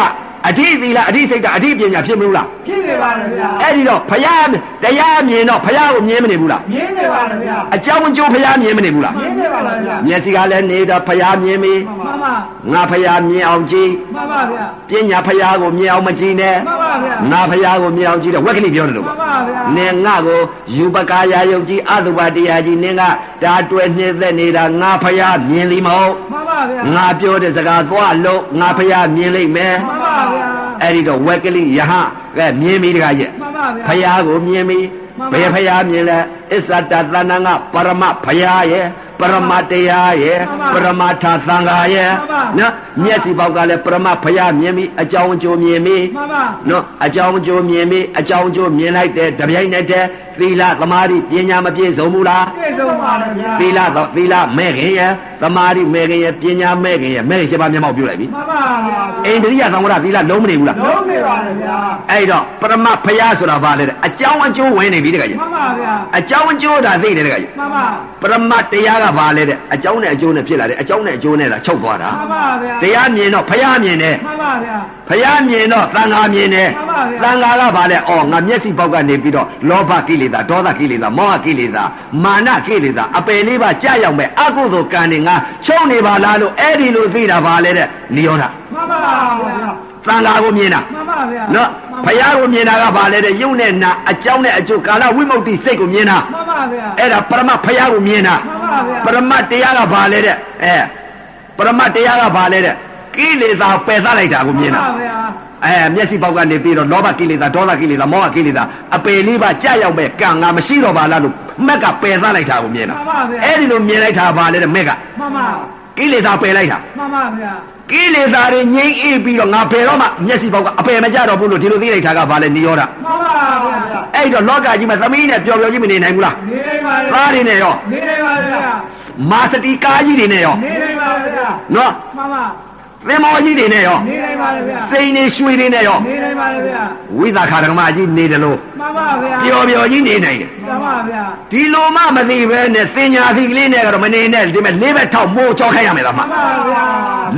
[SPEAKER 1] အဋိသီလအဋိစိတ်ကအဋိပညာဖြစ်မလို့လား
[SPEAKER 3] ဖြစ်နေပါလေဗျာ
[SPEAKER 1] အဲ့ဒီတော့ဖယားတရားမြင်တော့ဖယားကိုမြင်မနေဘူးလား
[SPEAKER 3] မြင်းနေပါလေဗျာ
[SPEAKER 1] အကြောင်းအကျိုးဖယားမြင်မနေဘူးလား
[SPEAKER 3] မြင်းနေပါလေဗျာ
[SPEAKER 1] မျက်စိကလည်းနေတော့ဖယားမြင်ပြီ
[SPEAKER 3] မှန်ပါ
[SPEAKER 1] ငါဖယားမြင်အောင်ကြည့်
[SPEAKER 3] မှန်ပါဗျာ
[SPEAKER 1] ပညာဖယားကိုမြင်အောင်မကြည့်နဲ့
[SPEAKER 3] မှန်ပါဗျာ
[SPEAKER 1] ငါဖယားကိုမြင်အောင်ကြည့်တော့ဝက်ကလေးပြောတယ်လို့
[SPEAKER 3] မှ
[SPEAKER 1] ပါ
[SPEAKER 3] န်ပါဗျာ
[SPEAKER 1] နေငါကိုယူပကာယာယုတ်ကြည်အတုပါတရားကြီးနင်းကဒါတွေ့နှိမ့်သက်နေတာငါဖယားမြင်သည်မဟုတ်
[SPEAKER 3] မှန်ပါဗျာ
[SPEAKER 1] ငါပြောတဲ့စကားသွားလို့ငါဖယားမြင်လိမ့်မယ်
[SPEAKER 3] မှန်ပါဗျာ
[SPEAKER 1] အဲ့ဒီတော့ဝက်ကလေးယဟကဲမြင်ပြီတခါကြီး
[SPEAKER 3] မှန်ပါဗျာ
[SPEAKER 1] ဖယားကိုမြင်ပြီ
[SPEAKER 3] မှန်ပါ
[SPEAKER 1] ဘယ်ဖယားမြင်လဲအစ္ဆတသဏ္ဍာန်ကပရမဖယားရဲ့ပရမတရားရဲ့
[SPEAKER 3] မှ
[SPEAKER 1] ပ
[SPEAKER 3] န်
[SPEAKER 1] ရ
[SPEAKER 3] ပါ
[SPEAKER 1] မထသံဃာရဲ့
[SPEAKER 3] မှန်ပါ
[SPEAKER 1] နော်
[SPEAKER 3] မှန်ပါ
[SPEAKER 1] မျက်စိပေါက်ကလည်းပရမဖယားမြင်ပြီအကြောင်းအကျိုးမြင်ပြီ
[SPEAKER 3] မှန်ပါ
[SPEAKER 1] နော်အကြောင်းအကျိုးမြင်ပြီအကြောင်းအကျိုးမြင်လိုက်တဲ့တပြိုင်နက်တည်းသီလသမာဓိပညာမပြည့်စုံဘူးလား
[SPEAKER 3] ပြေဆုံးပါလေဗျာ
[SPEAKER 1] သီလသောသီလမဲ့ခင်ရဲ့သမာဓိမဲ့ခင်ရဲ့ပညာမဲ့ခင်ရဲ့မဲ့ခင်ရှင်းပါမျက်မှောက်ပြုလိုက်ပြီ
[SPEAKER 3] မှန်ပါဗျာ
[SPEAKER 1] အိန္ဒြိယသံဝရသီလလုံးမနေဘူးလား
[SPEAKER 3] လုံးနေပါလေဗျာ
[SPEAKER 1] အဲ့တော့ပရမဖယားဆိုတာဘာလဲတဲ့အကြောင်းအကျိုးဝင်နေပြီတခါကြီး
[SPEAKER 3] မှန်ပါဗျာ
[SPEAKER 1] အကြောင်းအကျိုးဒါသိတယ်တကကြီး
[SPEAKER 3] မှန်ပါ
[SPEAKER 1] ပရမတ်တရားကဘာလဲတဲ့အကြောင်းနဲ့အကျိုးနဲ့ဖြစ်လာတယ်အကြောင်းနဲ့အကျိုးနဲ့လာချုပ်သွားတာ
[SPEAKER 3] မှန်ပါဗျာ
[SPEAKER 1] တရားမြင်တော့ဖယားမြင်တယ်
[SPEAKER 3] မှန်ပါဗျာ
[SPEAKER 1] ဖယားမြင်တော့သံဃာမြင်တယ်
[SPEAKER 3] မှန်ပါ
[SPEAKER 1] သံဃ
[SPEAKER 3] ဗျာ
[SPEAKER 1] ာကဘာလဲအော်ငါမျက်စိပေါက်ကနေပြီးတော့လောဘကိလေသာဒေါသကိလေသာမောဟကိလေသာမာနကိလေသာအပယ်လေးပါကြာရောက်မဲ့အကုသိုလ်ကံတွေငါချုပ်နေပါလားလို့အဲ့ဒီလိုသိတာဘာလဲတဲ့နိရောဓ
[SPEAKER 3] မှန်ပါဗျာ
[SPEAKER 1] သံဃာကိုမြင်တာ
[SPEAKER 3] မှန်ပါဗျာ
[SPEAKER 1] နော်ဖယားကိုမြင်တာကဘာလဲတဲ့ယုံနဲ့နာအကြောင်းနဲ့အကျိုးကာလဝိမု ക്തി စိတ်ကိုမြင်တာ
[SPEAKER 3] မှန်ပါဗျာ
[SPEAKER 1] အဲ့ဒါပရမဖယားကိုမြင်တာ
[SPEAKER 3] မှန်ပါဗျာ
[SPEAKER 1] ပရမတရားကဘာလဲတဲ့အဲပရမတရားကဘာလဲတဲ့ကိလေသာပယ်သလိုက်တာကိုမြင်တာ
[SPEAKER 3] မှန်ပါဗျာ
[SPEAKER 1] အဲမျက်စိပေါက်ကနေပြီးတော့လောဘကိလေသာဒေါသကိလေသာမောဟကိလေသာအပယ်လေးပါကြာရောက်မဲ့ကံငါမရှိတော့ပါလားလို့မက်ကပယ်သလိုက်တာကိုမြင်တာအဲ့ဒီလိုမြင်လိုက်တာဘာလဲတဲ့မက်က
[SPEAKER 3] မှန်ပါ
[SPEAKER 1] ကိလေသာပယ်လိုက်တာ
[SPEAKER 3] မှန်ပါဗျာ
[SPEAKER 1] ကိလေသာတွေငြိမ်းအေးပြီးတော့ငါပယ်တော့မှမျက်စိပေါက်ကအပယ်မကြတော့ဘူးလို့ဒီလိုသိလိုက်တာကဘာလဲနိရောဓ
[SPEAKER 3] မှန်ပါဗျာ
[SPEAKER 1] အဲ့ဒီတော့လောကကြီးမှာသမီးနဲ့ပျော်ပျော်ကြီးမနေနိုင်ဘူးလား
[SPEAKER 3] နေနေပါလေ
[SPEAKER 1] သားတွေနဲ့ရော
[SPEAKER 3] နေနေပါလေဗျာ
[SPEAKER 1] မာစတိကာကြီးတွေနဲ့ရော
[SPEAKER 3] နေနေပါလေဗျာ
[SPEAKER 1] နော်
[SPEAKER 3] မှန်ပါ
[SPEAKER 1] သင်္ဘောကြီးတွေနဲ့ရော
[SPEAKER 3] နေနေပါလေဗျာ
[SPEAKER 1] စိန်နေရွှေတွေနဲ့ရော
[SPEAKER 3] နေနေပါလေဗျာ
[SPEAKER 1] ဝိသခာဓမ္မကြီးနေတယ်လို့
[SPEAKER 3] မှန်ပါဗျာ
[SPEAKER 1] ပျော်ပျော်ကြီးနေနိုင်တယ်
[SPEAKER 3] မှန်ပါဗျာ
[SPEAKER 1] ဒီလိုမှမသိပဲနဲ့စင်ညာစီကလေးနဲ့ကတော့မနေနဲ့ဒီမဲ့လေးဘက်ထောက်မိုးချောခိုင်းရမယ်လားမ
[SPEAKER 3] မှန်ပါဗျာ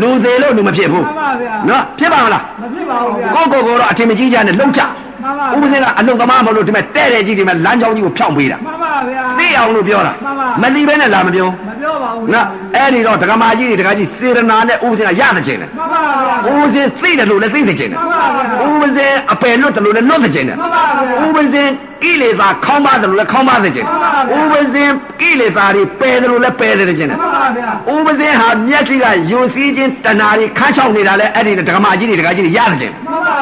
[SPEAKER 1] လူသေးလို့လူမဖြစ်ဘူး
[SPEAKER 3] မှန်ပါဗျာ
[SPEAKER 1] နော်ဖြစ်ပါမလား
[SPEAKER 3] မဖြစ်ပါဘူးဗျာ
[SPEAKER 1] ကိုယ့်ကိုယ်ကိုယ်တော့အထင်မကြီးကြနဲ့လှုပ်ကြ
[SPEAKER 3] မှန်ပါ
[SPEAKER 1] ဥပဒေကအလုံသမားမဟုတ်လို့ဒီမဲ့တဲ့တဲ့ကြီးဒီမဲ့လမ်းကြောင်းကြီးကိုဖြောင့်ပေးတာ
[SPEAKER 3] မှန်ပါဗျာ
[SPEAKER 1] သိအောင်လို့ပြောတာ
[SPEAKER 3] မှန်ပါ
[SPEAKER 1] မသိပဲနဲ့လာမပြော
[SPEAKER 3] မပြောပါဘူး
[SPEAKER 1] နော်အဲ့ဒီတော့ဒကမာကြီးတွေဒကာကြီးစေရနာနဲ့ဥပဒေကရတဲ့ခြင်းတယ်
[SPEAKER 3] မှန်ပါဗျာ
[SPEAKER 1] ဥပဇင်သိတယ်လို့လည်းသိသိကျင်တယ်
[SPEAKER 3] မှန်ပါဗျာ
[SPEAKER 1] ဥပဇင်အပယ်လွတ်တယ်လို့လည်းလွတ်သိကျင်တယ်
[SPEAKER 3] မှန်ပါဗျာ
[SPEAKER 1] ဥပဇင်ကိလေသာခေါင်းပါတယ်လို့လည်းခေါင်းပါသိကျင်တယ်
[SPEAKER 3] မှန်ပါဗျာ
[SPEAKER 1] ဥပဇင်ကိလေသာတွေပယ်တယ်လို့လည်းပယ်သိကျင်တယ်
[SPEAKER 3] မှန်ပါဗျာ
[SPEAKER 1] ဥပဇင်ဟာမျက်စိကယုံစည်းခြင်းတဏှာတွေခန်းချောက်နေတာလဲအဲ့ဒီဓမ္မကြီးတွေဓမ္မကြီးတွေရသိကျင်တယ်
[SPEAKER 3] မှန်ပါ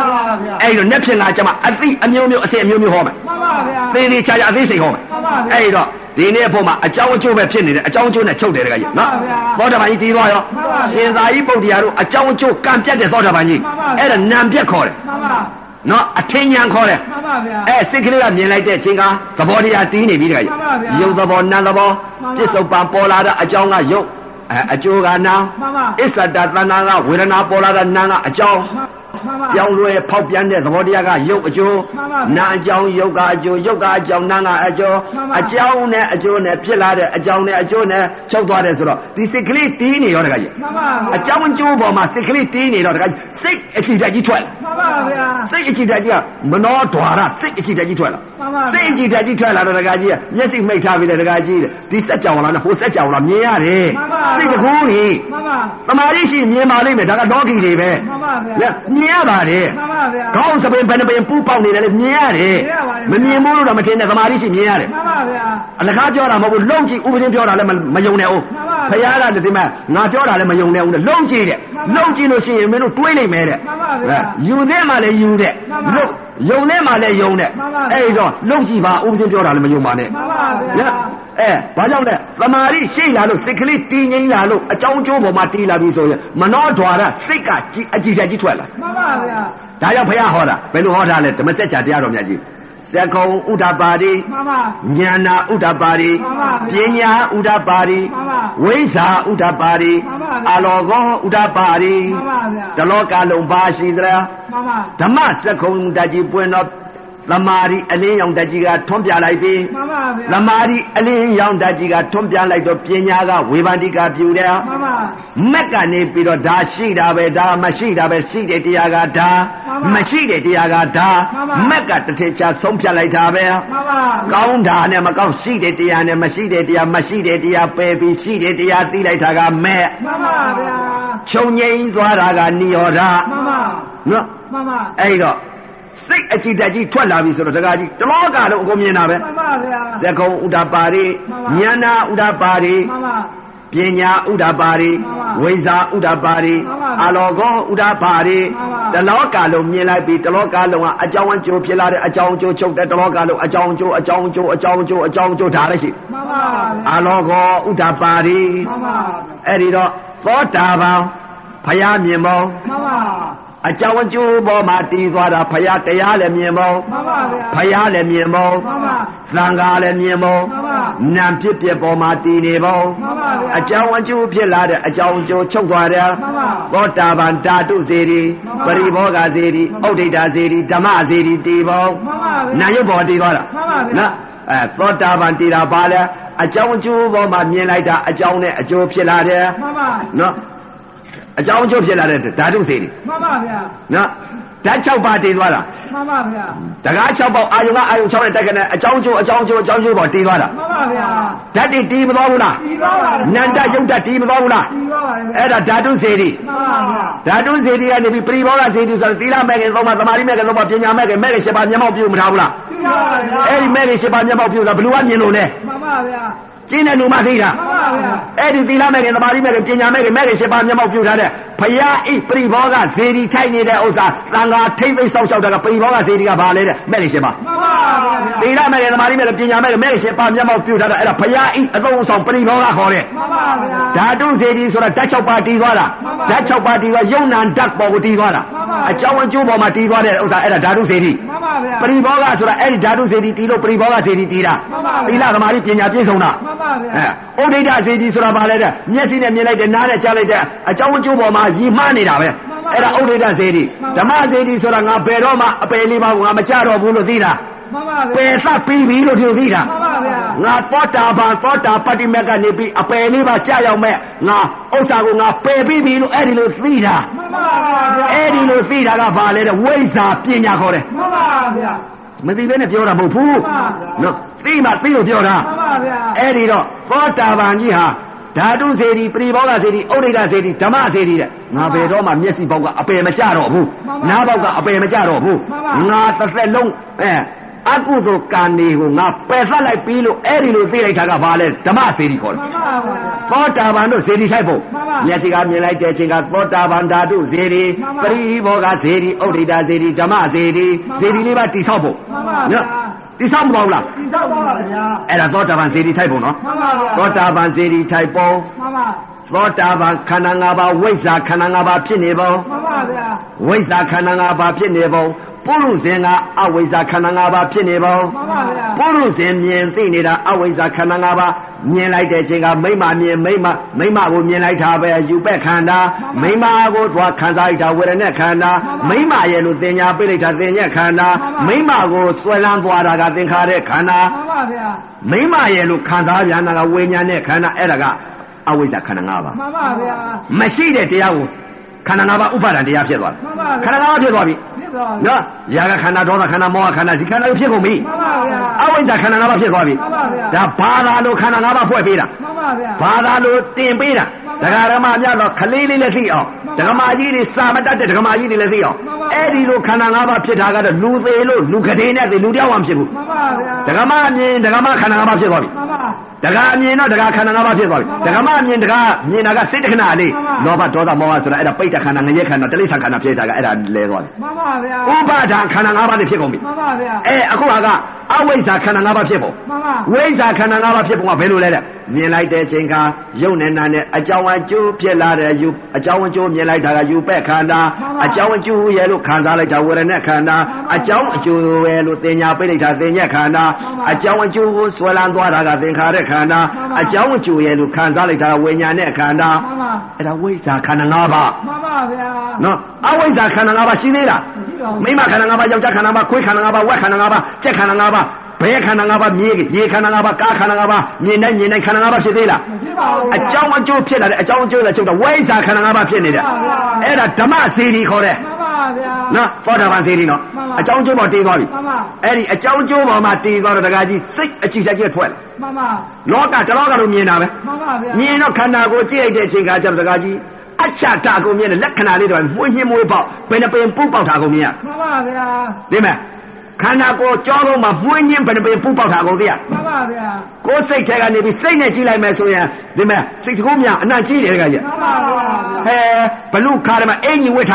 [SPEAKER 3] ဗျာ
[SPEAKER 1] အဲ့ဒီတော့နှစ်ဖြစ်လာကြမှာအသိအမျိုးမျိုးအစစ်အမျိုးမျိုးဟောမယ်
[SPEAKER 3] မှန်ပါဗျာ
[SPEAKER 1] သေသေးချာချာအသိစိတ်ဟောမယ်
[SPEAKER 3] မှန်ပါ
[SPEAKER 1] အဲ့
[SPEAKER 3] ဗျာ
[SPEAKER 1] ဒီတော့ဒီနေ့အဖို့မှာအကြောင်းအကျိုးပဲဖြစ်နေတယ်အကြောင်းအကျိုးနဲ့ချုပ်တယ်တကကြီးနော်
[SPEAKER 3] မှ
[SPEAKER 1] သော
[SPEAKER 3] န်ပါဗျာ
[SPEAKER 1] တာပန်ကြီးတည်သွားရော
[SPEAKER 3] မှန်ပါဗျာ
[SPEAKER 1] ရှင်သာရိပုတ္တရာတို့အကြောင်းအကျိုးကံပြတ်တဲ့သောတာပန်ကြီး
[SPEAKER 3] မှန်ပါဗျာ
[SPEAKER 1] အဲ့ဒါနံပြတ်ခေါ်တယ်
[SPEAKER 3] မှန်ပါ
[SPEAKER 1] နော်အထင်ဉာဏ်ခေါ်တယ်
[SPEAKER 3] မှန်ပါဗျာ
[SPEAKER 1] အဲစိတ်ကလေးကမြင်လိုက်တဲ့အချိန်ကသဘောတရားတီးနေပြီတခါကြီး
[SPEAKER 3] မှန်ပါဗျာ
[SPEAKER 1] ရုပ်သဘောနာမ်သဘော
[SPEAKER 3] မှန်ပါ
[SPEAKER 1] ပြစ္ဆုတ်ပံပေါ်လာတာအကြောင်းကရုပ်အဲအကျိုးကနာမ်
[SPEAKER 3] မှန်ပါ
[SPEAKER 1] အစ္ဆတတဏ္ဍာကဝေဒနာပေါ်လာတာနာမ်ကအကြောင်း
[SPEAKER 3] မှန် ပါ
[SPEAKER 1] ပြောင်းလဲဖောက်ပြန်တဲ့သဘောတရားကရုပ်အကျိုး
[SPEAKER 3] မှန်ပါဗျာ
[SPEAKER 1] နာအကြောင်းရုပ်ကအကျိုးရုပ်ကအကြောင်းနာကအကျိုး
[SPEAKER 3] မှန်ပါ
[SPEAKER 1] အကြောင်းနဲ့အကျိုးနဲ့ဖြစ်လာတဲ့အကြောင်းနဲ့အကျိုးနဲ့ချုပ်သွားတယ်ဆိုတော့ဒီစိတ်ကလေးတီးနေရောတခါကြီး
[SPEAKER 3] မှန်ပါဗျာ
[SPEAKER 1] အကြောင်းအကျိုးပေါ်မှာစိတ်ကလေးတီးနေတော့တခါကြီးစိတ်အခြေတက်ကြီးထွက်လာ
[SPEAKER 3] မှန်ပါဗျာ
[SPEAKER 1] စိတ်အခြေတက်ကြီးကမနောဒွါရစိတ်အခြေတက်ကြီးထွက်လာ
[SPEAKER 3] မှန်ပါ
[SPEAKER 1] ။သိ
[SPEAKER 3] ဗျာ
[SPEAKER 1] င်ကြီးတက်ကြီးထွက်လာတော့တကကြီးကမျက်စိမိတ်ထားပြီးတဲ့တကကြီးတဲ့ဒီစက်ကြောင်လာနဲ့ဟိုစက်ကြောင်လာမြင်ရတယ်
[SPEAKER 3] မှန်ပါ
[SPEAKER 1] စိတ်တကူနေ
[SPEAKER 3] မှန်ပါ
[SPEAKER 1] ။တမာရရှိမြင်ပါလိမ့်မယ်ဒါကလောကီတွေပဲ
[SPEAKER 3] မှန်ပါ
[SPEAKER 1] ။လ
[SPEAKER 3] ဗျာ
[SPEAKER 1] က်မြင်ရပါတယ်
[SPEAKER 3] မှန်ပါဗျာ
[SPEAKER 1] ။ကောင်းစပင်ဘယ်နှပင်ပူပေါက်နေတယ်လေမြင်ရတယ်
[SPEAKER 3] မြင်ရပါ
[SPEAKER 1] မမြင်ဘူး
[SPEAKER 3] တယ်
[SPEAKER 1] လို့တော့မထင်နဲ့တမာရရှိမြင်ရတယ်
[SPEAKER 3] မှန်ပါဗျာ
[SPEAKER 1] အလကားပြောတာမဟုတ်ဘူးလုံကြည့်ဥပဒေပြောတာလည်းမမယုံနဲ့ဦး
[SPEAKER 3] မှန်ပါ
[SPEAKER 1] ဖရားကလည်းဒီမှာငါပြောတာလည်းမယုံနဲ့ဦးတဲ့လုံကြည့်တဲ့
[SPEAKER 3] မှန်ပါ
[SPEAKER 1] လုံကြည့်လို့ရှိရင်မင်းတို့တွေးနိုင်မယ်တဲ့
[SPEAKER 3] မှန်ပါဗျာ
[SPEAKER 1] ယူတဲ့မှာလည်းယူတဲ့
[SPEAKER 3] မှန်ပါ
[SPEAKER 1] လုံယုံတဲ့မှာလည်းယုံတဲ့
[SPEAKER 3] မှန်ပါဗျာ
[SPEAKER 1] အဲ့ဒီတော့လုံကြည့်ပါဥပဒေပြောတာလည်းမယုံပါနဲ့
[SPEAKER 3] မှန်ပါ
[SPEAKER 1] ည
[SPEAKER 3] ဗျာ
[SPEAKER 1] အဲဘာကြောင့်လဲသမာဓိရှိလာလို့စိတ်ကလေးတည်ငြိမ်လာလို့အကြောင်းအကျိုးပေါ်မှာတည်လာပြီဆိုရင်မနောဓွာရစိတ်ကကြည်အကြည်ဓာတ်ကြီးထွက်လာ
[SPEAKER 3] မှန်ပါဗျာ
[SPEAKER 1] ဒါကြောင့်ဘုရားဟောတာဘယ်လိုဟောတာလဲဓမ္မစကြာတရားတော်များကြီးသက္ကုံဥဒ္ဓပါတိ
[SPEAKER 3] မှန်ပါ
[SPEAKER 1] ဉာဏဥဒ္ဓပါတိ
[SPEAKER 3] မှန်ပါ
[SPEAKER 1] ပညာဥဒ္ဓပါတိ
[SPEAKER 3] မှန်ပါ
[SPEAKER 1] ဝိဇ္ဇာဥဒ္ဓပါတိ
[SPEAKER 3] မှန်ပါ
[SPEAKER 1] အလောကောဥဒ္ဓပါတိ
[SPEAKER 3] မှန်ပါဗျာ
[SPEAKER 1] တလောကလုံးပါရှိသလား
[SPEAKER 3] မှန်ပါ
[SPEAKER 1] ဓမ္မစက္ကုံဓာတ်ကြီးပွင့်တော့သမာဓိအလင်းရောင်ဓာတ်ကြီးကထွန်းပြလိုက်ပြီ
[SPEAKER 3] မှန်ပါဗျာ
[SPEAKER 1] သမာဓိအလင်းရောင်ဓာတ်ကြီးကထွန်းပြလိုက်တော့ပညာကဝေဘာတိကပြူတယ်
[SPEAKER 3] မှန်ပါ
[SPEAKER 1] မက်ကနေပြီးတော့ဒါရှိတာပဲဒါမရှိတာပဲရှိတဲ့တရားကဒါ
[SPEAKER 3] မှန်ပါ
[SPEAKER 1] မရှိတဲ့တရားကဒါ
[SPEAKER 3] မှ
[SPEAKER 1] မ
[SPEAKER 3] န်ပါ
[SPEAKER 1] က်ကတစ်ထစ်ချဆုံးဖြတ်လိုက်တာပဲ
[SPEAKER 3] မှန်ပါ
[SPEAKER 1] ကောင်းတာနဲ့မကောင်းရှိတဲ့တရားနဲ့မရှိတဲ့တရားမရှိတဲ့တရားပယ်ပြီးရှိတဲ့တရားသိလိုက်တာကမဲ့
[SPEAKER 3] မှန်ပါဗျာ
[SPEAKER 1] ချုပ်ငြိမ်းသွားတာကနိရောဓ
[SPEAKER 3] မှန်ပါ
[SPEAKER 1] နော်
[SPEAKER 3] မှန်ပါ
[SPEAKER 1] အဲ့တော့စိတ်အကြည်တက်ကြီးထွက်လာပြီဆိုတော့တကားကြီးတလောကတော့အကုန်မြင်တာပဲ
[SPEAKER 3] မှန်ပါဗျာ
[SPEAKER 1] ဇကုံဥဒ္ဒပါရိ
[SPEAKER 3] မှန်ပါ
[SPEAKER 1] ဉာဏဥဒ္ဒပါရိ
[SPEAKER 3] မှန်ပါ
[SPEAKER 1] ပညာဥဒ္ဒပါရိ
[SPEAKER 3] မှန်ပါ
[SPEAKER 1] ဝိဇ္ဇာဥဒ္ဒပါရိ
[SPEAKER 3] မှန်ပါ
[SPEAKER 1] အလောကောဥဒ္ဒပါရိ
[SPEAKER 3] မှန်ပါ
[SPEAKER 1] တလောကလုံးမြင်လိုက်ပြီတလောကလုံးကအကြောင်းအကျိုးဖြစ်လာတဲ့အကြောင်းအကျိုးချုပ်တဲ့တလောကလုံးအကြောင်းအကျိုးအကြောင်းအကျိုးအကြောင်းအကျိုးအကြောင်းအကျိုးဒါလည်းရှိ
[SPEAKER 3] မှန်ပါဗျာ
[SPEAKER 1] အလောကောဥဒ္ဒပါရိ
[SPEAKER 3] မှန်ပါ
[SPEAKER 1] အဲ့ဒီတော့သောတာပန်ဖယားမြင်မော
[SPEAKER 3] မှန်ပါ
[SPEAKER 1] အကြောင်းအကျိုးပေါ်မှာတည်သွားတာဖယားတရားလည်းမြင်မော
[SPEAKER 3] မှန်ပါဗျာ
[SPEAKER 1] ဖယားလည်းမြင်မော
[SPEAKER 3] မှန်ပါ
[SPEAKER 1] သံဃာလည်းမြင်မော
[SPEAKER 3] မှန်ပါ
[SPEAKER 1] နာမ်ဖြစ်ဖြစ်ပေါ်မှာတည်နေမော
[SPEAKER 3] မှန်ပါဗျာ
[SPEAKER 1] အကြောင်းအကျိုးဖြစ်လာတဲ့အကြောင်းအကျိုးချုပ်သွားတယ်
[SPEAKER 3] မှန်ပါ
[SPEAKER 1] သောတာပန်ဓာတုစေရီ
[SPEAKER 3] မှ
[SPEAKER 1] ပ
[SPEAKER 3] န်ပါ
[SPEAKER 1] ရိဘောဂစေရီဩ
[SPEAKER 3] မှန်ပါ
[SPEAKER 1] ဒိတာစေရီဓမ္မစေရီတည်မော
[SPEAKER 3] မှန်ပါဗျာ
[SPEAKER 1] နာယုတ်ပေါ်တည်သွားတာ
[SPEAKER 3] မှန်ပါဗျာ
[SPEAKER 1] နော်အဲသောတာပန်တည်တာပါလဲအကြောင်းအကျိုးပေါ်မှာမြင်လိုက်တာအကြောင်းနဲ့အကျိုးဖြစ်လာတယ်
[SPEAKER 3] မှန်ပါ
[SPEAKER 1] နော်အကြောင်းအကျိုးဖြစ်လာတဲ့ဓာတုစေရီ
[SPEAKER 3] မှန်ပါဗျာ
[SPEAKER 1] နော်ဓာတ်၆ပါးတည်သွားတာ
[SPEAKER 3] မှန်ပါဗျာ
[SPEAKER 1] တကား6ပေါက်အာယုံကအာယုံ6နဲ့တက်ကနေအကြောင်းကျိုးအကြောင်းကျိုးအကြောင်းကျိုးပေါ်တီးသွားတာ
[SPEAKER 3] မှန်ပါဗျာ
[SPEAKER 1] ဓာတ်တွေတီးမသွားဘူးလား
[SPEAKER 3] ဒီပါပါ
[SPEAKER 1] နန္ဒယုတ်ဓာတ်တီးမသွားဘူးလား
[SPEAKER 3] ဒီပါပါ
[SPEAKER 1] အဲ့ဒါဓာတုစေတီ
[SPEAKER 3] မှန်ပါဗျာ
[SPEAKER 1] ဓာတုစေတီကနေပြီးပရိဘောဂစေတီဆိုတော့သီလမဲ့ခင်သုံးပါသမာဓိမဲ့ခင်သုံးပါပညာမဲ့ခင်မဲ့ခင်7ပါးမျက်မှောက်ပြုမထားဘူးလား
[SPEAKER 3] ဒီပါပါဗျာ
[SPEAKER 1] အဲ့ဒီမဲ့ခင်7ပါးမျက်မှောက်ပြုဆိုတာဘယ်လိုကမြင်လို့လဲ
[SPEAKER 3] မှန်ပါဗျာ
[SPEAKER 1] ကျင်းတဲ့လူမသိတာ
[SPEAKER 3] မှန်ပါဗျာ
[SPEAKER 1] အဲ့ဒီသီလမဲ့ခင်သမာဓိမဲ့ခင်ပညာမဲ့ခင်မဲ့ခင်7ပါးမျက်မှောက်ပြုထားတဲ့ဘုရားဣပရိဘောဂစေတီထိုက်နေတဲ့ဥစ္စာသံဃာထိမ့်သိမ့်ဆောက်ရှောက်တာကပရိဘောဂစေတီကဘာလဲတဲ့မဲ့ခင်7ပါး
[SPEAKER 3] မှန်ပါဗျာ
[SPEAKER 1] သီလမဲ့ရသမာဓိမဲ့ရပညာမဲ့ရမဲ့ရရှင်ပါမျက်မှောက်ပြုထားတာအဲ့ဒါဘုရားဤအသုံးအဆောင်ပရိဘောဂခေါ်တဲ့
[SPEAKER 3] မှန်ပါဗျာ
[SPEAKER 1] ဓာတုစေတီဆိုတာဓာတ်၆ပါးတီးသွားတာ
[SPEAKER 3] မှ
[SPEAKER 1] ဓာ
[SPEAKER 3] န်
[SPEAKER 1] တ်၆
[SPEAKER 3] ပါ
[SPEAKER 1] ပါးတီးသွားယုံနာဓာတ်ပေါ်ကိုတီးသွားတာ
[SPEAKER 3] မှန်ပါ
[SPEAKER 1] အကြောင်းအကျိုးပေါ်မှာတီးသွားတဲ့ဥစ္စာအဲ့ဒါဓာတုစေတီ
[SPEAKER 3] မှန်ပါဗျာ
[SPEAKER 1] ပရိဘောဂဆိုတာအဲ့ဒီဓာတုစေတီတီးလို့ပရိဘောဂစေတီတီးတာ
[SPEAKER 3] မှန်ပါ
[SPEAKER 1] သီလသမာဓိပညာပြည့်စုံတာ
[SPEAKER 3] မှန်ပါဗျာ
[SPEAKER 1] အဲဩဒိဋ္ဌစေတီဆိုတာဘာလဲတဲ့မျက်စိနဲ့မြင်လိုက်တဲ့နားနဲ့ကြားလိုက်တဲ့အကြောင်းအကျိုးပေါ်မှာရီမှားနေတာပဲအဲ့ဒါဩဒိဋ္ဌစေတီဓမ္မစေတီဆိုတာငါဘယ်တော့မှအပယ်လေးပါးကိုငါမကြတော့ဘူးလို့သိတာ
[SPEAKER 3] မှန်ပါ
[SPEAKER 1] ပ
[SPEAKER 3] ဗျာ
[SPEAKER 1] ယ်သပြီးပြီလို့သူသိတာ
[SPEAKER 3] မှန်ပါဗျာ
[SPEAKER 1] ငါသောတာပန်သောတာပတ္တိမက်ကနေပြီးအပယ်လေးပါကြာရောက်မဲ့ငါဥစ္စာကိုငါပယ်ပြီးပြီလို့အဲ့ဒီလိုသိတာ
[SPEAKER 3] မှန်ပါဗျာ
[SPEAKER 1] အဲ့ဒီလိုသိတာကဘာလဲတဲ့ဝိဇ္ဇာပညာခေါ်တယ်
[SPEAKER 3] မှန်ပါဗျာ
[SPEAKER 1] မသိဘဲနဲ့ပြောတာမဟုတ်ဘူး
[SPEAKER 3] မှန်ပါဗျာ
[SPEAKER 1] နော်သိမှသိလို့ပြောတာ
[SPEAKER 3] မှန်ပါဗျာ
[SPEAKER 1] အဲ့ဒီတော့သောတာပန်ကြီးဟာဓာတုစေတီပရိဘောဂစေတီဥဒိဋ္ဌစေတီဓမ္မစေတီတဲ့ငါဘယ်တော့မှမျက်စိပေါက်ကအပယ်မကြတော့ဘူးနားပေါက်ကအပယ်မကြတော့ဘူးငါတစ်သက်လုံးအဲအကုသိုလ်ကံတွေကိုငါပယ်ဆက်လိုက်ပြီးလို့အဲ့ဒီလိုသိလိုက်တာကဘာလဲဓမ္မစေတီခေါ်တယ်
[SPEAKER 3] မှန်ပါဗျာ
[SPEAKER 1] သောတာပန်တို့ဇေဒီဆိုင်ဖို့
[SPEAKER 3] မှန်ပါ
[SPEAKER 1] မျက်စိကမြင်လိုက်တဲ့အချိန်ကသောတာပန်ဓာတုဇေဒီ
[SPEAKER 3] မှန်ပါ
[SPEAKER 1] ပရိဘောဂဇေဒီဥဒိတာဇေဒီဓမ္မဇေဒီ
[SPEAKER 3] မှန်ပါ
[SPEAKER 1] ဇေဒီလေးပါတိဆောက်ဖို့
[SPEAKER 3] မှန်ပါဗျာ
[SPEAKER 1] တိဆောက်မပေါ့ဘူးလား
[SPEAKER 3] ဒီတော့ပါဗျာ
[SPEAKER 1] အဲ့ဒါသောတာပန်ဇေဒီထိုက်ဖို့နော်
[SPEAKER 3] မှန်ပါဗျာ
[SPEAKER 1] သောတာပန်ဇေဒီထိုက်ပုံ
[SPEAKER 3] မှန်ပါ
[SPEAKER 1] သောတာပန်ခန္ဓာ၅ပါးဝိဇ္ဇာခန္ဓာ၅ပါးဖြစ်နေပုံ
[SPEAKER 3] မှန်ပါဗျာ
[SPEAKER 1] ဝိဇ္ဇာခန္ဓာ၅ပါးဖြစ်နေပုံ ပုရုဇဉ်ကအဝိဇ္ဇာခန္ဓာ၅ပါးဖြစ်နေပါဦး
[SPEAKER 3] မှန်ပါဗျာ
[SPEAKER 1] ပုရုဇဉ်မြင်သိနေတာအဝိဇ္ဇာခန္ဓာ၅ပါးမြင်လိုက်တဲ့အချိန်ကမိမ္မာမြင်မိမ္မာမိမ္မာကိုမြင်လိုက်တာပဲယူပက်ခန္ဓာ
[SPEAKER 3] မှ
[SPEAKER 1] မိ
[SPEAKER 3] န်ပါ
[SPEAKER 1] မ္မာကိုသွားခံစားလိုက်တာဝေဒနာခန္ဓာ
[SPEAKER 3] မှ
[SPEAKER 1] မိ
[SPEAKER 3] န်ပါ
[SPEAKER 1] မ္မာရဲ့လို့တင်ညာပြလိုက်တာတင်ညက်ခန္ဓာ
[SPEAKER 3] မှ
[SPEAKER 1] မိ
[SPEAKER 3] န်
[SPEAKER 1] မ္
[SPEAKER 3] ပါ
[SPEAKER 1] မာကိုဆွဲလန်းသွားတာကသင်္ခါရခန္ဓာ
[SPEAKER 3] မှန်ပါဗျာ
[SPEAKER 1] မိမရဲ့လို့ခံစားပြန်တာကဝိညာဉ်နဲ့ခန္ဓာအဲ့ဒါကအဝိဇ္ဇာခန္ဓာ၅ပါး
[SPEAKER 3] မှန်ပါဗျာ
[SPEAKER 1] မရှိတဲ့တရားကိုခန္ဓာ၅ပါးဥပါဒံတရားဖြစ်သွား
[SPEAKER 3] မှန်
[SPEAKER 1] တ
[SPEAKER 3] ပါ
[SPEAKER 1] ယ်
[SPEAKER 3] ဗျာ
[SPEAKER 1] ခန္ဓာ၅ပါးဖြစ်သွားပြီ
[SPEAKER 3] မြစ်တော်
[SPEAKER 1] နော်ယာကခန္ဓာဒေါသခန္ဓာမောဟခန္ဓာဒီခန္ဓာတွေဖြစ်ကုန်ပြီ
[SPEAKER 3] မှန်ပါဗျာ
[SPEAKER 1] အဝိဇ္ဇာခန္ဓာ၅ပါးဖြစ်သွားပြီ
[SPEAKER 3] မှန်ပါဗျာ
[SPEAKER 1] ဒါဘာသာလို့ခန္ဓာ၅ပါးဖွဲ့ပေးတာ
[SPEAKER 3] မှန်ပါဗျာ
[SPEAKER 1] ဘာသာလို့တင်ပေးတာ
[SPEAKER 3] မှ
[SPEAKER 1] ဒ
[SPEAKER 3] န်ပါ
[SPEAKER 1] ကာရမများတော့ခလေးလေးလည်းသိအောင်
[SPEAKER 3] မှ
[SPEAKER 1] ဒ
[SPEAKER 3] န်
[SPEAKER 1] ကာမ
[SPEAKER 3] ပါ
[SPEAKER 1] ကြီးတွေစာမတတ်တဲ့ဒကာမကြီးတွေလည်းသိအောင်
[SPEAKER 3] မှန်ပါ
[SPEAKER 1] အဲ့ဒီလိုခန္ဓာ၅ပါးဖြစ်တာကတော့လူသေးလို့လူကလေးနဲ့သေလူတယောက်မှမဖြစ်ဘူး
[SPEAKER 3] မှန်ပါဗျာ
[SPEAKER 1] ဒကာမအမြင်ဒကာမခန္ဓာ၅ပါးဖြစ်သွားပြီ
[SPEAKER 3] မှန်ပါ
[SPEAKER 1] ဒကာအမြင်တော့ဒကာခန္ဓာ၅ပါးဖြစ်သွားပြီ
[SPEAKER 3] မှ
[SPEAKER 1] ဒ
[SPEAKER 3] န်
[SPEAKER 1] ကာမ
[SPEAKER 3] ပါ
[SPEAKER 1] အမြင်ဒကာမြင်တာကစိတ်တခဏလေး
[SPEAKER 3] မှန်ပါ
[SPEAKER 1] လောဘဒေါသမောဟဆိုတာအဲ့ဒါပိဋကခန္ဓာငရဲခန္ဓာတိရစ္ဆာန်ခန္ဓာဖြစ်တာကအဲ့ဒါလဲသွားတယ်
[SPEAKER 3] မှန်ပါ
[SPEAKER 1] ဥပါ
[SPEAKER 3] ဗျာ
[SPEAKER 1] ဒံခန္ဓာ၅ပါးနဲ့ဖြစ်ကုန်ပြီ
[SPEAKER 3] မှန်ပါဗျာ
[SPEAKER 1] အဲအခုဟာကအဝိဇ္ဇာခန္ဓာ၅ပါးဖြစ်ပုံ
[SPEAKER 3] မှန်ပါ
[SPEAKER 1] ဝိဇ္ဇာခန္ဓာ၅ပါးဖြစ်ပုံကဘယ်လိုလဲတဲ့မြင်လိုက်တဲ့အချိန်ကယုတ်နဲ့နာနဲ့အကြောင်းအကျိုးဖြစ်လာတဲ့ယူအကြောင်းအကျိုးမြင်လိုက်တာကယူပဲ့ခန္ဓာအကြောင်းအကျိုးရဲ့လို့ခံစားလိုက်တာဝေဒနာခန္ဓာအကြောင်းအကျိုးရဲ့လို့သင်ညာပိဋိဋ္ဌာသင်ညက်ခန္ဓာအကြောင်းအကျိုးကိုဆွဲလန်းသွားတာကသင်္ခါရခန္ဓာအကြောင်းအကျိုးရဲ့လို့ခံစားလိုက်တာကဝိညာဉ်နဲ့ခန္ဓာ
[SPEAKER 3] မှန်ပါ
[SPEAKER 1] အဲ့ဒါဝိဇ္ဇာခန္ဓာ၅ပါး
[SPEAKER 3] မှန်ပါဗျာ
[SPEAKER 1] နော်အဝိဇ္ဇာခန္ဓာ၅ပါးရှိသေးလား
[SPEAKER 3] မြစ်တော်
[SPEAKER 1] မိမခန္ဓာ၅ပါးယောက်ျားခန္ဓာ၅ပါးခွေးခန္ဓာ၅ပါးဝက်ခန္ဓာ၅ပါးကြက်ခန္ဓာ၅ပါးဘဲခန္ဓာ၅ပါးမြေရေခန္ဓာ၅ပါးကားခန္ဓာ၅ပါးမြင်တိုင်းမြင်တိုင်းခန္ဓာ၅ပါးဖြစ်သေးလား
[SPEAKER 3] မဖြစ်ပါဘူး
[SPEAKER 1] အကြောင်းအကျိုးဖြစ်လာတဲ့အကြောင်းအကျိုးလည်းချုပ်တာဝိဇ္ဇာခန္ဓာ၅ပါးဖြစ်နေတယ်အဲ့ဒါဓမ္မစီရီခေါ်တယ်
[SPEAKER 3] မှန်ပါဗျာ
[SPEAKER 1] နော်သောတာပန်စီရီနော်
[SPEAKER 3] မှန်ပါ
[SPEAKER 1] အကြောင်းအကျိုးပေါ်တည်သွားပြီ
[SPEAKER 3] မှန်ပါ
[SPEAKER 1] အဲ့ဒီအကြောင်းအကျိုးပေါ်မှာတည်သွားတော့တကကြီးစိတ်အကြည့်တက်ကြည့်ထွက်လာ
[SPEAKER 3] မှန်ပါ
[SPEAKER 1] လောကတလောကလို့မြင်တာပဲ
[SPEAKER 3] မှန်ပါဗျာ
[SPEAKER 1] မြင်တော့ခန္ဓာကိုယ်ကြည့်လိုက်တဲ့အချိန်ကကျတော့တကကြီးအစ္ဆတာကိုမြင်တဲ့လက္ခဏာလေးတော့မှွင့်ညှင်းမွေးပေါက်ဘယ်နှပင်ပုတ်ပေါက်တာကိုမြင်ရ
[SPEAKER 3] မှန်ပါဗျာ
[SPEAKER 1] ဒီမဲ့ခန္ဓာကိုယ်ကြောလုံးမှာမှွင်းညင်းပင်ပင်ပူပေါက်တာကိုသိရ
[SPEAKER 3] မှန်ပါဗျာ
[SPEAKER 1] ကိုယ်စိတ်ထဲကနေပြီးစိတ်နဲ့ကြည့်လိုက်မယ်ဆိုရင်ဒီမဲ့စိတ်တကုံးမြန်အနံ့ကြည့်တယ်ကကြီး
[SPEAKER 3] မှန်ပါဗျာ
[SPEAKER 1] ဟဲဘလူခါရမအင်ကြီးဝိထ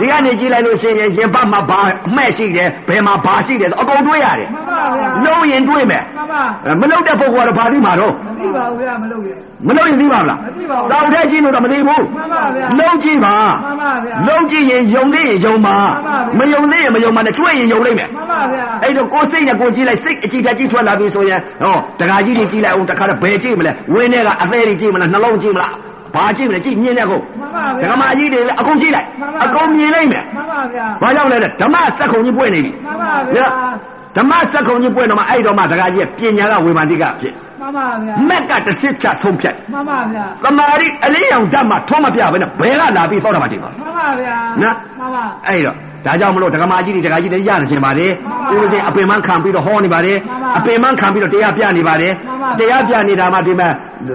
[SPEAKER 1] ဒီကနေကြည့်လိုက်လို့ရှိရင်ရင်ပတ်မှာဘာအမှဲ့ရှိတယ်ဘယ်မှာဘာရှိတယ်ဆိုအကုန်တွေးရတယ်
[SPEAKER 3] မှန်ပါဗျာမှ
[SPEAKER 1] လုံးရင်တွေးမယ်
[SPEAKER 3] န်ပါ
[SPEAKER 1] အဲမလုံးတဲ့ပုဂ္ဂိုလ်ကတော့ဘာသိမှာတော့
[SPEAKER 3] မသိပါဘူးဗျာမလုပ်ရ
[SPEAKER 1] မလုံးရင်သိပါမလား
[SPEAKER 3] မသိပါဘူး
[SPEAKER 1] တောင်ထဲရှိလို့တော့မသိဘူး
[SPEAKER 3] မှန်ပါဗျာ
[SPEAKER 1] လုံးကြည့်ပါ
[SPEAKER 3] မှန်ပါဗျာ
[SPEAKER 1] လုံးကြည့်ရင်ယုံသေးရင်ယုံပါမ
[SPEAKER 3] မှန်ပါဗျာ
[SPEAKER 1] ယုံသေးရင်မယုံပါနဲ့တွေးရင်ယုံလိုက်မယ်
[SPEAKER 3] မှန်ပါဗျာ
[SPEAKER 1] အဲ့တော့ကိုယ်စိတ်နဲ့ကိုယ်ကြည့်လိုက်စိတ်အကြည့်တက်ကြည့်ထွက်လာပြီဆိုရင်ဟောတခါကြီးတွေကြည့်လိုက်အောင်တခါတော့ဘယ်ကြည့်မလဲဝင်းထဲကအသေးတွေကြည့်မလားနှလုံးကြည့်မလားဘာကြည့်မလဲကြည့်မြင်တဲ့ကုန်
[SPEAKER 3] မှန်ပါ
[SPEAKER 1] ဒ
[SPEAKER 3] ဗျာ
[SPEAKER 1] ကမာကြီးတွေလည်းအကုန်ကြည့်လိုက်အကုန်မြင်လိုက်မယ်
[SPEAKER 3] မှန်ပါဗျာ
[SPEAKER 1] ဘာကြောင့်လဲတဲ့ဓမ္မစက်ခုံကြီးပွင့်နေပြီ
[SPEAKER 3] မှန်ပါဗျာ
[SPEAKER 1] ဓမ္မစက်ခုံကြီးပွင့်တော့မှအဲ့တော့မှတခါကြီးကပညာကဝေမာတိကဖြစ်
[SPEAKER 3] မှန်ပါဗျာ
[SPEAKER 1] မက်ကတစ်စစ်ချဆုံးဖြတ်
[SPEAKER 3] မှန်ပါဗျာ
[SPEAKER 1] သမာဓိအလေးရောင်ဓမ္မထုံးမပြဘဲနဲ့ဘယ်ကလာပြီးသောတာပန်တည်ပါလဲ
[SPEAKER 3] မှန်ပါဗျာမှန်ပါ
[SPEAKER 1] အဲ့တော့ဒါကြောင့်မလို့ဒကမာကြီးတွေဒကာကြီးတွေရနေခြင်းပါတယ်
[SPEAKER 3] မှ
[SPEAKER 1] ဥ
[SPEAKER 3] န်
[SPEAKER 1] ပ
[SPEAKER 3] ပါ
[SPEAKER 1] ဒေအပင်မခံပြီးတော့ဟောနေပါတယ်
[SPEAKER 3] မှန်ပါ
[SPEAKER 1] အပင်မခံပြီးတော့တရားပြနေပါတယ်
[SPEAKER 3] မှန်ပါ
[SPEAKER 1] တရားပြနေတာမှဒီမှာ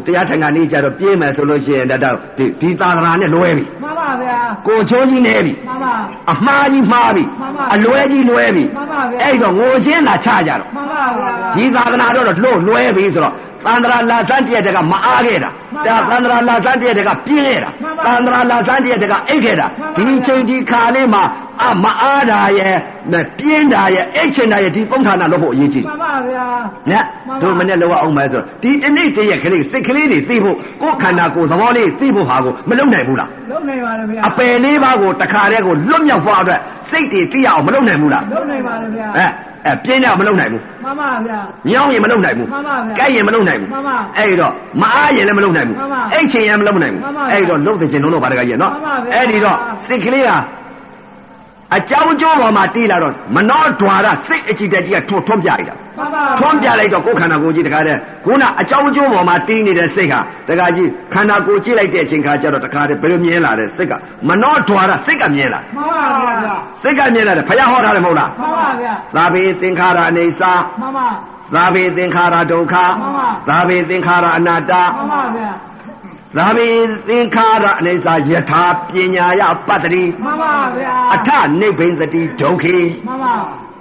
[SPEAKER 1] တရားထိုင်ကနေကြတော့ပြင်းမယ်ဆိုလို့ရှိရင်ဒါတော့ဒီဒီသာသနာနဲ့လွဲပြီ
[SPEAKER 3] မှန်ပါဗျာ
[SPEAKER 1] ကိုချိုးကြီးနေပြီ
[SPEAKER 3] မှန်ပါ
[SPEAKER 1] အမှားကြီးမှားပြီ
[SPEAKER 3] မှန်ပါ
[SPEAKER 1] အလွဲကြီးလွဲပြီ
[SPEAKER 3] မှန်ပါဗျာ
[SPEAKER 1] အဲ့တော့ငိုချင်းသာချကြတော့
[SPEAKER 3] မှန်ပါဗျာ
[SPEAKER 1] ဒီသာသနာတော့တော့လွတ်လွဲပြီဆိုတော့သန္တရာလာသန့်တရက်တကမအားခဲ့တာ
[SPEAKER 3] မှန်ပါ
[SPEAKER 1] သန္တရာလာသန့်တရက်တကပြင်းခဲ့တာ
[SPEAKER 3] မှန်ပါ
[SPEAKER 1] သန္တရာလာသန့်တရက်တကအိတ်ခဲ့တာ
[SPEAKER 3] မှ
[SPEAKER 1] ဒီ
[SPEAKER 3] န်ပါ
[SPEAKER 1] ချိန်ဒီခါလေးမှာအမအားတာရဲ့နဲ့ပြင်းတာရဲ့အိတ်ချင်တာရဲ့ဒီပုံဌာနလုပ်ဖို့အရေးကြီး
[SPEAKER 3] မှန်ပါဗျာ
[SPEAKER 1] ည
[SPEAKER 3] မှန်ပါ
[SPEAKER 1] တို့မနဲ့လောက်အောင်မယ်ဆိုတော့ဒီအနိစ္စရဲ့ကလေးစိတ်ကလေးတွေသိဖို့ကိုယ်ခန္ဓာကိုယ်သဘောလေးသိဖို့ဟာကိုမလုံနိုင်ဘူးလား
[SPEAKER 3] လုံနေပါလေဗျာ
[SPEAKER 1] အပယ်လေးပါးကိုတခါတည်းကိုလွတ်မြောက်သွားအတွက်စိတ်တွေသိရအောင်မလုံနိုင်ဘူးလား
[SPEAKER 3] လုံနေပါလေဗျာ
[SPEAKER 1] အဲအဲပြင်းတာမလုံနိုင်ဘူး
[SPEAKER 3] မှန်ပါဗျာ
[SPEAKER 1] ညောင်းရင်မလုံနိုင်ဘူး
[SPEAKER 3] မှန်ပါဗျာ
[SPEAKER 1] ကြိုက်ရင်မလုံနိုင်ဘူး
[SPEAKER 3] မှန်ပါ
[SPEAKER 1] အဲ့တော့မအားရင်လည်းမလုံနိုင်ဘူး
[SPEAKER 3] မှန်ပါ
[SPEAKER 1] အိတ်ချင်ရင်မလုံနိုင်ဘူး
[SPEAKER 3] မှန်ပါ
[SPEAKER 1] အဲ့တော့လုံတဲ့ချင်လုံးတော့ဗာတကကြီးနော်
[SPEAKER 3] မှန်ပါဗျာ
[SPEAKER 1] အဲ့ဒီတော့စိတ်ကလေးကအကြောင်းကျိုးပေါ်မှာတီးလာတော့မနှောဒွာရစိတ်အကြည့်တက်ကြီးကထွန်းထွန်းပြလိုက်တာ
[SPEAKER 3] မှန်ပါ
[SPEAKER 1] ထွန်းပြလိုက်တော့ကိုယ်ခန္ဓာကိုယ်ကြီးတခါတည်းခုနအကြောင်းကျိုးပေါ်မှာတီးနေတဲ့စိတ်ဟာတခါကြီးခန္ဓာကိုယ်ကြည့်လိုက်တဲ့အချိန်ခါကျတော့တခါတည်းဘယ်လိုမြင်လာတဲ့စိတ်ကမနှောဒွာရစိတ်ကမြင်လာတယ်
[SPEAKER 3] မှန်ပါဗျာ
[SPEAKER 1] စိတ်ကမြင်လာတယ်ဖယားဟောထားတယ်မဟုတ်လား
[SPEAKER 3] မှန်ပါဗျာ
[SPEAKER 1] သာဘေသင်္ခါရအနေစာ
[SPEAKER 3] မှန်ပါ
[SPEAKER 1] သာဝေသင်္ခါရဒုက္ခ
[SPEAKER 3] မှန်ပါ
[SPEAKER 1] သာဝေသင်္ခါရအနတ္တ
[SPEAKER 3] မှန်ပါဗျာ
[SPEAKER 1] သာဝေသင်္ခါရအနိစ္စယထာပညာယပတ္တိ
[SPEAKER 3] မှန်ပါဗျာ
[SPEAKER 1] အထနိဗ္ဗိန္တိဒုက္ခိ
[SPEAKER 3] မှန်ပါ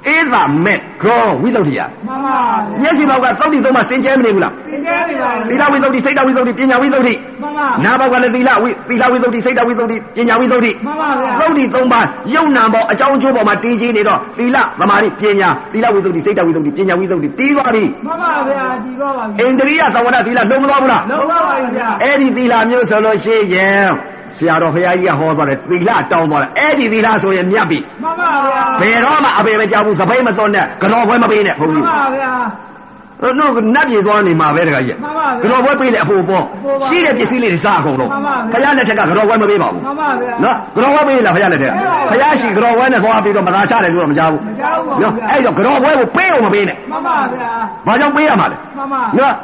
[SPEAKER 1] ဧသမေကောဝိသုဒ္ဓိယ
[SPEAKER 3] မှန်ပါ
[SPEAKER 1] မျက်စိပေါက်ကသုတ်တိသုံးပါစင်ကြဲမနေဘူးလား
[SPEAKER 3] သင်ကြားနေပါလေ
[SPEAKER 1] သီလဝိသုဒ္ဓိစိတ်တဝိသုဒ္ဓိပညာဝိသုဒ္ဓိ
[SPEAKER 3] မှန်ပါ
[SPEAKER 1] နာဘောက်ကလည်းသီလဝိသီလဝိသုဒ္ဓိစိတ်တဝိသုဒ္ဓိပညာဝိသုဒ္ဓိ
[SPEAKER 3] မှန်ပါဗျာ
[SPEAKER 1] သုဒ္ဓိသုံးပါယုံနာပေါ်အကြောင်းအကျိုးပေါ်မှာတည်ကြည်နေတော့သီလသမာဓိပညာသီလဝိသုဒ္ဓိစိတ်တဝိသုဒ္ဓိပညာဝိသုဒ္ဓိတည်သွားပြီ
[SPEAKER 3] မှန်ပါဗျာဒီတော့ပါ
[SPEAKER 1] အိန္ဒြိယသဝရသီလလုံးမသွားဘူးလား
[SPEAKER 3] လုံပါပါဗျာ
[SPEAKER 1] အဲ့ဒီသီလာမျိုးဆိုလို့ရှိရင် ဆရာတော်ဘုရားကြီးကဟောသွားတယ်သီလတောင်းသွားတယ်အဲ့ဒီသီလဆိုရင်မြတ်ပြီ
[SPEAKER 3] မှန်ပါဗျာ
[SPEAKER 1] ဘယ်တော့မှအပေမကြောက်ဘူးစပိတ်မစွန်နဲ့ကတော့ခွဲမပေးနဲ့ဘုန်း
[SPEAKER 3] မှန်
[SPEAKER 1] ကြီး
[SPEAKER 3] ပါဗျာ
[SPEAKER 1] တို့တို့နတ်ပြည်သွားနေမှာပဲတခါကြီး
[SPEAKER 3] မှန်ပါဗျာ
[SPEAKER 1] ကတော့ခွဲပေးလေအဖို့ပေါ့
[SPEAKER 3] အဖို့ပေါ့
[SPEAKER 1] ရှိတဲ့ပစ္စည်းလေးတွေစားအကုန်လုံး
[SPEAKER 3] မှန်ပါဗျာ
[SPEAKER 1] ဘုရားလက်ထက်ကကတော့ခွဲမပေးပါဘူး
[SPEAKER 3] မှန်ပါဗျာ
[SPEAKER 1] နော်ကတော့ခွဲပေးလားဘုရားလက်ထက်
[SPEAKER 3] ပေးပါဘူး
[SPEAKER 1] ဘုရားရှိကတော့ခွဲနဲ့သွားပြီးတော့မသာချတယ်လို့တော့မကြားဘူး
[SPEAKER 3] မကြားဘူးပါဗျာ
[SPEAKER 1] အဲ့တော့ကတော့ခွဲကိုပေးအောင်မပေးနဲ့
[SPEAKER 3] မှန်ပါဗျာ
[SPEAKER 1] ဘာကြောင့်ပေးရမှာလဲ
[SPEAKER 3] မှန်ပါမှ
[SPEAKER 1] နော်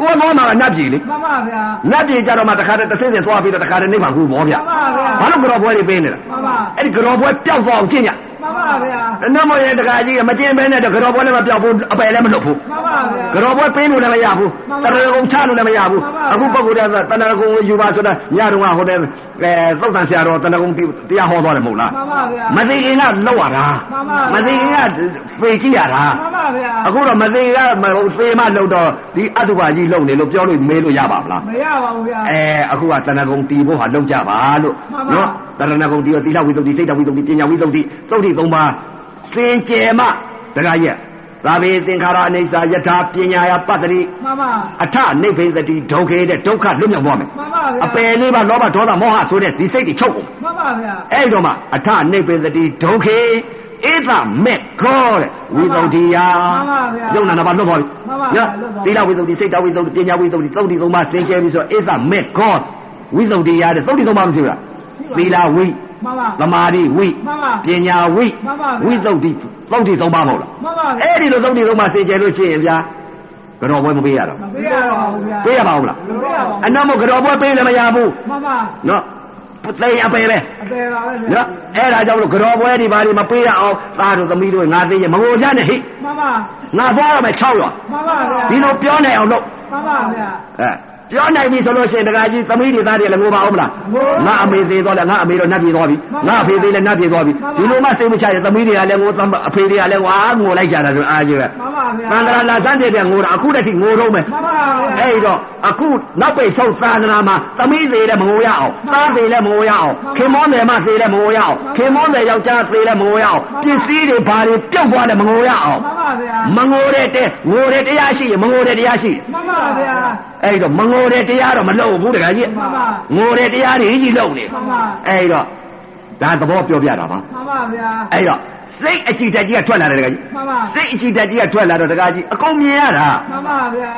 [SPEAKER 1] ကိုယ်သွားမှာကနတ်ပြည်လေ
[SPEAKER 3] န်ပါဗျာ
[SPEAKER 1] နတ်ပြည်ကြတော့မှတခါတည်းတစ်ဆင်းဆင်းသွားပြီးတော့တခါတည်းနေမှာဘူးဗောဗျ
[SPEAKER 3] မှန်ပါဗျာ
[SPEAKER 1] ဘာလို့ကြော်ပွဲတွေပေးနေတာ
[SPEAKER 3] မှန်ပါ
[SPEAKER 1] အဲ့ဒီကြော်ပွဲပျောက်သွားအောင်ကျင့်ကြ
[SPEAKER 3] မှန်ပါဗျာ
[SPEAKER 1] အနတ်မရဲ့တခါကြီးကမကျင့်ပဲနဲ့တော့ကြော်ပွဲလည်းမပျောက်ဘူးအပယ်လည်းမလွတ်ဘူး
[SPEAKER 3] မှန်ပါဗျာ
[SPEAKER 1] ကြော်ပွဲပေးလို့လည်းမရဘူး
[SPEAKER 3] မှန်
[SPEAKER 1] တ
[SPEAKER 3] ပါ
[SPEAKER 1] ရကုံချလို့လည်းမရဘူး
[SPEAKER 3] မှန်ပါ
[SPEAKER 1] အခုပုဂ္ဂိုလ်တွေကတဏှာကုံယူပါဆိုတာညတုန်းကဟိုတဲ့အဲသုတ်တန်ဆရာတော်တဏှာကုံတရားဟောသွားတယ်မဟုတ်လား
[SPEAKER 3] မှန်ပါဗျာ
[SPEAKER 1] မသိခင်ကလောက်ရတာ
[SPEAKER 3] မှန်ပါ
[SPEAKER 1] မသိခင်ကပေကြည့်ရတာ
[SPEAKER 3] မှန်ပါဗျာ
[SPEAKER 1] အခုတော့မသိခင်ကမဟုတ်သေမလောက်တော့ဒီအတုပါကြီးလုံနေလို့ပြောလို့မေးလို့ရပါမလား
[SPEAKER 3] မရပါဘူးဗျာ
[SPEAKER 1] အဲအခုကတဏ္ဍကုံတီဖို့ဟာလုံးကြပါလို့
[SPEAKER 3] မှန်ပါ
[SPEAKER 1] နော်တဏ္ဍကုံတီရောသီလဝိသုဒ္ဓိစိတ်တဝိသုဒ္ဓိပညာဝိသုဒ္ဓိသုဒ္ဓိသုံးပါးစင်ကြယ်မှတခါရက်သာဝေသင်္ခါရအိဋ္ဌာယထာပညာယပတ္တိ
[SPEAKER 3] မှန်ပါ
[SPEAKER 1] အထနိဗ္ဗိသတိဒုက္ခေတဲ့ဒုက္ခလွတ်မြောက်သွားမယ်
[SPEAKER 3] မှန်ပါဗျာ
[SPEAKER 1] အပယ်လေးပါလောဘဒေါသမောဟဆိုတဲ့ဒီစိတ်တွေချုပ်ကုန်
[SPEAKER 3] မှန်ပါဗျာ
[SPEAKER 1] အဲ့ဒီတော့မှအထနိဗ္ဗိသတိဒုက္ခေဧသမေခောတဲ့ဝိသုဒ္ဓိယယုံနာနာပါလွတ်သွားပြီ
[SPEAKER 3] မှန်ပါဗျာ
[SPEAKER 1] နော်သီလဝိသုဒ္ဓိစိတ်တဝိသုဒ္ဓိပညာဝိသုဒ္ဓိသုဒ္ဓိသုံးပါးသင်ကျဲပြီးဆိုတော့အိသမေခောဝိသုဒ္ဓိရတဲ့သုဒ္ဓိသုံးပါးမရှိဘူးလားသီလဝိ
[SPEAKER 3] မှန်ပါ
[SPEAKER 1] သမာဓိဝိ
[SPEAKER 3] မှန်ပါ
[SPEAKER 1] ပညာဝိဝိသုဒ္ဓိသုဒ္ဓိသုံးပါးမဟုတ်လား
[SPEAKER 3] မှန်ပါဗျာ
[SPEAKER 1] အဲ့ဒီလိုသုဒ္ဓိသုံးပါးသင်ကျဲလို့ရှိရင်ဗျာကတော့ဘွဲမပေးရတော့
[SPEAKER 3] မပေးရပါဘူးဗျာ
[SPEAKER 1] ပေးရပါဦးလား
[SPEAKER 3] မပေးရပါ
[SPEAKER 1] အ
[SPEAKER 3] ဘူး
[SPEAKER 1] နတ်မကတော့ဘွဲပေးလည်းမရဘူး
[SPEAKER 3] မှန်ပါ
[SPEAKER 1] နော်သိရင်အပေပဲ
[SPEAKER 3] အပေပါပဲဗျာ
[SPEAKER 1] နော်အဲ့ဒါကြောင့်မလို့ကတော့ဘွဲဒီပါလေးမပေးရအောင်သားတို့သမီးတို့ငါသိရင်မငိုကြနဲ့ဟိ
[SPEAKER 3] မှန်ပါ
[SPEAKER 1] ငါသွားရမယ်6ရွာ
[SPEAKER 3] မှန်ပါဗျာ
[SPEAKER 1] ဒီလိုပြောနိုင်အောင်လုပ်
[SPEAKER 3] မှန်ပါဗျာ
[SPEAKER 1] အဲပြောနိုင်ပြီဆိုလို့ရှိရင်တကကြီးသမီးတွေသားတွေလည်းငိုပါအောင်မလား
[SPEAKER 3] ငိုပါ
[SPEAKER 1] ငါအမေသေးသွားလဲငါအမေတော့နှက်ပြေသွားပြီ
[SPEAKER 3] မှ
[SPEAKER 1] ငါ
[SPEAKER 3] န်ပါ
[SPEAKER 1] အဖေသေးလဲနှက်ပြေသွားပြီ
[SPEAKER 3] မှ
[SPEAKER 1] ဒီ
[SPEAKER 3] န်ပါ
[SPEAKER 1] လိုမှစိတ်မချရင်သမီးတွေကလည်းငိုသမအဖေတွေကလည်းဝါငိုလိုက်ကြတာဆိုအားကြီးပဲ
[SPEAKER 3] မှန်ပါဗျာ
[SPEAKER 1] သန္တရာလာစမ်းတဲ့တဲ့ငိုတာအခုတည်းကငိုတော့မယ်
[SPEAKER 3] မှန်ပါဗျာ
[SPEAKER 1] အဲ့ဒီတော့အခုနောက်ပိတ်ဆုံးသန္တရာမှာသမီးသေးလည်းမငိုရအောင်
[SPEAKER 3] မှန်
[SPEAKER 1] သား
[SPEAKER 3] ပါ
[SPEAKER 1] သေးလည်းမငိုရအောင်
[SPEAKER 3] မှန်
[SPEAKER 1] ခင်
[SPEAKER 3] ပါ
[SPEAKER 1] မောတယ်မသေးလည်းမငိုရအောင်
[SPEAKER 3] မှ
[SPEAKER 1] ခ
[SPEAKER 3] န်ပါ
[SPEAKER 1] င်မောတယ်ယောက်ျားသေးလည်းမငိုရအောင်
[SPEAKER 3] မှန်
[SPEAKER 1] ပ
[SPEAKER 3] ပါ
[SPEAKER 1] စ္စည်းတွေဘာတွေပြုတ်သွားလည်းမငိုရအောင်
[SPEAKER 3] မှန်
[SPEAKER 1] မ
[SPEAKER 3] ပါဗျာ
[SPEAKER 1] ငိုတဲ့တဲ့ငိုတဲ့တရားရှိရင်မငိုတဲ့တရားရှိရင်
[SPEAKER 3] မှန်ပါဗျာ
[SPEAKER 1] အဲ့တော့မငိုတဲ့တရားတော့မလုပ်ဘူးတခါကြီး
[SPEAKER 3] မှန်ပါ
[SPEAKER 1] ငိုတဲ့တရားတွေကြီးလုပ်နေ
[SPEAKER 3] မှန်ပါ
[SPEAKER 1] အဲ့တော့ဒါသဘောပြောပြတာပါ
[SPEAKER 3] မှန်ပါဗျာ
[SPEAKER 1] အဲ့တော့စိတ်အကြည်တက်ကြီးကထွက်လာတယ်တခါကြီး
[SPEAKER 3] မှန်ပါ
[SPEAKER 1] စိတ်အကြည်တက်ကြီးကထွက်လာတော့တခါကြီးအကုန်မြင်ရတာ
[SPEAKER 3] မှန်ပါဗျာ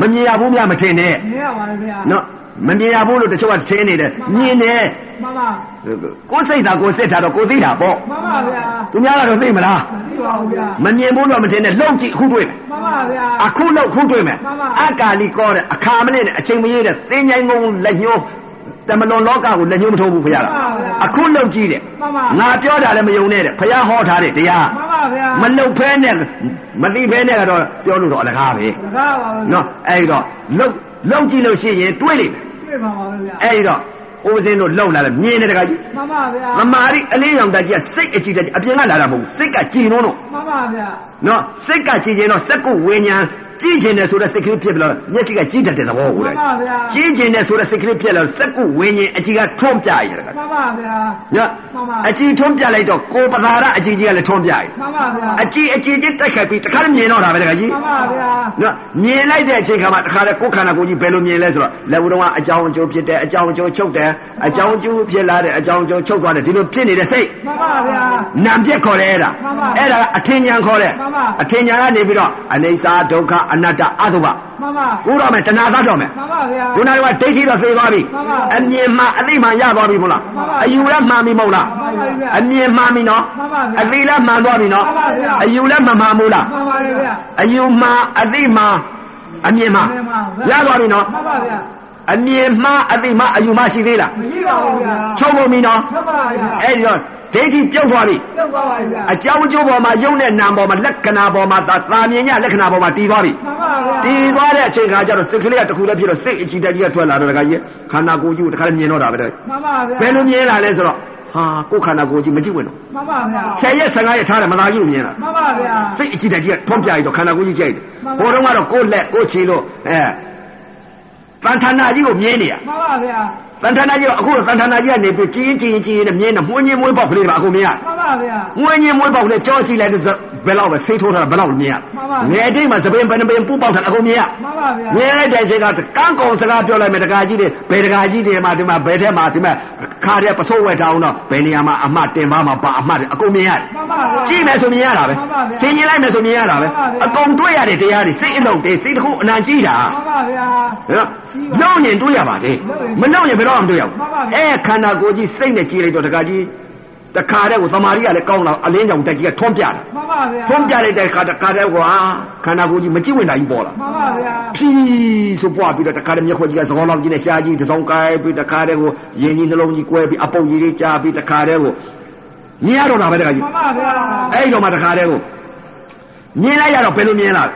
[SPEAKER 1] မမြင်ရဘူးများမထင်နဲ့
[SPEAKER 3] မရပါဘူးဗျာ
[SPEAKER 1] နော်မမြင်ရဘူးလို့တချို့ကထင်နေတယ်မြင်တယ်
[SPEAKER 3] မှန်ပါ
[SPEAKER 1] ကိုယ်စိတ်သာကိုယ်စစ်တာတော့ကိုယ်သိတာပေါ့
[SPEAKER 3] မှန်ပါဗျာ
[SPEAKER 1] သူများကတော့သိမလား
[SPEAKER 3] မသိပါဘူးဗျာ
[SPEAKER 1] မမြင်ဘူးတော့မထင်နဲ့လှုပ်ကြည့်အခုတွေ့မယ်
[SPEAKER 3] မှန်ပါဗျာ
[SPEAKER 1] အခုလှုပ်အခုတွေ့မယ်
[SPEAKER 3] မှန်ပါ
[SPEAKER 1] အကာလီကောတဲ့အခါမနဲ့နဲ့အချိန်မရတဲ့သင်္ချိုင်းကုန်းလက်ညှိုးတမလွန်လောကကိုလက်ညှိုးမထိုးဘူးခင်ဗျာလား အခုလောက်ကြည့်တဲ့
[SPEAKER 3] မှန်ပါ
[SPEAKER 1] ငါပြောတာလည်းမယုံနဲ့တဲ့ဖះဟောထားတဲ့တရား
[SPEAKER 3] မှန်ပါဗျာ
[SPEAKER 1] မလုတ်ဖဲနဲ့မတိဖဲနဲ့ကတော့ပြောလို့တော့အလကားပဲ
[SPEAKER 3] တကားပါဘူး
[SPEAKER 1] နော်အဲ့ဒီတော့လုတ်လုတ်ကြည့်လို့ရှိရင်တွေးလိမ့်မယ်
[SPEAKER 3] တွေ့ပါပါဘူးဗျာ
[SPEAKER 1] အဲ့ဒီတော့ဦးစင်းတို့လုတ်လာတယ်မြင်တယ်တခါကြီး
[SPEAKER 3] မှန်ပါဗျာ
[SPEAKER 1] မမာရီအလေးရောင်တက်ကြီးကစိတ်အကြည့်တက်ကြီးအပြင်ကလာတာမဟုတ်ဘူးစိတ်ကကြည်နုံးတော့
[SPEAKER 3] မှန်ပါဗျာ
[SPEAKER 1] နော်စိတ်ကကြည်ခြင်းတော့စက္ကုဝိညာဉ်ကြည်ခြင်းနဲ့ဆိုတဲ့စိတ်ကလေးဖြစ်ပြီးတော့မျက်စိကကြည်တတ်တဲ့သဘောကို
[SPEAKER 3] မှ
[SPEAKER 1] လေ
[SPEAKER 3] န်ပါဗျာ
[SPEAKER 1] ကြည်ခြင်းနဲ့ဆိုတဲ့စိတ်ကလေးဖြစ်လာတော့စက္ကုဝိညာဉ်အကြည့်ကထွန့်ပြရတယ်တခါ
[SPEAKER 3] မှန်ပါဗျာ
[SPEAKER 1] နော်
[SPEAKER 3] မှန်ပါ
[SPEAKER 1] အကြည်ထွန်းပြလိုက်တော့ကိုယ်ပသာရအကြည်ကြီးကလည်းထွန်းပြရည်
[SPEAKER 3] မှန်ပါဗျာ
[SPEAKER 1] အကြည်အကြည်ချင်းတိုက်ခိုက်ပြီးတခါလည်းမြင်တော့တာပဲတခါကြီး
[SPEAKER 3] မှန်ပါဗျာ
[SPEAKER 1] နော်မြင်လိုက်တဲ့အချိန်ခါမှာတခါလည်းကိုယ်ခန္ဓာကိုယ်ကြီးဘယ်လိုမြင်လဲဆိုတော့လက်ဦးတော်ကအကြောင်းအကျိုးဖြစ်တယ်အကြောင်းအကျိုးချုပ်တယ်အကြောင်းအကျိုးဖြစ်လာတဲ့အကြောင်းအကျိုးချုပ်သွားတယ်ဒီလိုဖြစ်နေတဲ့စိတ်
[SPEAKER 3] မှန်ပါဗျာ
[SPEAKER 1] နံပြက်ခေါ်တယ်အဲ့ဒါ
[SPEAKER 3] မှန်ပါ
[SPEAKER 1] အဲ့ဒါကအထင်ဉာဏ်ခေါ်တယ်
[SPEAKER 3] မှန်ပါ
[SPEAKER 1] အထင်ဉာဏ်ကနေပြီးတော့အနိစ္စဒုက္ခအနတ္တအတုပ
[SPEAKER 3] မှန်ပါ
[SPEAKER 1] ကိုယ်တော့မယ်တဏှာသတ်တော့မယ်
[SPEAKER 3] မှန်ပါဗျာ
[SPEAKER 1] ခုနကဒိဋ္ဌိတော့သိသွားပြီ
[SPEAKER 3] မှန်ပါ
[SPEAKER 1] အမြင်မှအသိမှရသွားပြီမဟုတ်လား
[SPEAKER 3] မှန်ပါ
[SPEAKER 1] အယူလည်းမှန်ပြီမဟုတ်လား
[SPEAKER 3] မှန်ပါဗျာ
[SPEAKER 1] အမြင်မှန်ပြီနော်
[SPEAKER 3] မှန်ပါဗျာ
[SPEAKER 1] အသိလည်းမှန်သွားပြီနော်
[SPEAKER 3] မှန်ပါဗျာ
[SPEAKER 1] အယူလည်းမှန်မှန်မဟုတ်လား
[SPEAKER 3] မှန်ပါဗျာ
[SPEAKER 1] အယူမှန်အသိမှန်အမြင်မှန်
[SPEAKER 3] အမြင်မှန်ဗျာ
[SPEAKER 1] ရသွားပြီနော်
[SPEAKER 3] မှန်ပါဗျာ
[SPEAKER 1] အမြင်မှန်အသိမှန်အယူမှန်ရှိသေးလား
[SPEAKER 3] မရှိပါဘူးဗျာ
[SPEAKER 1] ချုပ်ကုန်ပြီနော်
[SPEAKER 3] မှန်ပါဗျာ
[SPEAKER 1] အဲ့ဒီတော့ဒိဋ္ဌိပြုတ်သွားပြီ
[SPEAKER 3] တော့ပါပါဗျာ
[SPEAKER 1] အကြောင်းအကျိုးပေါ်မှာယုံတဲ့နာမ်ပေါ်မှာလက္ခဏာပေါ်မှာသာသာမြင်ညလက္ခဏာပေါ်မှာတည်သွားပြီ
[SPEAKER 3] မှန်ပါဗျာ
[SPEAKER 1] တီသွားတဲ့အချိန်ခါကျတော့စိတ်ကလေးကတစ်ခုလည်းဖြစ်တော့စိတ်အကြည်တက်ကြီးကထွက်လာတော့တခါကြီးခန္ဓာကိုယ်ကြီးကိုတခါလည်းမြင်တော့တာပဲတဲ့
[SPEAKER 3] မှန်ပါဗျာ
[SPEAKER 1] ဘယ်လိုမြင်လာလဲဆိုတော့ဟာကိုယ်ခန္ဓာကိုယ်ကြီးမကြည့်ဝင်တော့
[SPEAKER 3] မှန်ပါဗျာ
[SPEAKER 1] 10ရက်15ရက်ထားတယ်မသားကြီးကိုမြင်လာ
[SPEAKER 3] မှန်ပါဗျာ
[SPEAKER 1] စိတ်အကြည်တက်ကြီးကထွန်းပြပြီးတော့ခန္ဓာကိုယ်ကြီးကြိုက်တယ်
[SPEAKER 3] မှန်ပါ
[SPEAKER 1] ဟိုတုန်းကတော့ကိုယ်လက်ကိုယ်ခြေလို့အဲတန်ထာနာကြီးကိုမြင်နေရ
[SPEAKER 3] မှန်ပါဗျာ
[SPEAKER 1] တန်ထာနာကြီးကအခုတော့တန်ထာနာကြီးကနေပြီးကြည်ရင်ကြည်ရင်ကြည်ရင်နဲ့မြင်နေမွှင်းချင်းမွှင်းပေါက်ကလေးပါအခုမြင်ရ
[SPEAKER 3] မှန်ပါဗျာ
[SPEAKER 1] မွှင်းချင်းမွှင်းပေါက်ကလေးကြောစီလိုက်တဲ့ဘယ်လောက်ပဲစိတ်ထိုးတာဘယ်လောက်မြင်ရ
[SPEAKER 3] မှန် န်ပါ
[SPEAKER 1] ငယ်တိတ်မှာသပင်ပင်ပင်ပူပေါက်တာအကုန်မြင်ရ
[SPEAKER 3] မှန်ပါဗျာ
[SPEAKER 1] ငယ်တဲ့စိတ်ကကန်းကောင်စကားပြောလိုက်မယ်တကာကြီးတွေဘယ်တကာကြီးတွေမှာဒီမှာဘယ်ထဲမှာဒီမှာခါတဲ့ပစိုးဝဲတောင်းတော့ဘယ်နေရာမှာအမှတ်တင်ပါမှာပါအမှတ်တယ်အကုန်မြင်ရတယ်
[SPEAKER 3] မှန်ပါဗျာ
[SPEAKER 1] ကြည့်မယ်ဆိုမြင်ရတာပဲ
[SPEAKER 3] မှန်ပါဗျာ
[SPEAKER 1] သင်ကြည့်လိုက်မယ်ဆိုမြင်ရတာပဲ
[SPEAKER 3] မှန်ပါဗျာ
[SPEAKER 1] အကုန်တွေ့ရတဲ့တရားတွေစိတ်အလုံးတွေစိတ်တစ်ခုအနံကြည့်တာ
[SPEAKER 3] မှန်ပါဗျာ
[SPEAKER 1] နော်နောက်ရင်တွေ့ရပါလေမနောက်ရင်ဘယ်တော့မှမတွေ့ရဘူး
[SPEAKER 3] မှန်ပါဗျာ
[SPEAKER 1] အဲခန္ဓာကိုယ်ကြီးစိတ်နဲ့ကြည့်လိုက်တော့တခါကြီးတခါတည်းကိုသမာဓိကလည်းကောင်းလာအလင်းကြောင့်တက်ကြီးကထွန်းပြတာ
[SPEAKER 3] မှန်ပါဗျာ
[SPEAKER 1] ထွန်းပြလိုက်တဲ့အခါတခါတည်းကဟာခန္ဓာကိုယ်ကြီးမကြည့်ဝင်တာကြီးပေါ်လာ
[SPEAKER 3] မှန်ပါဗျာ
[SPEAKER 1] ဖြီးဆိုပွားပြီးတော့တခါတည်းမျက်ခွက်ကြီးကသဘောလောက်ကြီးနဲ့ရှားကြီးတစ်စုံကိုင်းပြီးတခါတည်းကိုရင်ကြီးနှလုံးကြီးကွဲပြီးအပုပ်ကြီးလေးကြားပြီးတခါတည်းကိုမြင်ရတော့တာပဲတခါကြီး
[SPEAKER 3] မှန်ပါဗျာ
[SPEAKER 1] အဲ့ဒီတော့မှတခါတည်းကိုမြင်လိုက်ရတော့ဘယ်လိုမြင်လာလဲ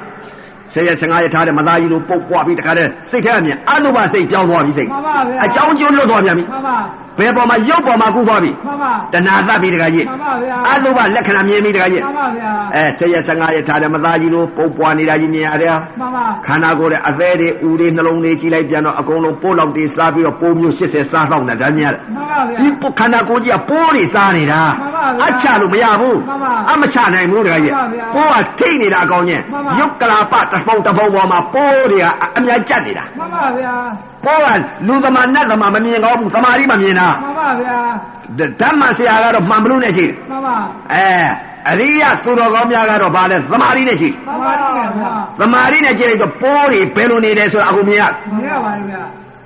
[SPEAKER 1] ဆယ်ရ15ရထားတယ်မသားကြီးလိုပုတ်ပွားပြီးတခါတည်းစိတ်ထဲကမြင်အလိုပါစိတ်ကြောင်းသွားပြီစိတ်
[SPEAKER 3] မှန်ပါဗျာ
[SPEAKER 1] အကြောင်းကျွန်းလွတ်သွားပြန်ပြီ
[SPEAKER 3] မှန်ပါ
[SPEAKER 1] ဘယ်ပေါ်မှာရုပ်ပေါ်မှာကူးသွားပြီ
[SPEAKER 3] မှန်ပါ
[SPEAKER 1] တဏှာသတ်ပြီးတခါကြီး
[SPEAKER 3] မှန်ပါဗျာ
[SPEAKER 1] အလိုပါလက္ခဏာမြင်ပြီးတခါကြီး
[SPEAKER 3] မှန်ပါဗျာ
[SPEAKER 1] အဲဆယ်ရ15ရထားတယ်မသားကြီးလိုပုတ်ပွားနေတာကြီးမြင်ရတယ်
[SPEAKER 3] မှန်ပါ
[SPEAKER 1] ခန္ဓာကိုယ်ရဲ့အသေးတွေဦးတွေနှလုံးတွေကြီးလိုက်ပြန်တော့အကုန်လုံးပိုးလောက်တွေစားပြီးတော့ပိုးမျိုး80စားတော့တာဒါမြင်ရတယ်
[SPEAKER 3] မှန်ပါဗျာ
[SPEAKER 1] ဒီပုခန္ဓာကိုယ်ကြီးကပိုးတွေစားနေတာ
[SPEAKER 3] မှန်ပါဗျာ
[SPEAKER 1] အချလို့မရဘူး
[SPEAKER 3] မှန်ပါ
[SPEAKER 1] အမချနိုင်ဘူးတခါကြီး
[SPEAKER 3] မှန်ပါဗျာ
[SPEAKER 1] ပိုးကထိတ်နေတာအကောင်းကြီး
[SPEAKER 3] မှန်ပါ
[SPEAKER 1] ရုပ်ကလာပတစ်ပုံတစ်ပုံပေါ်မှာပိုးတွေကအအများကြက်နေတာ
[SPEAKER 3] မှန်ပါဗျာ
[SPEAKER 1] ပိုးကလူသမားနတ်သမားမမြင်ကောင်းဘူးသမာဓိမမြင်တာ
[SPEAKER 3] မှန်ပါဗျာ
[SPEAKER 1] ဓဓမ္မဆရာကတော့မှန်မလို့နဲ့ရှိတယ်
[SPEAKER 3] မှန်ပါ
[SPEAKER 1] အဲအရိယသူတော်ကောင်းများကတော့ဗာလဲသမာဓိနဲ့ရှိတယ်
[SPEAKER 3] မှန်ပါဗျာ
[SPEAKER 1] သမာဓိနဲ့ကြည့်လိုက်တော့ပိုးတွေဘယ်လိုနေတယ်ဆိုတာအခုမြင်ရတယ်
[SPEAKER 3] မရပါဘူးဗျာ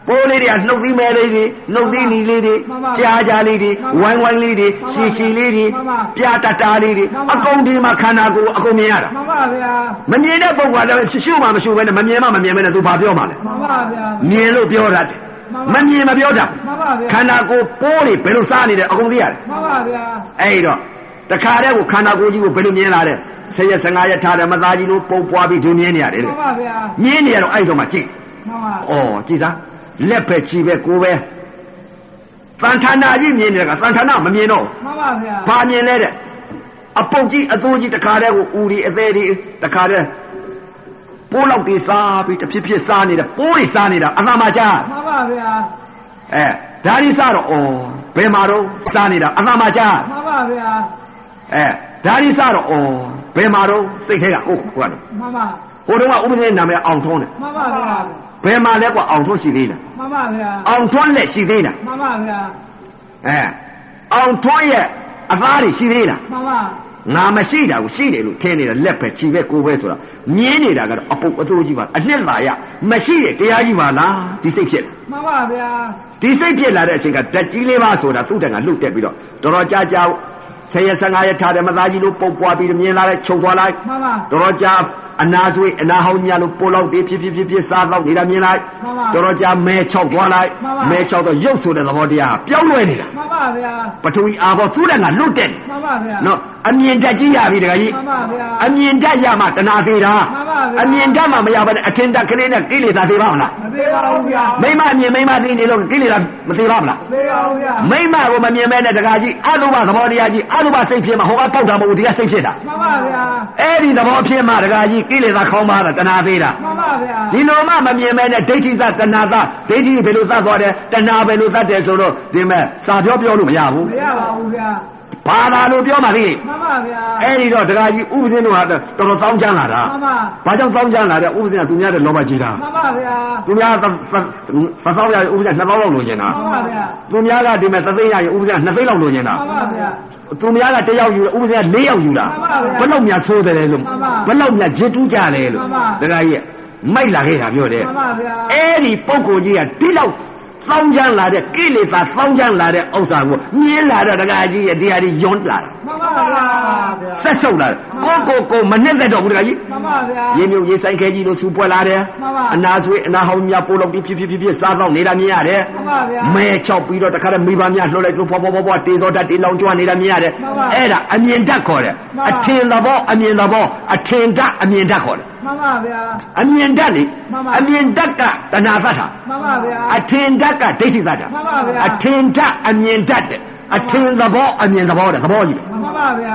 [SPEAKER 1] ပိုးလေးတွေကနှုတ်သီးမဲလေးတွေနှုတ်သီးနီလေးတွေ
[SPEAKER 3] မှန်ပါ
[SPEAKER 1] ကြားကြားလေးတွေ
[SPEAKER 3] မှ
[SPEAKER 1] ဝို
[SPEAKER 3] န်
[SPEAKER 1] င်း
[SPEAKER 3] ပါ
[SPEAKER 1] ဝိုင်းလေးတွေ
[SPEAKER 3] မှ
[SPEAKER 1] ရှ
[SPEAKER 3] န်
[SPEAKER 1] ည်
[SPEAKER 3] ပါ
[SPEAKER 1] ရှည်လေးတွေ
[SPEAKER 3] မှန်ပါ
[SPEAKER 1] ပြတာတာလေးတွေ
[SPEAKER 3] မှန်ပါ
[SPEAKER 1] အကုန်ဒီမှာခန္ဓာကိုယ်အကုန်မြင်ရတာ
[SPEAKER 3] မှန်ပါဗျာ
[SPEAKER 1] မမြင်တဲ့ပုံကတော့ရှုရှုမှမရှုဘဲနဲ့မမြင်မှမမြင်ဘဲနဲ့သူဘာပြောမှလဲ
[SPEAKER 3] မှန်ပါဗျာ
[SPEAKER 1] မြင်လို့ပြောတာတယ်မ
[SPEAKER 3] မှန်ပါ
[SPEAKER 1] မြင်မပြောတာ
[SPEAKER 3] မှန်ပါဗျာ
[SPEAKER 1] ခန္ဓာကိုယ်ပိုးတွေဘယ်လိုစားနေတယ်အကုန်သိရတယ်
[SPEAKER 3] မှန်ပါဗျာ
[SPEAKER 1] အဲ့တော့တခါတည်းကိုခန္ဓာကိုယ်ကြီးကိုဘယ်လိုမြင်လာတဲ့ဆယ်ရက်15ရက်ထားတယ်မသားကြီးလို့ပုံပွားပြီးဒီမြင်နေရတယ်
[SPEAKER 3] မှန်ပါဗျာ
[SPEAKER 1] မြင်နေရတော့အဲ့တော့မှကြည့်
[SPEAKER 3] မှန်ပါ
[SPEAKER 1] ။အော်ကြည်သားလက်ပဲကြည်ပဲကိုယ်ပဲတန်ထာနာကြီးမြင်တယ်ကတန်ထာနာမမြင်တော့
[SPEAKER 3] မှန်ပါဗျာ
[SPEAKER 1] ဘူးဘာမြင်လဲတဲ့။အပုတ်ကြီးအသွိုးကြီးတခါတည်းကိုဦးဒီအသေးဒီတခါတည်းပိုးလောက်ဒီစားပြီးတဖြစ်ဖြစ်စားနေတာပိုးတွေစားနေတာအနာမချာ
[SPEAKER 3] မှန်ပါဗျာ
[SPEAKER 1] အဲဒါဒီစားတော့အော်ဘယ်မှာတော့စားနေတာအနာမချာ
[SPEAKER 3] မှန်ပါဗျာ
[SPEAKER 1] အဲဒါဒီစားတော့အော်ဘယ်မှာတော့စိတ်ထဲကဟုတ်ကွာလို့
[SPEAKER 3] မှန်ပါ
[SPEAKER 1] ဟိုတုန်းကဥပဒေနာမည်အောင်ထုံးတယ်
[SPEAKER 3] မှန်ပါဗျာ
[SPEAKER 1] ဘယ်မှာလဲကွာအောင်ထုံးရှိသေးလား
[SPEAKER 3] မှန်ပါဗျာ
[SPEAKER 1] အောင်ထုံးလက်ရှိသေးလား
[SPEAKER 3] မှန်ပါဗျာ
[SPEAKER 1] အဲအောင်ထွန်းရဲ့အသားတွေရှိသေးလား
[SPEAKER 3] မှန်ပါ
[SPEAKER 1] ငါမရှိတာကိုရှိတယ်လို့ထင်နေတာလက်ပဲခြေပဲကိုယ်ပဲဆိုတာမြင်းနေတာကတော့အပုပ်အသိုးကြီးပါအနှစ်သာရမရှိတဲ့တရားကြီးပါလားဒီစိတ်ဖြစ်လာ
[SPEAKER 3] မှန်ပါဗျာ
[SPEAKER 1] ဒီစိတ်ဖြစ်လာတဲ့အချိန်ကဓာတ်ကြီးလေးပါဆိုတာသူ့တန်ကလှုပ်တက်ပြီးတော့တော်တော်ကြာကြာဆယ်ရ15ရထားတယ်မသားကြီးလို့ပုတ်ပွားပြီးတော့မြင်လာတဲ့ခြုံသွားလိုက်
[SPEAKER 3] မှန်ပါ
[SPEAKER 1] တော်တော်ကြာအနာဆွေးအနာဟောင်းညာလို့ပိုလောက်တေးဖြစ်ဖြစ်ဖြစ်ဖြစ်စားတော့နေတာမြင်လိုက်
[SPEAKER 3] မှန်ပါ
[SPEAKER 1] တော်တော်ကြာမဲချောက်သွားလိုက်
[SPEAKER 3] မှန်ပါ
[SPEAKER 1] မဲချောက်တော့ရုပ်ဆိုတဲ့သဘောတရားကပြောင်းလဲနေတာ
[SPEAKER 3] မှန်ပါဗျာ
[SPEAKER 1] ပထဝီအာဘောသူ့တန်ကလှုပ်တက်တယ်
[SPEAKER 3] မှန်ပါဗျာ
[SPEAKER 1] နော်အမြင်ဓာတ်ကြီးရပြီတခါကြီး
[SPEAKER 3] မှန်ပါဗျာ
[SPEAKER 1] အမြင်ဓာတ်ရမှတဏှာသေးတာ
[SPEAKER 3] မှန်ပါဗျာ
[SPEAKER 1] အမြင်ဓာတ်မှမရဘဲနဲ့အထင်ဓာတ်ကလေးနဲ့ကိလေသာသေးပါမလား
[SPEAKER 3] မသေးပါဘူးဗျာ
[SPEAKER 1] မိမအမြင်မိမသိနေလို့ကိလေသာမသေးပါမလား
[SPEAKER 3] သေးပါဘူးဗျာ
[SPEAKER 1] မိမကိုမမြင်မဲနဲ့တခါကြီးအတုပသဘောတရားကြီးအတုပစိတ်ဖြစ်မှဟောကပေါက်တာမဟုတ်ဘူးဒီကစိတ်ဖြစ်တာ
[SPEAKER 3] မှန်ပါဗျာ
[SPEAKER 1] အဲ့ဒီသဘောဖြစ်မှတခါကြီးကိလေသာခေါင်းပါတာတဏှာသေးတာ
[SPEAKER 3] မှန်ပါဗျာ
[SPEAKER 1] ဒီလိုမှမမြင်မဲနဲ့ဒိဋ္ဌိသတဏှာသဒိဋ္ဌိဘယ်လိုသတ်သွားတယ်တဏှာဘယ်လိုသတ်တယ်ဆိုတော့ဒီမဲ့စာပြောပြောလို့မရဘူး
[SPEAKER 3] မရပါဘူးဗျာ
[SPEAKER 1] ဘာသာလို့ပြောမှသိတယ်
[SPEAKER 3] မှန်ပါဗျာ
[SPEAKER 1] အဲ့ဒီတော့တခါကြီးဥပဒေတို့ဟာတော်တော်စောင်းချမ်းလာတာ
[SPEAKER 3] မှန်ပါ
[SPEAKER 1] ။ဘာကြောင့်တောင်းကြလာတဲ့ဥပဒေကသူများတဲ့လောဘကြီးတာ
[SPEAKER 3] မှန်ပါဗျာ
[SPEAKER 1] ။သူများသသသသောင်းရရင်ဥပဒေ2000လောက်လိုချင်တာ
[SPEAKER 3] မှန်ပါဗျာ
[SPEAKER 1] ။သူများကဒီမဲ့သသိန်းရရင်ဥပဒေက2000လောက်လိုချင်တာ
[SPEAKER 3] မှန်ပါဗျာ
[SPEAKER 1] ။သူများကတစ်ယောက်ယူဥပဒေက၄ယောက်ယူတာ
[SPEAKER 3] မှန်
[SPEAKER 1] ဘယ်
[SPEAKER 3] ပါဗျာ
[SPEAKER 1] လောက်များဆိုးတယ်လဲလို့
[SPEAKER 3] မှန်ပါ
[SPEAKER 1] ဘယ်လောက်များဂျစ်တူးကြတယ်လို့
[SPEAKER 3] မှန်ပါ
[SPEAKER 1] တခါကြီးကမိုက်လာခဲ့တာပြောတယ်
[SPEAKER 3] မှန်ပါဗျာ
[SPEAKER 1] ။အဲ့ဒီပုံကိုလ်ကြီးကဒီလောက်သောင်းချမ်းလာတဲ့ကိလေသာသောင်းချမ်းလာတဲ့ဥစ္စာကိုမြင်းလာတော့တခါကြီးရဲ့တရားကြီးယွန်းလာတာ
[SPEAKER 3] မှန်ပါဗျာ
[SPEAKER 1] ဆက်ဆုပ်လာတယ်ကိုယ့်ကိုယ်ကိုယ်မနှက်သက်တော့ဘူးတခါကြီး
[SPEAKER 3] မှန်ပါဗျာ
[SPEAKER 1] ရေမြုပ်ရေဆိုင်ခဲကြီးလိုစူပွက်လာတယ်
[SPEAKER 3] မှန်ပါ
[SPEAKER 1] အနာဆွေးအနာဟောင်းများပိုးလောက်ပြီးဖြစ်ဖြစ်ဖြစ်ဖြစ်စားတော့နေတာမြင်ရတယ်
[SPEAKER 3] မှန်ပါဗျာ
[SPEAKER 1] မဲချောက်ပြီးတော့တခါတည်းမိဘများလှုပ်လိုက်လို့ဖွာဖွာဖွာဖွာတေသောတတ်တေလောင်ကျွမ်းနေတာမြင်ရတယ်
[SPEAKER 3] မှန်ပါ
[SPEAKER 1] အဲ့ဒါအမြင်တတ်ခေါ်တယ်
[SPEAKER 3] မှန်ပါ
[SPEAKER 1] အထင်သဘောအမြင်သဘောအထင်တတ်အမြင်တတ်ခေါ်တယ်
[SPEAKER 3] မှန်ပါဗျာ
[SPEAKER 1] အမြင်တတ်လေ
[SPEAKER 3] မှန်ပါ
[SPEAKER 1] အမြင်တတ်ကတဏှာသတ်တာ
[SPEAKER 3] မှန်ပါဗျာ
[SPEAKER 1] အထင်တတ်ကဒိဋ္ဌိသတ်တာ
[SPEAKER 3] မှန်ပါဗျာ
[SPEAKER 1] အထင်တတ်အမြင်တတ်တယ်အထင်သဘောအမြင်သဘောတဲ့သဘောကြီးပဲ
[SPEAKER 3] မှန်ပါဗျာ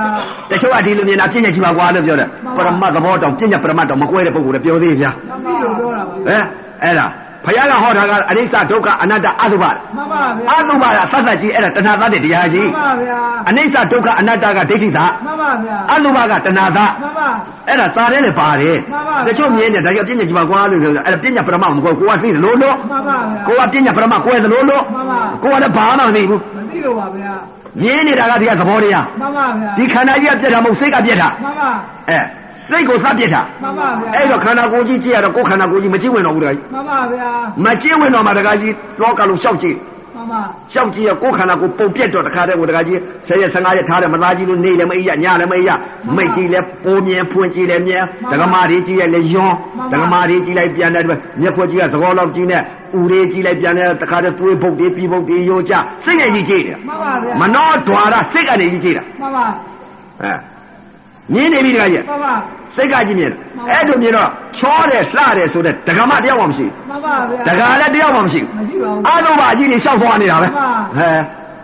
[SPEAKER 1] တချို့ကဒီလိုမြင်တာပြည့်ညက်ကြီးပါကွာလို့ပြောတယ်
[SPEAKER 3] မှန်
[SPEAKER 1] ပရမ
[SPEAKER 3] ပါ
[SPEAKER 1] တ်သဘောတောင်ပြည့်ညက်ပရမတ်တောင်မကွဲတဲ့ပုံကိုယ်တွေပြောသေးရဲ့ဗျာ
[SPEAKER 3] မှန်ပါလို့ပြောတာပါ
[SPEAKER 1] ဟဲ့အဲ့ဒါ ဘုရားကဟောတာကအနိစ္စဒုက္ခအနတ္တအသုဘတဲ့
[SPEAKER 3] မှန်ပါဗျာ
[SPEAKER 1] အသုဘကသတ်သတ်ကြီးအဲ့ဒါတဏှာသတ်တဲ့တရား
[SPEAKER 3] မှ
[SPEAKER 1] ကြီး
[SPEAKER 3] န်ပါဗျာ
[SPEAKER 1] အနိစ္စဒုက္ခအနတ္တကဒိဋ္ဌိသာ
[SPEAKER 3] မှန်ပါဗျာ
[SPEAKER 1] အသုဘကတဏှာသာ
[SPEAKER 3] မှန်ပါ
[SPEAKER 1] အဲ့ဒါသာတဲ့လေပါတယ်
[SPEAKER 3] မှန်ပါ
[SPEAKER 1] တချို့မြင်တယ်ဒါကြောင့်ပြညာကြီးပါကွာလို့ဆိုတော့အဲ့ဒါပြညာပရမမဟုတ်ဘူးကိုကသိတယ်လို့လို့
[SPEAKER 3] မှန်ပါဗျာ
[SPEAKER 1] ကိုကပြညာပရမကိုယ်သလိုလို့
[SPEAKER 3] မှန်ပါ
[SPEAKER 1] ကိုကလည်းဘာမှမသိဘူး
[SPEAKER 3] မသိတော့ပါဗျာ
[SPEAKER 1] မြင်နေတာကဒီကသဘောတရား
[SPEAKER 3] မှန်ပါဗျာ
[SPEAKER 1] ဒီခန္ဓာကြီးကပြက်တာမဟုတ်စိတ်ကပြက်တာ
[SPEAKER 3] မှန်ပါ
[SPEAKER 1] အဲစိတ်ကိုသတ်ပြက်တာ
[SPEAKER 3] မှန်ပါဗျာ
[SPEAKER 1] အဲ့တော့ခန္ဓာကိုယ်ကြီးကြည့်ရတော့ကိုယ်ခန္ဓာကိုယ်ကြီးမကြည့်ဝင်တော့ဘူးတခါကြီး
[SPEAKER 3] မှန်ပါဗျာ
[SPEAKER 1] မကြည့်ဝင်တော့မှတခါကြီးလောကလုံးရှောက်ကြည့်
[SPEAKER 3] မှန်ပါ
[SPEAKER 1] ရှောက်ကြည့်ရကိုယ်ခန္ဓာကိုယ်ပုံပြက်တော့တခါတည်းကိုတခါကြီးဆယ်ရက်15ရက်ထားတယ်မသားကြီးလို့နေလည်းမအိရညလည်းမအိရမိတ်ကြီးလည်းပိုးမြင်ဖွင့်ကြည့်လည်းမြင်ဒကမာတွေကြီးလည်းလည်းယွန်းဒကမာတွေကြီးလိုက်ပြန်တယ်မျက်ခွက်ကြီးကသကောလောက်ကြီးနဲ့ဥတွေကြီးလိုက်ပြန်တယ်တခါတည်းသွေးပုတ်တွေပြီးပုတ်တွေယိုကြစိတ်နဲ့ကြီးကြည့်တယ်
[SPEAKER 3] မှန်ပါဗျာ
[SPEAKER 1] မနောဒွါရစိတ်ကနေကြီးကြည့်တာ
[SPEAKER 3] မှန်ပါ
[SPEAKER 1] အဲမြင်နေပြီတခါကြီး
[SPEAKER 3] မှန်ပါ
[SPEAKER 1] စိတ်ကကြီးမြင်အဲ့လိုမြင်တော့ချောတယ်လှတယ်ဆိုတဲ့ဒကမာတယောက်မှမရှိ
[SPEAKER 3] မှန်ပါဗျာ
[SPEAKER 1] ဒကာလည်းတယောက်မှမရှိဘူး
[SPEAKER 3] မရှိပါဘူး
[SPEAKER 1] အာလောဘကြီးတွေရှောက်သွားနေတာပဲ
[SPEAKER 3] မှန်ပါ
[SPEAKER 1] ဟဲ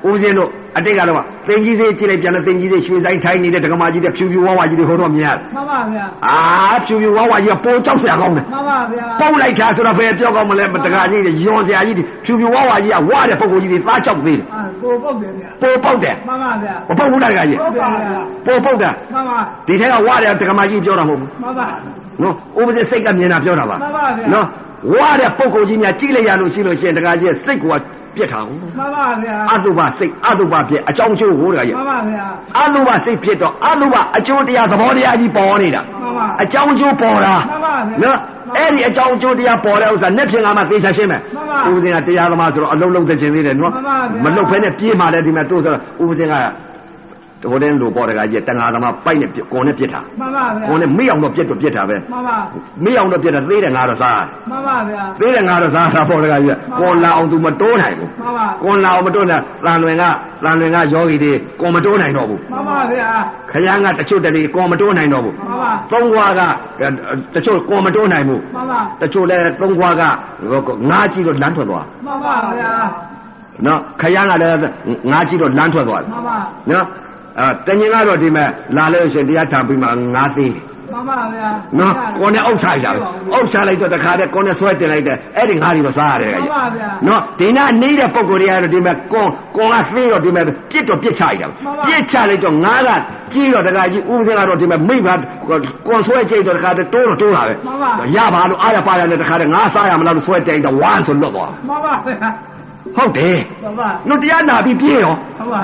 [SPEAKER 1] ဦးစင်းတို့အတိတ်ကတော့သင်ကြီးသေးကြည့်လိုက်ပြန်လဲသင်ကြီးသေးရွှေဆိုင်ထိုင်းနေတဲ့ဒကမာကြီးတဲ့ဖြူဖြူဝါဝါကြီးတွေဟိုတော့မြင်ရတယ်
[SPEAKER 3] မှန်ပါဗျာ
[SPEAKER 1] အာဖြူဖြူဝါဝါကြီးကပိုကြောက်စရာကောင်းတယ်
[SPEAKER 3] မှန်ပါဗျာ
[SPEAKER 1] ပုတ်လိုက်တာဆိုတော့ဘယ်ပြောကောင်းမလဲဒကာကြီးတွေယောစရာကြီးတွေဖြူဖြူဝါဝါကြီးကဝါတဲ့ပုံကိုယ်ကြီးတွေသားကြောက်သေးတယ်
[SPEAKER 3] အာကိုပုတ်တယ်ဗျာ
[SPEAKER 1] ပိုပေါက်တယ်
[SPEAKER 3] မှန်ပါဗျာ
[SPEAKER 1] မပုတ်ဘူးလားဒကာကြီး
[SPEAKER 3] ပုတ်ပါဗျာ
[SPEAKER 1] ပိုပေါက်တာ
[SPEAKER 3] မှန်ပါ
[SPEAKER 1] ဒီထက်ကဝါတဲ့ဒကမာကြီးပြောတာမဟုတ်ဘူး
[SPEAKER 3] မှန်ပါ
[SPEAKER 1] နော်ဥပဒေစိတ်ကမြင်တာပြောတာပါ
[SPEAKER 3] မှန်ပါဗျာ
[SPEAKER 1] နော်ဝါတဲ့ပုံကိုယ်ကြီးများကြည့်လိုက်ရလို့ရှိလို့ရှိရင်တခါကြီးစိတ်ကပြက်တာဟုတ်
[SPEAKER 3] မှန်ပါဗျာ
[SPEAKER 1] အတုပစိတ်အတုပဖြစ်အကြောင်းကျိုးဟိုတခါကြီး
[SPEAKER 3] မှန်ပါဗျာ
[SPEAKER 1] အတုပစိတ်ဖြစ်တော့အတုပအကျိုးတရားသဘောတရားကြီးပေါ်နေတာ
[SPEAKER 3] မှန်ပါ
[SPEAKER 1] အကြောင်းကျိုးပေါ်တာ
[SPEAKER 3] မှန်ပါဗျာ
[SPEAKER 1] နော်အဲ့ဒီအကြောင်းကျိုးတရားပေါ်တဲ့ဥစ္စာနဲ့ဖြစ်လာမှသိချင်ရှင်းမယ်
[SPEAKER 3] မှန်ပါ
[SPEAKER 1] ဥပဒေကတရားသမားဆိုတော့အလုံးလုံးသိချင်သေးတယ်နော်
[SPEAKER 3] မှန်ပါဗျာ
[SPEAKER 1] မလုတ်ဖဲနဲ့ပြေးမှလည်းဒီမှာတို့ဆိုတော့ဥပဒေကတော်တဲ့လူပေါ်တခါကြီးတန်ခါသမားပိုက်နဲ့ပြစ်ကွန်နဲ့ပြစ်တာ
[SPEAKER 3] မှန်ပါဗျာ
[SPEAKER 1] ကွန်နဲ့မိအောင်တော့ပြစ်တော့ပြစ်တာပဲ
[SPEAKER 3] မှန်ပါ
[SPEAKER 1] မေးအောင်တော့ပြတာသေးတယ်ငါတော့စား
[SPEAKER 3] မှန်ပါဗျာ
[SPEAKER 1] သေးတယ်ငါတော့စားတာပေါ့တကကြီးကကွန်လာအောင်သူမတိုးနိုင်ဘူး
[SPEAKER 3] မှန်ပါ
[SPEAKER 1] ကွန်လာအောင်မတိုးနိုင်တန်လွင်ကတန်လွင်ကယောဂီတွေကွန်မတိုးနိုင်တော့ဘူး
[SPEAKER 3] မှန်ပါဗျာ
[SPEAKER 1] ခရမ်းကတချို့တလေကွန်မတိုးနိုင်တော့ဘူး
[SPEAKER 3] မှန်ပါ
[SPEAKER 1] သုံးခွာကတချို့ကွန်မတိုးနိုင်ဘူး
[SPEAKER 3] မှန်ပါ
[SPEAKER 1] တချို့လည်းသုံးခွာကငါးကြည့်တော့လမ်းထွက်သွား
[SPEAKER 3] မှန်ပါဗျာ
[SPEAKER 1] နော်ခရမ်းကလည်းငါးကြည့်တော့လမ်းထွက်သွားတယ်
[SPEAKER 3] မှန်ပါ
[SPEAKER 1] နော်အဲတညင်ကတော့ဒီမဲ့လာလို့ရှိရင်တရားထားပြီးမှငါးသေးတယ်
[SPEAKER 3] မှန်ပါဗျာ
[SPEAKER 1] နော်ကိုနဲ့အုပ်ချလိုက်တာပဲအုပ်ချလိုက်တော့တခါတည်းကိုနဲ့ဆွဲတင်လိုက်တယ်အဲ့ဒီငါးတွေတော့စားရတယ်ခင်
[SPEAKER 3] မှန်
[SPEAKER 1] ဗျ
[SPEAKER 3] ပါဗျာ
[SPEAKER 1] နော်ဒီနာနေတဲ့ပုံကိုယ်တွေကတော့ဒီမဲ့ကွန်ကွန်ကသေးတော့ဒီမဲ့ပြစ်တော့ပြစ်ချလိုက်တာပဲ
[SPEAKER 3] မှန်ပါ
[SPEAKER 1] ပြစ်ချလိုက်တော့ငါးကကြီးတော့တခါကြီးဥပဒေကတော့ဒီမဲ့မိဘကွန်ဆွဲကြိတ်တော့တခါတည်းတိုးတော့တိုးတာပဲရပါလို့အားရပါရနဲ့တခါတည်းငါးစားရမလားလို့ဆွဲတင်တော့ဝမ်းဆိုလွတ်သွား
[SPEAKER 3] မှန်ပါဗျာ
[SPEAKER 1] ဟုတ်တယ်
[SPEAKER 3] မှန်ပါ
[SPEAKER 1] နော်တရားနာပြီးပြေးရော
[SPEAKER 3] မှန်ပါ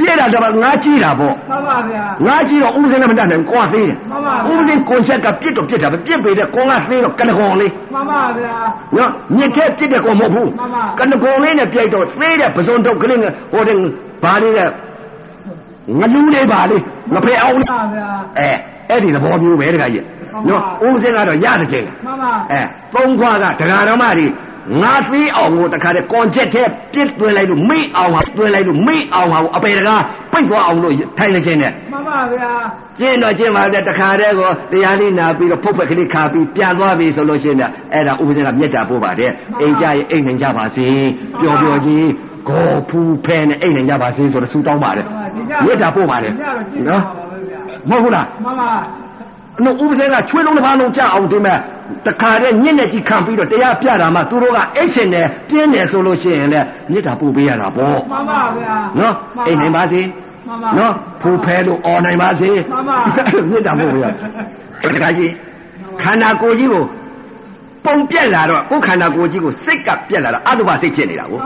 [SPEAKER 1] ပြေးတာတော့ငါးကြီးတာပေါ့
[SPEAKER 3] မှန်ပါဗျာ
[SPEAKER 1] ငါးကြီးတော့ဥပဒေနဲ့မတတ်နိုင်ဘူးကွန်ကသေးတယ်
[SPEAKER 3] မှန်ပါဗျာ
[SPEAKER 1] ဥပဒေကွန်ချက်ကပြစ်တော့ပြစ်တာပဲပြစ်ပေတဲ့ကွန်ကသေးတော့ကလကောင်လေး
[SPEAKER 3] မှန်ပါဗျာ
[SPEAKER 1] နော်မြစ်ထဲပြစ်တဲ့ကောင်မဟုတ်ဘူး
[SPEAKER 3] မှန်ပါ
[SPEAKER 1] ကနကုံလေးနဲ့ပြိုက်တော့သေးတဲ့ပစုံတုတ်ကလေးနဲ့ဟိုတဲ့ဘာလေးကငလူးလေးပါလေးမဖယ်အောင်
[SPEAKER 3] မှ
[SPEAKER 1] လေး
[SPEAKER 3] န်ပါဗျာ
[SPEAKER 1] အဲအဲ့ဒီသဘောမျိုးပဲတခါကြီး
[SPEAKER 3] မှန်
[SPEAKER 1] နော်
[SPEAKER 3] ပါ
[SPEAKER 1] ဦးစင်းကတော့ရတဲ့ချိန်လား
[SPEAKER 3] မှန်ပါ
[SPEAKER 1] အဲသုံးခွာကဒကာတော်မကြီးငါသေးအောင်ကိုတခါတဲ့ကွန်ချက်ထဲပြစ်သွင်းလိုက်လို့မိအောင်ပါသွင်းလိုက်လို့မိအောင်ပါအပေတကားပိတ်သွားအောင်လို့ထိုင်နေချင်းနဲ့
[SPEAKER 3] မှန်ပါဗျာ
[SPEAKER 1] ကျင်းတော့ကျင်းပါတဲ့တခါတည်းကိုတရားလေးနာပြီးတော့ဖုတ်ဖက်ကလေးခါပြီးပြန်သွားပြီဆိုလို့ရှိရင်အဲ့ဒါဥပဒေကမြတ်တာပို့ပါတယ်အိမ်ကြရင်အိမ်နိုင်ကြပါစေပျော်ပျော်ကြီးကိုဖူဖဲနဲ့အိမ်နိုင်ကြပါစေဆိုတော့ဆူတောင်းပါတယ်မြတ်တာပို့ပါတယ်
[SPEAKER 3] ညတော့ကြည့်ပါ
[SPEAKER 1] နော်
[SPEAKER 3] ပါဗျာ
[SPEAKER 1] မဟုတ်ဘူးလား
[SPEAKER 3] မှန်ပါ
[SPEAKER 1] အဲ့ဥပဒေကချွေးလုံးတစ်ပါးလုံးကြအောင်ဒီမဲ့တခါတည်းညစ်နဲ့ကြီးခံပြီးတော့တရားပြတာမှသူတို့ကအိတ်ရှင်နဲ့ပြင်းတယ်ဆိုလို့ရှိရင်လည်းမြတ်တာပို့ပေးရတာပေါ့
[SPEAKER 3] မှန်ပါဗျာ
[SPEAKER 1] နော်အိမ်နိုင်ပါစေ
[SPEAKER 3] မှန်ပါ
[SPEAKER 1] နော်ဖူဖဲလို့អော်နိုင်ပါစေ
[SPEAKER 3] မှန်ပါ
[SPEAKER 1] မြတ်တာမဟုတ်ဘူး လားတခါကြီးခန္ဓာကိုယ်ကြီးကိုပုံပြက်လာတော့ကိုယ်ခန္ဓာကိုယ်ကြီးကိုစိတ်ကပြက်လာတော့အတုပစိတ်ဖြစ်နေတာကို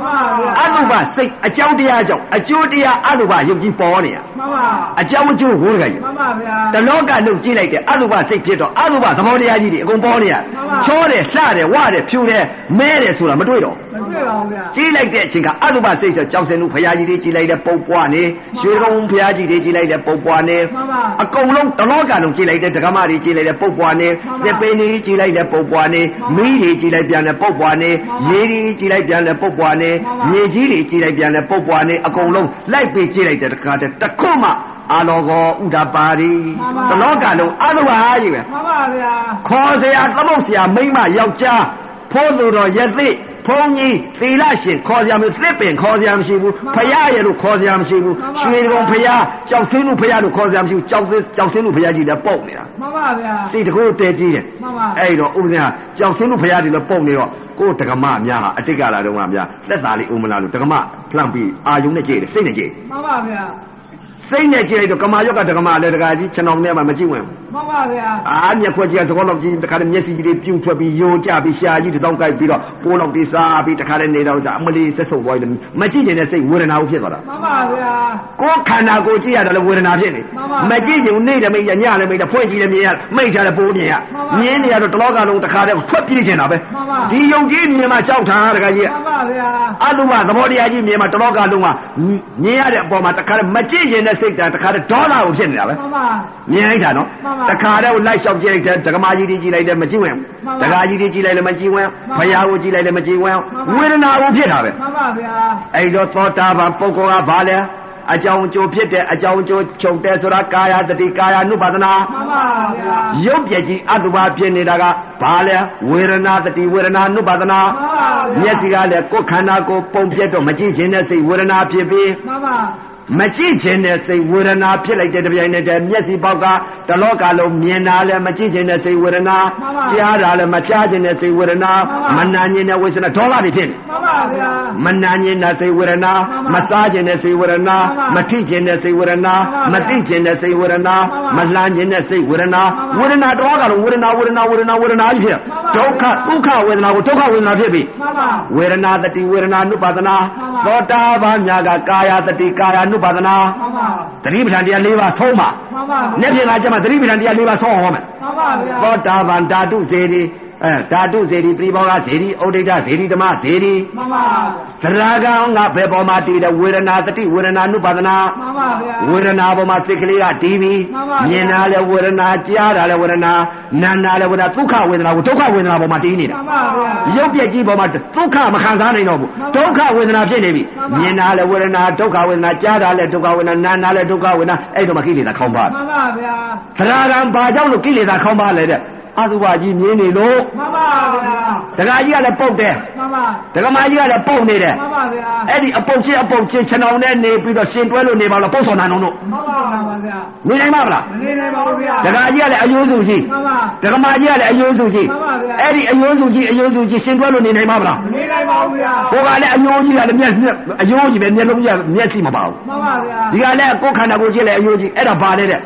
[SPEAKER 3] မှန်
[SPEAKER 1] အတုပ
[SPEAKER 3] ပါဗျာ
[SPEAKER 1] စိတ်အကြောင်းတရားကြောင့်အကျိုးတရားအတုပယုတ်ကြီးပေါ်နေရ
[SPEAKER 3] မှန်ပါ
[SPEAKER 1] အကြောင်းအကျိုးကိုတခါကြီး
[SPEAKER 3] မှန်ပါဗျာ
[SPEAKER 1] တလောကလုံးကြည့်လိုက်တယ်အတုပစိတ်ဖြစ်တော့အတုပသဘောတရားကြီးတွေအကုန်ပေါ်နေရ
[SPEAKER 3] မှန်ပါ
[SPEAKER 1] ချောတယ်လှတယ်ဝတယ်ဖြူတယ်မဲတယ်ဆိုတာမတွေ့တော့
[SPEAKER 3] မတွေ့ပါဘူးဗျာ
[SPEAKER 1] ကြည်လိုက်တဲ့အချိန်ကအတုပစိတ်ဆိုကြောင်စင်တို့ဖရာကြီးတွေကြည်လိုက်တဲ့ပုပ်ပွားနေရွှေကုန်းဖရာကြီးတွေကြည်လိုက်တဲ့ပုပ်ပွားနေ
[SPEAKER 3] မှန်ပါ
[SPEAKER 1] အကုန်လုံးတလောကလုံးကြည်လိုက်တဲ့ဒကမတွေကြည်လိုက်တဲ့ပုပ်ပွားနေသ
[SPEAKER 3] မှန်
[SPEAKER 1] စ်ပ
[SPEAKER 3] ပါ
[SPEAKER 1] င်တွေကြည်လိုက်တဲ့ပုပ်ပွားနေ
[SPEAKER 3] မှန်
[SPEAKER 1] မီး
[SPEAKER 3] ပါ
[SPEAKER 1] တွေကြည်လိုက်ပြန်တဲ့ပုပ်ပွားနေ
[SPEAKER 3] မှ
[SPEAKER 1] ရေ
[SPEAKER 3] န်ပါ
[SPEAKER 1] တွေကြည်လိုက်ပြန်တဲ့ပုပ်ပွားနေ
[SPEAKER 3] မှန်ပါ
[SPEAKER 1] မြေကြီးတွေကြည်လိုက်ပြန်တဲ့ပုပ်ပွားနေအကုန်လုံးလိုက်ပြီးကြည်လိုက်တဲ့တခါတည်းတစ်ခွမှအာလောကောဥဒ္ဒပါရီတလောကလုံးအတုပကြီးပဲ
[SPEAKER 3] မှန်ပါဗျာ
[SPEAKER 1] ခေါ်เสียသမုတ်เสียမိမ့်မယောက်ျားဖိုးသူတော်ယသိ ဘုန်းကြီးသီလရှင်ခေါ်စရာမရှိသစ်ပင်ခေါ်စရာမရှိဘူး
[SPEAKER 3] မှန်ပါ
[SPEAKER 1] ဖရရဲ့လို့ခေါ်စရာမရှိဘူး
[SPEAKER 3] မှန်
[SPEAKER 1] ရွှေ
[SPEAKER 3] ပါ
[SPEAKER 1] ကုံဖရကြောက်ဆင်းလို့ဖရလို့ခေါ်စရာမရှိဘူးကြောက်ဆင်းကြောက်ဆင်းလို့ဖရကြီးလည်းပုတ်နေတာ
[SPEAKER 3] မှန်ပါဗျာ
[SPEAKER 1] စိတ်တကူတဲကြီးတယ်
[SPEAKER 3] မှန်ပါ
[SPEAKER 1] အဲ့တော့ဥပဇင်ကကြောက်စင်းလို့ဖရားဒီလိုပုံနေတော့ကိုယ်တက္ကမများဟာအတိတ်ကလာတော့ကများလက်သားလေးဥမလာလို့တက္ကမဖလန့်ပြီးအာယုံနဲ့ကြည့်တယ်စိတ်နဲ့ကြည့်
[SPEAKER 3] မှန်ပါဗျာ
[SPEAKER 1] စိတ်နဲ့ကြည့်လိုက်တော့ကမာရော့ကတက္ကမလည်းတက္ကကြီးခြံအောင်ထဲမှာမကြည့်ဝင်ဘူး
[SPEAKER 3] မှန်ပါဗျာ
[SPEAKER 1] အာမျက်ခွက်ကြီးကသကောလောက်ကြီးတခါတည်းမျက်စိကြီးတွေပြူထွက်ပြီးယိုကျပြီးရှာကြီးတစ်တောင်းကိုက်ပြီးတော့ပိုးလောက်ပြီးစားပြီးတခါတည်းနေတော့ကြအမလီသက်ဆုပ်သွားတယ်မကြည့်နေတဲ့စိတ်ဝေဒနာကိုဖြစ်သွားတာ
[SPEAKER 3] မှန်ပါဗျာ
[SPEAKER 1] ကိုယ်ခန္ဓာကိုယ်ကြည့်ရတယ်လို့ဝေဒနာဖြစ်နေ
[SPEAKER 3] မှန်ပါ
[SPEAKER 1] မကြည့်ရင်နေတယ်မိတ်ရညလည်းမိတ်တယ်ဖွင့်ကြည့်လည်းမြင်ရမိတ်ချလည်းပိုးမြင်ရ
[SPEAKER 3] မှန်ပါ
[SPEAKER 1] မြင်နေရတော့တစ်လောကလုံးတခါတည်းထွက်ပြေးနေတာပဲ
[SPEAKER 3] မှန်ပါ
[SPEAKER 1] ဒီယုံကြည်မြင်မှာကြောက်တာတခါကြီး
[SPEAKER 3] မှန်ပါဗျာ
[SPEAKER 1] အလုံးမသဘောတရားကြီးမြင်မှာတလောကလုံးမှာမြင်ရတဲ့အပေါ်မှာတခါတည်းမကြည့်ရင်တဲ့စိတ်ဓာတ်တခါတည်းဒေါသကိုဖြစ်နေတာပဲ
[SPEAKER 3] မှန်ပါ
[SPEAKER 1] မြင်လိုက်တာနော်
[SPEAKER 3] မှန်ပါ
[SPEAKER 1] တခါတည်းကိုလိုက်လျှောက်ကြည့်လိုက်တယ်ဒကမာကြီးတွေကြည့်လိုက်တယ်မကြည့်ဝင်
[SPEAKER 3] မှန်
[SPEAKER 1] ဘူးဒ
[SPEAKER 3] ပါ
[SPEAKER 1] ကာကြီးတွေကြည့်လိုက်လည်းမကြည့်ဝင်
[SPEAKER 3] မှန်ပါ
[SPEAKER 1] ဘုရားကိုကြည့်လိုက်လည်းမကြည့်ဝင်
[SPEAKER 3] မှန်ပါ
[SPEAKER 1] ဝေဒနာကိုဖြစ်တာပဲ
[SPEAKER 3] မှန်ပါဗျာ
[SPEAKER 1] အဲ့တော့သောတာပန်ပုဂ္ဂိုလ်ကဘာလဲအကြောင်းအကျိုးဖြစ်တဲ့အကြောင်းအကျိုးချုပ်တယ်ဆိုတာကာယတတိကာယ ानु ပါဒနာ
[SPEAKER 3] မှန်ပါဗျာ
[SPEAKER 1] ရုပ်ပြက်ကြီးအတုပါဖြစ်နေတာကဘာလဲဝေဒနာတတိဝေဒနာနုပါဒနာ
[SPEAKER 3] မှန်ပါ
[SPEAKER 1] မျ
[SPEAKER 3] ဗျာ
[SPEAKER 1] က်စိကလည်းကိုယ်ခန္ဓာကိုယ်ပုံပြက်တော့မကြည့်ခြင်းနဲ့စိတ်ဝေဒနာဖြစ်ပြီး
[SPEAKER 3] မှန်ပါ
[SPEAKER 1] မကြည့်ခြင်းနဲ့စိတ်ဝေဒနာဖြစ်လိုက်တဲ့တစ်ပြိုင်နက်တည်းမျက်စိပေါက်ကတစ်လောကလုံးမြင်တာလည်းမကြည့်ခြင်းနဲ့စိတ်ဝေဒနာကြားတာလည်းမကြားခြင်းနဲ့စိတ်ဝေဒနာမနာခြင်းနဲ့ဝေဒနာဒေါသတွေဖြစ်နေ
[SPEAKER 3] မှန်ပါဗျာ
[SPEAKER 1] မနာခြင်းနဲ့စိတ်ဝေဒနာ
[SPEAKER 3] မှ
[SPEAKER 1] မ
[SPEAKER 3] န်ပါ
[SPEAKER 1] စားခြင်းနဲ့စိတ်ဝေဒနာမ
[SPEAKER 3] မှန်ပါ
[SPEAKER 1] ထိခြင်းနဲ့စိတ်ဝေဒနာ
[SPEAKER 3] မှ
[SPEAKER 1] မ
[SPEAKER 3] န်ပါ
[SPEAKER 1] သိခြင်းနဲ့စိတ်ဝေဒနာမ
[SPEAKER 3] မှန်ပါ
[SPEAKER 1] လှမ်းခြင်းနဲ့စိတ်ဝေဒနာ
[SPEAKER 3] မှ
[SPEAKER 1] ဝေဒ
[SPEAKER 3] န်ပါ
[SPEAKER 1] နာတော့ကတော့ဝေဒနာဝေဒနာဝေဒနာဝေဒနာကြီးဖြစ်
[SPEAKER 3] မှ
[SPEAKER 1] ဒု
[SPEAKER 3] န်
[SPEAKER 1] က္ခ
[SPEAKER 3] ပါ
[SPEAKER 1] ဒုက္ခဝေဒနာကိုဒုက္ခဝေဒနာဖြစ်ပြီ
[SPEAKER 3] မှန်ပါ
[SPEAKER 1] ဝေဒနာတတိဝေဒနာနုပါဒနာ
[SPEAKER 3] မှ
[SPEAKER 1] သော
[SPEAKER 3] န်
[SPEAKER 1] တာ
[SPEAKER 3] ပါ
[SPEAKER 1] ပန်ညာကကာယတတိကာယနုပါဒနာ
[SPEAKER 3] မှန်ပါ
[SPEAKER 1] သတိပဋ္ဌာန်တရား၄ပါးဆုံးပါ
[SPEAKER 3] မှန်ပါ
[SPEAKER 1] နေ့ပြန်လာကြမှာသတိပဋ္ဌာန်တရား၄ပါးဆုံးအောင်ဟောမယ်
[SPEAKER 3] မှန်ပါဗျာ
[SPEAKER 1] သောတာပန်ဓာတုစေတီအဲဓာတုစေတီပြိဘောဂစေတီဩဒိဋ္ဌစေတီဓမ္မစေတီ
[SPEAKER 3] မှန်ပါ
[SPEAKER 1] သရဂံကဘယ်ပေါ်မှာတည်တယ်ဝေဒနာတတိဝေဒနာနုပါဒနာ
[SPEAKER 3] မှန်ပါဗျာ
[SPEAKER 1] ဝေဒနာပေါ်မှာစိတ်ကလေးကတည်ပြီ
[SPEAKER 3] မှန်ပါဗျာ
[SPEAKER 1] မြင်တာလဲဝေဒနာကြားတာလဲဝေဒနာနာတာလဲဝေဒနာဒုက္ခဝေဒနာကိုဒုက္ခဝေဒနာပေါ်မှာတည်နေတာ
[SPEAKER 3] မှန်ပါဗျာ
[SPEAKER 1] ရုပ်ပြက်ကြီးပေါ်မှာဒုက္ခမခံစားနိုင်တော့ဘူး
[SPEAKER 3] မှန်
[SPEAKER 1] ဒု
[SPEAKER 3] ပါ
[SPEAKER 1] က္ခဝေဒနာဖြစ်နေပြီ
[SPEAKER 3] မှန်ပါ
[SPEAKER 1] မြင်တာလဲဝေဒနာဒုက္ခဝေဒနာကြားတာလဲဒုက္ခဝေဒနာနာတာလဲဒုက္ခဝေဒနာအဲ့တော့မှကိလေသာခေါင်းပါ
[SPEAKER 3] မှန်ပါဗျာ
[SPEAKER 1] သရဂံဘာကြောင့်လို့ကိလေသာခေါင်းပါလဲတဲ့အသုဘကြီးမြင်နေလို့
[SPEAKER 3] မှန်ပါဗျာ
[SPEAKER 1] ဒကာကြီးကလည်းပုတ်တယ်
[SPEAKER 3] မှန်ပါ
[SPEAKER 1] ဒကာမကြီးကလည်းပုတ်နေတယ်
[SPEAKER 3] မှန်ပါဗျာ
[SPEAKER 1] အဲ့ဒီအပုတ်ချင်းအပုတ်ချင်းခြံအောင်နဲ့နေပြီးတော့ရှင်တွဲလို့နေပါလို့ပုတ်ဆောင်နိုင်အောင်လို့
[SPEAKER 3] မှန်ပါဗျာ
[SPEAKER 1] နေနိုင်ပါမလား
[SPEAKER 3] မနေနိုင်ပါဘူးဗျာ
[SPEAKER 1] ဒကာကြီးကလည်းအယိုးစုကြီး
[SPEAKER 3] မှန်ပါ
[SPEAKER 1] ဒကမာကြီးကလည်းအယိုးစုကြီး
[SPEAKER 3] မှန်ပါဗျာ
[SPEAKER 1] အဲ့ဒီအယိုးစုကြီးအယိုးစုကြီးရှင်တွဲလို့နေနိုင်ပါမလား
[SPEAKER 3] မနေနိုင်ပါဘူးဗျာ
[SPEAKER 1] ကိုယ်ကလည်းအယိုးကြီးကလည်းမျက်မျက်အယိုးကြီးပဲမျက်လုံးကြီးကမျက်စိမပါဘူး
[SPEAKER 3] မှန်ပါဗျာ
[SPEAKER 1] ဒီကလည်းကိုယ်ခန္ဓာကိုယ်ကြီးလည်းအယိုးကြီးအဲ့ဒါဘာလဲတဲ့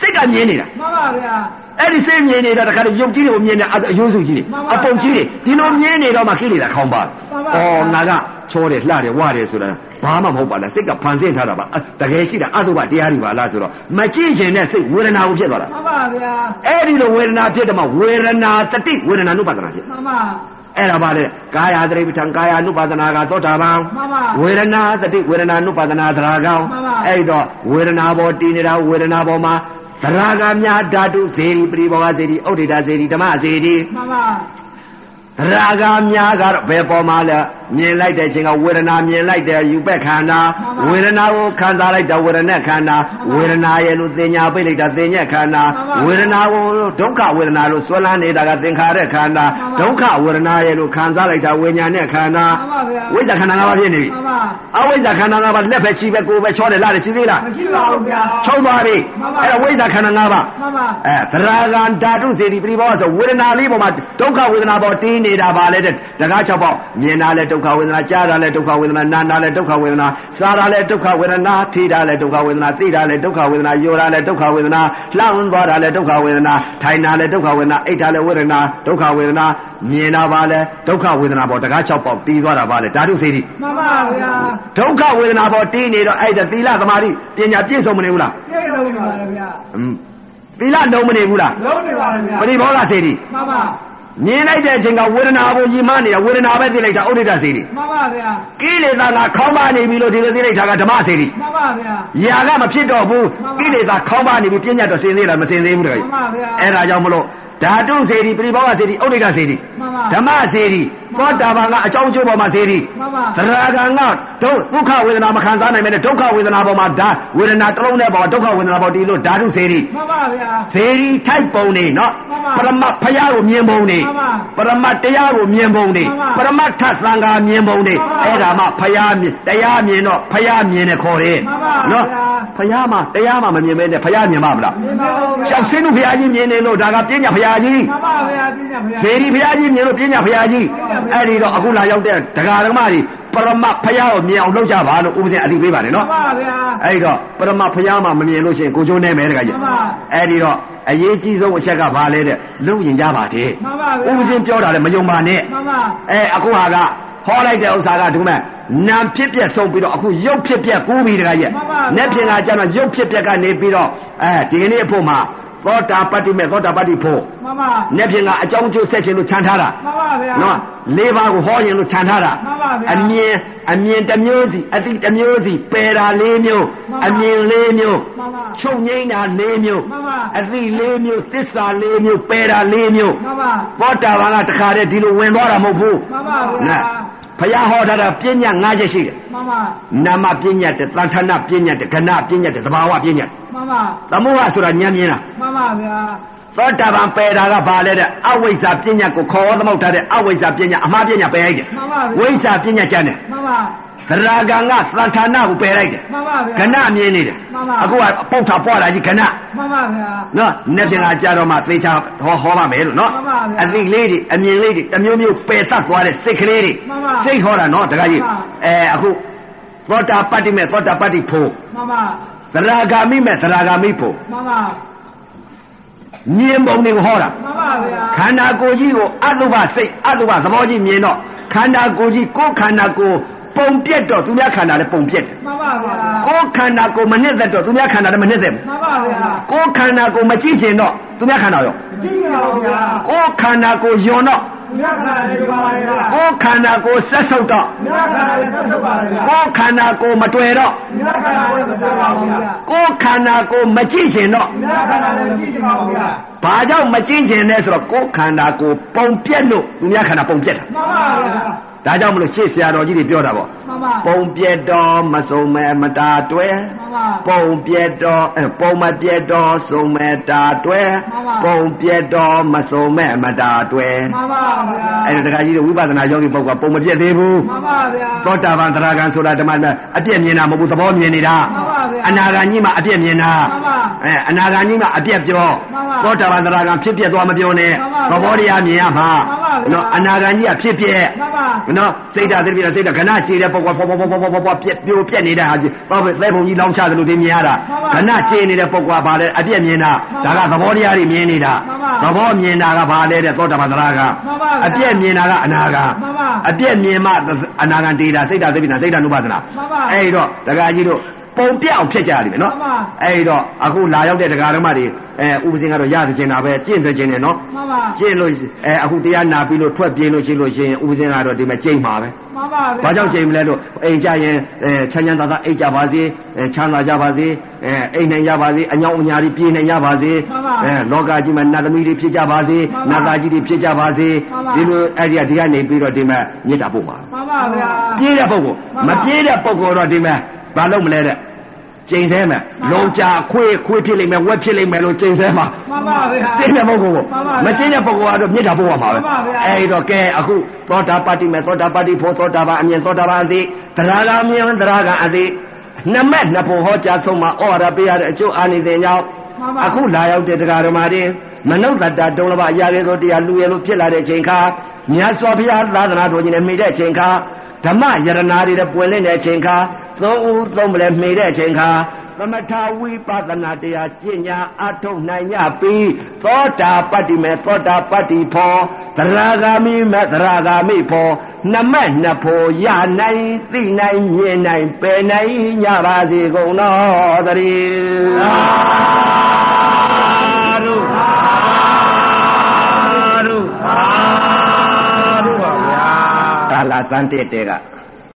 [SPEAKER 1] စိတ်ကမြင်နေတာ
[SPEAKER 3] မှန်ပါဗျာ
[SPEAKER 1] အဲ့ဒီစိတ်မြင်နေတာတခါတည်းရုပ်ကြီးတွေကိုမြင်နေအယိုးစုကြီးတွေ
[SPEAKER 3] မှန်ပါ
[SPEAKER 1] အပုတ်ကြီးတွေဒီလိုမြင်နေတော့မှခိလေတာခေါင်းပါ
[SPEAKER 3] မှန်ပါဗျာ
[SPEAKER 1] ဩငါကချောတယ်လှတယ်ဝတယ်ဆိုတာဘာမှမဟုတ်ပါလားစိတ်ကဖန်ဆင်းထားတာပါအတကယ်ရှိတာအသုဘတရားတွေပါလားဆိုတော့မကြည့်ခြင်းနဲ့စိတ်ဝေဒနာကိုဖြစ်သွားတာ
[SPEAKER 3] မှန်ပါဗျာ
[SPEAKER 1] အဲ့ဒီလိုဝေဒနာဖြစ်တယ်မှာဝေဒနာတတိဝေဒနာနုပါဒနာဖြစ်
[SPEAKER 3] မှန်ပါ
[SPEAKER 1] အဲ့ဒါပါလေကာယသတိပဋ္ဌာန်ကာယ ानु ပါဒနာကသောတာပန်
[SPEAKER 3] မှန်ပါ
[SPEAKER 1] ဝေဒနာတတိဝေဒနာ ानु ပါဒနာသရာကောင်
[SPEAKER 3] မှန်ပါ
[SPEAKER 1] အဲ့တော့ဝေဒနာပေါ်တည်နေတာဝေဒနာပေါ်မှာသရာကများဓာတုဇေရီပရိဘောဂဇေရီဩဒိတာဇေရီဓမ္မဇေရီ
[SPEAKER 3] မှန်
[SPEAKER 1] ရ
[SPEAKER 3] ပါ
[SPEAKER 1] ာဂများကတော့ဘယ်ပေါ်မှာလဲမြင်လိုက်တဲ့အချိန်ကဝေဒနာမြင်လိုက်တယ်ယူပက်ခန္ဓာဝေဒနာကိုခံစားလိုက်တာဝေဒနာခန္ဓာဝေဒနာရဲ့လို့သင်ညာပိတ်လိုက်တာသင်ညက်ခန္ဓာဝေဒနာကိုဒုက္ခဝေဒနာလို့ဆွဲလန်းနေတာကသင်္ခါရခန္ဓာဒုက္ခဝေဒနာရဲ့လို့ခံစားလိုက်တာဝိညာဉ်နဲ့ခန္ဓာ
[SPEAKER 3] မှန်ပါဗျာ
[SPEAKER 1] ဝိဇ္ဇာခန္ဓာငါးပါးဖြစ်နေပြီ
[SPEAKER 3] မှန်ပါ
[SPEAKER 1] အဝိဇ္ဇာခန္ဓာငါးပါးလက်ပဲရှိပဲကိုယ်ပဲချောတယ်လားတယ်ရှိသေးလား
[SPEAKER 3] မရှိပါဘူးဗျာ
[SPEAKER 1] ချုံသွားပြီအဲ့ဒါဝိဇ္ဇာခန္ဓာငါးပါး
[SPEAKER 3] မှန်ပါ
[SPEAKER 1] အဲသရာဂံဓာတုစေတီပြိဘောဆိုဝေဒနာလေးပေါ်မှာဒုက္ခဝေဒနာပေါ်တင်းနေတာပါလေတဲ့တကား၆ပေါက်မြင်တာလဲဒုက္ခဝေဒနာကြားတာလဲဒုက္ခဝေဒနာနားတာလဲဒုက္ခဝေဒနာစားတာလဲဒုက္ခဝေဒနာထိတာလဲဒုက္ခဝေဒနာသိတာလဲဒုက္ခဝေဒနာယောတာလဲဒုက္ခဝေဒနာလှမ်းသွားတာလဲဒုက္ခဝေဒနာထိုင်တာလဲဒုက္ခဝေဒနာအိတ်တာလဲဝေဒနာဒုက္ခဝေဒနာမြင်တာပါလဲဒုက္ခဝေဒနာပေါ်တကား၆ပေါက်တီးသွားတာပါလေဓာတုစေတီ
[SPEAKER 3] မှန်ပါဗျာ
[SPEAKER 1] ဒုက္ခဝေဒနာပေါ်တင်းနေတော့အဲ့ဒါသီလသမာဓိပညာပြည့်စုံမနေဘူးလား
[SPEAKER 3] ပြည့်လုံးပါဗျာ
[SPEAKER 1] အင်းသီလလုံးမနေဘူးလား
[SPEAKER 3] လုံးနေပါဗျာ
[SPEAKER 1] ပရိဘောဂစေတီ
[SPEAKER 3] မှန်ပါ
[SPEAKER 1] မြင်လိုက်တဲ့အချိန်ကဝေဒနာကိုညီမနေတာဝေဒနာပဲသိလိုက်တာဥဒိတစေတီ
[SPEAKER 3] မှန်ပါဗျာ
[SPEAKER 1] ကိလေသာကခေါင်းပါနေပြီလို့ဒီလိုသိလိုက်တာကဓမ္မစေတီ
[SPEAKER 3] မှန်ပါဗျာ
[SPEAKER 1] ຢာကမဖြစ်တော့ဘူးကိလေသာခေါင်းပါနေပြီပြဉ္ညာတော့စင်သေးလားမစင်သေးဘူးတခါ
[SPEAKER 3] မှ
[SPEAKER 1] ကြီး
[SPEAKER 3] န်ပါဗျာ
[SPEAKER 1] အဲ့ဒါကြောင့်မလို့ဓာတုစေတီပြိဘောဂစေတီဥဒိတစေတီ
[SPEAKER 3] မှန်ပါ
[SPEAKER 1] ဓမ္မစေတီ သောတာပန်ကအကြောင်းအကျိုးပေါ်မှာသေးသည်
[SPEAKER 3] မှန်ပါ
[SPEAKER 1] သရဂံကဒုဒုက္ခဝေဒနာမခံစားနိုင်ပဲနဲ့ဒုက္ခဝေဒနာပေါ်မှာဒါဝေဒနာတစ်လုံးနဲ့ပေါ်ဒုက္ခဝေဒနာပေါ်တည်လို့ဓာတုသေးသည်
[SPEAKER 3] မှန်ပါဗျာ
[SPEAKER 1] သေရီထိုက်ပုံနေနော်
[SPEAKER 3] မှန်ပါ
[SPEAKER 1] ပရမတ်ဖရာကိုမြင်ပုံနေ
[SPEAKER 3] မှန်ပါ
[SPEAKER 1] ပရမတ်တရားကိုမြင်ပုံနေပ
[SPEAKER 3] မှန်ပါ
[SPEAKER 1] ရမတ်ထသံဃာမြင်ပုံနေ
[SPEAKER 3] မှန်ပါ
[SPEAKER 1] အဲ့ဒါမှဖရာမြင်တရားမြင်တော့ဖရာမြင်တယ်ခေါ်တယ်
[SPEAKER 3] မှန်ပါဗျာ
[SPEAKER 1] ဖရာမှတရားမှမမြင်ပဲနဲ့ဖရာမြင်ပါမလား
[SPEAKER 3] မြင်ပါဦးဗျာ
[SPEAKER 1] ကျောက်စင်းတို့ဖရာကြီးမြင်နေလို့ဒါကပြညာဖရာကြီး
[SPEAKER 3] မှန်ပါဗျာပြည့်ညဗျာ
[SPEAKER 1] သေရီဖရာကြီးမြင်လို့ပြညာဖရာကြီး
[SPEAKER 3] မှန်ပါဗျာ
[SPEAKER 1] အဲ့ဒီတော့အခုလာရောက်တဲ့ဒကာဒကမကြီးပရမတ်ဖရာကိုမြင်အောင်လုပ်ကြပါလို့ဥပဒေအတိပေးပါတယ်
[SPEAKER 3] မှ
[SPEAKER 1] နော်
[SPEAKER 3] န်ပါဗျာ
[SPEAKER 1] အဲ့ဒီတော့ပရမဖျားမှမမြင်လို့ရှိရင်ကိုကျိုးနေမယ်တခါကြီး
[SPEAKER 3] မှန်ပါ
[SPEAKER 1] အဲ့ဒီတော့အရေးကြီးဆုံးအချက်ကဘာလဲတဲ့လုံရင်ကြပါသေး
[SPEAKER 3] မှန်ပါဗျာ
[SPEAKER 1] ဥပချင်းပြောတာလည်းမယုံပါနဲ့
[SPEAKER 3] မှန်ပါ
[SPEAKER 1] အဲအခုဟာကဟောလိုက်တဲ့ဥစ္စာကဒီမဲ့နာဖြစ်ပြက်ဆုံးပြီးတော့အခုရုပ်ဖြစ်ပြက်ကူးပြီးတခါကြီးနက်ဖြင့်ကကျတော့ရုပ်ဖြစ်ပြက်ကနေပြီးတော့အဲဒီကနေ့အဖို့မှာသောတာပတ္တိမဲ့သောတာပတ္တိဖို့
[SPEAKER 3] မှန်ပါ
[SPEAKER 1] နက်ဖြင့်ကအကြောင်းကျိုးဆက်ခြင်းလို့ခြံထားတာ
[SPEAKER 3] မှန်ပါဗျာ
[SPEAKER 1] နော်လေးပါးကိုဟောရင်လို့ခြံထားတာ
[SPEAKER 3] မှန်ပါဗျာ
[SPEAKER 1] အမြင်အမြင်တစ်မျိုးစီအတိတစ်မျိုးစီပယ်တာလေးမျိုး
[SPEAKER 3] မှန်ပါ
[SPEAKER 1] အမြင်လေးမျိုး
[SPEAKER 3] မှန်ပါ
[SPEAKER 1] ချုပ်ငိမ့်တာလေးမျိုး
[SPEAKER 3] မှန်ပါ
[SPEAKER 1] အတိလေးမျိုးသစ္စာလေးမျိုးပယ်တာလေးမျိုး
[SPEAKER 3] မှန်ပါ
[SPEAKER 1] သောတာပန်ကတခါတည်းဒီလိုဝင်သွားတာမဟုတ်ဘူး
[SPEAKER 3] မှန်ပါဗျာ
[SPEAKER 1] နော်ဘုရားဟောထားတာပညာ၅ချက်ရှိတယ်
[SPEAKER 3] မှန်ပါ
[SPEAKER 1] နာမပညာတစ်သံဌာနပညာတစ်ကဏပညာတစ်သဘာဝပညာတစ်
[SPEAKER 3] မှန်ပါ
[SPEAKER 1] သမုဟဆိုတာဉာဏ်မြင်တာ
[SPEAKER 3] မှန်ပါဗျာ
[SPEAKER 1] သောတာပန်ပယ်တာကဘာလဲတဲ့အဝိဇ္ဇာပညာကိုခေါ်သမုတ်ထားတဲ့အဝိဇ္ဇာပညာအမှားပညာပယ်လိုက်တယ်
[SPEAKER 3] မှန်ပါ
[SPEAKER 1] ဝိ
[SPEAKER 3] ဗျာ
[SPEAKER 1] ဇ္ဇာပညာကျမ်းတယ်
[SPEAKER 3] မှန်ပါ
[SPEAKER 1] သရဂံကသံဌာနကိုပယ်လိုက်တယ်
[SPEAKER 3] မှန်ပါဗျာ
[SPEAKER 1] ကဏမြင်နေတယ်
[SPEAKER 3] မှန်ပါ
[SPEAKER 1] အခုကပုတ်တာပွားတာကြီးကဏ
[SPEAKER 3] မှန်ပါဗျာ
[SPEAKER 1] နော်နှစ်ပြန်လာကြတော့မှသေချာဟောဟောပါမယ်လို့နော်
[SPEAKER 3] မှန်ပါဗျာ
[SPEAKER 1] အသိလေးတွေအမြင်လေးတွေတစ်မျိုးမျိုးပယ်သတ်သွားတဲ့စိတ်ကလေးတွေ
[SPEAKER 3] မှန်ပါ
[SPEAKER 1] စိတ်ဟောတာနော်တခါကြီး
[SPEAKER 3] မှန်ပါ
[SPEAKER 1] အဲအခုသောတာပတ္တိမဲ့သောတာပတ္တိဖို့
[SPEAKER 3] မှန်ပါ
[SPEAKER 1] သရဂါမိမဲ့သရဂါမိဖို့
[SPEAKER 3] မှန်ပါ
[SPEAKER 1] မြင်ပုံတွေကိုဟောတာ
[SPEAKER 3] မှန်ပါဗျာ
[SPEAKER 1] ခန္ဓာကိုယ်ကြီးကိုအတုပစိတ်အတုပသဘောကြီးမြင်တော့ခန္ဓာကိုယ်ကြီးကိုယ်ခန္ဓာကိုယ်ပုံပြက်တော့သူများခန္ဓာလည်းပုံပြက်တယ်
[SPEAKER 3] မှန်ပါဗျာ
[SPEAKER 1] ကိုယ်ခန္ဓာကိုယ်မနှစ်သက်တော့သူများခန္ဓာလည်းမနှစ်သက်ဘူး
[SPEAKER 3] မှန်ပါဗျာ
[SPEAKER 1] ကိုယ်ခန္ဓာကိုယ်မကြည့်ရှင်တော့သူများခန္ဓာရော
[SPEAKER 3] ကြည့်ရအောင်ဗျာ
[SPEAKER 1] ကိုယ်ခန္ဓာကိုယ်ယွန်တော့
[SPEAKER 3] ဘုရားခန္ဓာလေးပါပါဗျာ
[SPEAKER 1] ကိုယ်ခန္ဓာကိုယ်ဆက်ဆုပ်တော့
[SPEAKER 3] ဘုရားခန္ဓာလေးဆက်ထုတ်ပါဗျာ
[SPEAKER 1] ကိုယ်ခန္ဓာကိုယ်မတွေ့တော့
[SPEAKER 3] ဘုရားခန္ဓာလေးဆက်ထုတ်ပါဗျာ
[SPEAKER 1] ကိုယ်ခန္ဓာကိုယ်မကြည့်ရှင်တော့
[SPEAKER 3] ဘုရားခန္ဓာလေးကြည့်ကြပါဗျာ
[SPEAKER 1] ဘာကြောင့်မကြည့်ရှင်လဲဆိုတော့ကိုယ်ခန္ဓာကိုယ်ပုံပြက်လို့သူများခန္ဓာပုံပြက်တာ
[SPEAKER 3] မှန်ပါဗျာ
[SPEAKER 1] ဒါကြောင့်မလို့ရှေ့ဆရာတော်ကြီးတွေပြောတာပေါ့
[SPEAKER 3] မှန်ပါမှန်
[SPEAKER 1] ပုံပြက်တော့မစုံမဲမတာတွဲ
[SPEAKER 3] ပါ
[SPEAKER 1] ပုံပြက်တော်အဲပုံမပြက်တော်စုံမဲ့တာတွဲ
[SPEAKER 3] မှန်ပါ
[SPEAKER 1] ပုံပြက်တော်မစုံမဲ့မတာတွဲ
[SPEAKER 3] မှန်ပါဗျာ
[SPEAKER 1] အဲ့ဒါတခါကြီးတို့ဝိပဿနာယောဂီပုဂ္ဂိုလ်ကပုံမပြက်သေးဘူး
[SPEAKER 3] မှန်ပါဗျာ
[SPEAKER 1] သောတာပန်သရဂံဆိုတာဓမ္မနဲ့အပြက်မြင်တာမဟုတ်ဘူးသဘောမြင်နေတာ
[SPEAKER 3] မှန်ပါဗျာ
[SPEAKER 1] အနာဂါကြီးမှအပြက်မြင်တာ
[SPEAKER 3] မှန်ပါ
[SPEAKER 1] အဲအနာဂါကြီးမှအပြက်ပြော
[SPEAKER 3] မှန်ပါ
[SPEAKER 1] သောတာပန်သရဂံဖြစ်ပြက်သွားမပြောနဲ့
[SPEAKER 3] မှ
[SPEAKER 1] သ
[SPEAKER 3] န်ပါ
[SPEAKER 1] ဘောတရားမြင်ရမှာ
[SPEAKER 3] မှန်ပါဗျာ
[SPEAKER 1] နော်အနာဂါကြီးကဖြစ်ပြက်
[SPEAKER 3] မှန်ပါ
[SPEAKER 1] နော်စိတ်ဓာတ်သတိနဲ့စိတ်ဓာတ်ခဏခြေတဲ့ပုံကပေါ်ပေါ်ပေါ်ပေါ်ပေါ်ပေါ်ပြက်ပြိုပြက်နေတဲ့ဟာကြီးဘာပဲသဲပုံကြီးလောင်းချသလိုတွေမြင်ရတာခဏခြေနေတဲ့ပုံကဘာလဲအပြက်မြင်တာဒါကသဘောတရားတွေမြင်နေတာသဘောမြင်တာကဘာလဲတဲ့သောတာပန်သရကအပြက်မြင်တာကအနာကအပြက်မြင်မှအနာကတေတာစိတ်ဓာတ်သတိနဲ့စိတ်ဓာတ်နုပါဒနာအဲ့တော့ဒကာကြီးတို့ပုံပြအောင်ဖြစ်ကြရလိမ့်မယ်နော်အဲ့တော့အခုလာရောက်တဲ့ဒကာဓမ္မတွေအဲဥပစင်ကတော့ရသခြင်းတာပဲကျင့်သခြင်းနဲ့နော်
[SPEAKER 3] မှန်ပါ
[SPEAKER 1] ကျင့်လို့အဲအခုတရားနာပြီးလို့ထွက်ပြေးလို့ရှိလို့ရှိရင်ဦးစင်းကတော့ဒီမှာကျိမ့်ပါပဲ
[SPEAKER 3] မှန်ပါ
[SPEAKER 1] ။ဘာကြောင့်ကျိမ့်မလဲလို့အိမ်ကြရင်အဲချမ်းချမ်းသာသာအိမ်ကြပါစေအဲချမ်းသာကြပါစေအဲအိမ်နိုင်ကြပါစေအညောင်းအညာတွေပြေးနိုင်ကြပါစေအဲလောကကြီးမှာနတ်သမီးတွေဖြစ်ကြပါစေနတ်သားကြီးတွေဖြစ်ကြပါစေဒီလိုအဲ့ဒီကဒီကနေပြီးတော့ဒီမှာမြစ်တာပို့ပါ
[SPEAKER 3] မှန်ပါဗျာ
[SPEAKER 1] ပြေးတဲ့ပုဂ္ဂိုလ်မပြေးတဲ့ပုဂ္ဂိုလ်တော့ဒီမှာဘာလုပ်မလဲတဲ့ကျိန်သေးမယ်လုံချခွေးခွေးဖြစ်လိမ့်မယ်ဝက်ဖြစ်လိမ့်မယ်လို့ကျိန်သေးမှာ
[SPEAKER 3] မှန်ပါဗျာ
[SPEAKER 1] ကျင့်တဲ့ပုဂ္ဂိုလ်ကို
[SPEAKER 3] မှန်ပါဗျာ
[SPEAKER 1] မကျင့်တဲ့ပုဂ္ဂိုလ်ကတော့မြစ်တာပို့ရမှာပဲ
[SPEAKER 3] မှန်ပါဗျာ
[SPEAKER 1] အဲဒီတော့ကဲအခုသောတာပတ္တိမဲ့သောတာပတ္တိဖို့သောတာပန်အမြင်သောတာပန်အသိသရဂါမြင်သရဂါအသိနမက်နဖို့ဟောကြားဆုံးမှာဩဝါဒပေးရတဲ့အကျိုးအာနိသင်ကြောင့်အခုလာရောက်တဲ့တရားတော်မှာတင်မနုဿတ္တတုံးလဘအရာရဲသောတရားလူရဲလို့ဖြစ်လာတဲ့အချိန်ခါမြတ်စွာဘုရားသာသနာတော်ကြီးနဲ့မိတဲ့အချိန်ခါဓမ္မယရနာတွေနဲ့ပွင့်လင့်တဲ့အချိန်ခါသုံးဦးသုံးပလဲမိတဲ့အချိန်ခါ သမထဝိပဿနာတရားကျင့်ညာအထုတ်နိုင်ကြပြီသောတာပတ္တိမေသောတာပတ္တိဖောသရဂာမိမေသရဂာမိဖောနမတ်နဖောရနိုင်သိနိုင်မြင်နိုင်ပယ်နိုင်ညပါစေကုန်တော်တည်းသာဓုသာဓုသာဓုပါဗျာကာလသံတက်တဲ့က